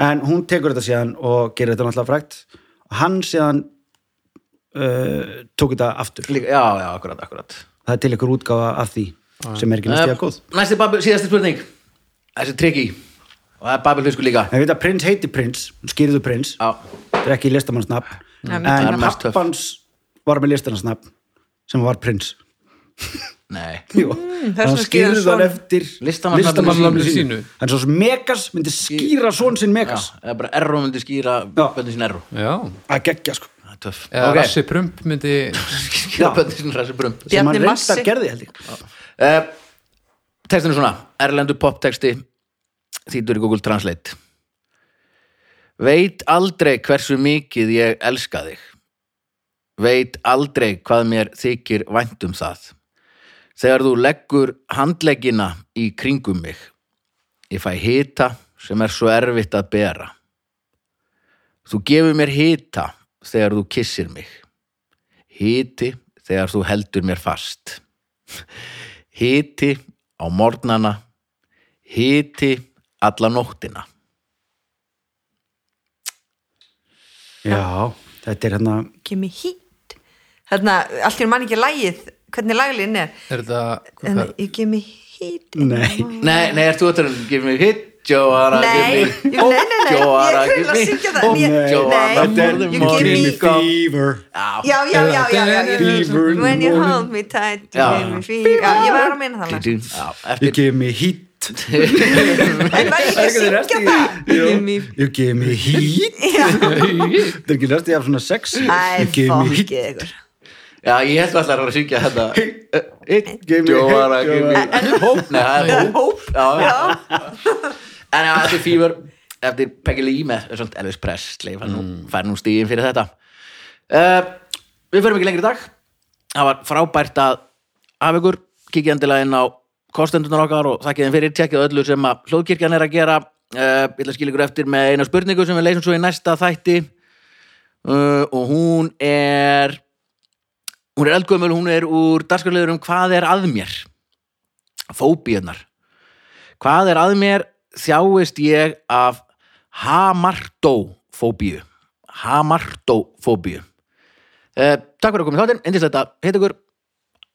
Speaker 3: en hún tekur þetta síðan og gerir þetta náttúrulega frægt hann síðan uh, tók þetta aftur
Speaker 1: Líka, já, já, akkurat, akkurat.
Speaker 3: það er til ykkur útgáfa af því sem er ekki næstíða góð
Speaker 1: Næsti babel, síðasti spurning Þessi tryggi Og það er babelfiskur líka
Speaker 3: en við veit að prins heiti prins, hún skýrðu prins
Speaker 1: Já,
Speaker 3: þetta er ekki listamannsnafn
Speaker 4: Mm.
Speaker 3: en
Speaker 1: mest töff.
Speaker 3: pappans var með listamannsnafn sem var prins
Speaker 1: nei
Speaker 4: Mm,
Speaker 3: Jú, hann
Speaker 4: vegna skýrði
Speaker 3: skýrði það
Speaker 4: hann son.
Speaker 3: eftir
Speaker 1: Listamannsnafninu
Speaker 2: sínu.
Speaker 3: en svo sem Megas myndi skýra svon sinn
Speaker 1: Já,
Speaker 3: Megas
Speaker 1: það er bara erro myndi skýra
Speaker 3: Já.
Speaker 1: Böndin sín erro
Speaker 2: já.
Speaker 3: að geggja sko
Speaker 1: Það er töff
Speaker 2: eða
Speaker 1: Ok,
Speaker 2: rassi prump myndi
Speaker 1: Skýra
Speaker 3: Já.
Speaker 1: böndin sín rassi brum
Speaker 3: sem
Speaker 4: Bjarni
Speaker 3: hann reynda
Speaker 4: Massi.
Speaker 3: gerði held ég
Speaker 1: uh, Textin er svona Erlendu poptexti Þýtur í Google Translate Veit aldrei hversu mikið ég elska þig Veit aldrei hvað mér þykir vænt um það Þegar þú leggur handleggina í kringum mig Ég fæ hita sem er svo erfitt að bera Þú gefur mér hita þegar þú kissir mig Hiti þegar þú heldur mér fast Hiti á morgnana Hiti alla nóttina
Speaker 3: Já, þetta er hérna
Speaker 4: kemur hít hérna, allt í mann ekki lægið hvernig laglinn er
Speaker 2: Er þetta
Speaker 4: hérna, ég kemur hít
Speaker 3: Nei,
Speaker 1: Nei, nei, ert þú að tala um Give me hit, Joanna
Speaker 4: Mm. Nei,
Speaker 1: give
Speaker 4: jú,
Speaker 1: me,
Speaker 4: nei, nei, nei,
Speaker 1: Joanna,
Speaker 4: ég
Speaker 1: give
Speaker 4: kunni
Speaker 1: me
Speaker 4: að syngja það
Speaker 1: hope,
Speaker 4: en ég-
Speaker 3: Nei,
Speaker 1: Joanna,
Speaker 4: Nei,
Speaker 1: for the
Speaker 4: you
Speaker 1: morning
Speaker 4: give me
Speaker 3: fever
Speaker 4: Já, já, já, já, já, já,
Speaker 3: Fever in the
Speaker 4: When you
Speaker 3: morning.
Speaker 4: hold me tight you
Speaker 1: Já.
Speaker 4: give me fever. Já, ég var að meina það lag.
Speaker 1: Já,
Speaker 3: You
Speaker 1: eftir
Speaker 3: give me heat
Speaker 4: En var ég ekki að syngja það?
Speaker 3: Jú.
Speaker 4: Give me
Speaker 3: You give me heat Þetta er ekki restið af svona sexy
Speaker 4: Æ,
Speaker 3: You give me heat
Speaker 4: fokkið ykkur
Speaker 1: Já, ég held alltaf að vera að syngja þetta
Speaker 3: Hit, give Uh, me
Speaker 1: Joanna,
Speaker 3: hit,
Speaker 1: give
Speaker 3: Joanna.
Speaker 1: me hope Nei, það er hope Já, já En já, eftir Fever, eftir Peggy Lee með svona Elvis Presley fær nú, fær nú stíðin fyrir þetta uh, Við förum ekki lengri í dag Það var frábært að af ykkur kikið endilega inn á kostendunar okkar og þakkið þeim fyrir tjekkið á öllu sem að hlóðkirkjan er að gera uh, Ég ætla að skilja ykkur eftir með eina spurningu sem við leysum svo í næsta þætti uh, og hún er hún er eldgömmul, hún er úr dagskarlegur um hvað er að mér fóbíunar Hvað er að mér þjáist ég af hamartófóbíu hamartófóbíu eh, Takk fyrir að koma í þáttinn, endislegt að heita ykkur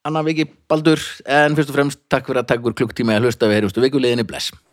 Speaker 1: Anna Viki Baldur en fyrst og fremst takk fyrir að takk ykkur klukktíma að hlusta við heyrjumstu vikuleginni bless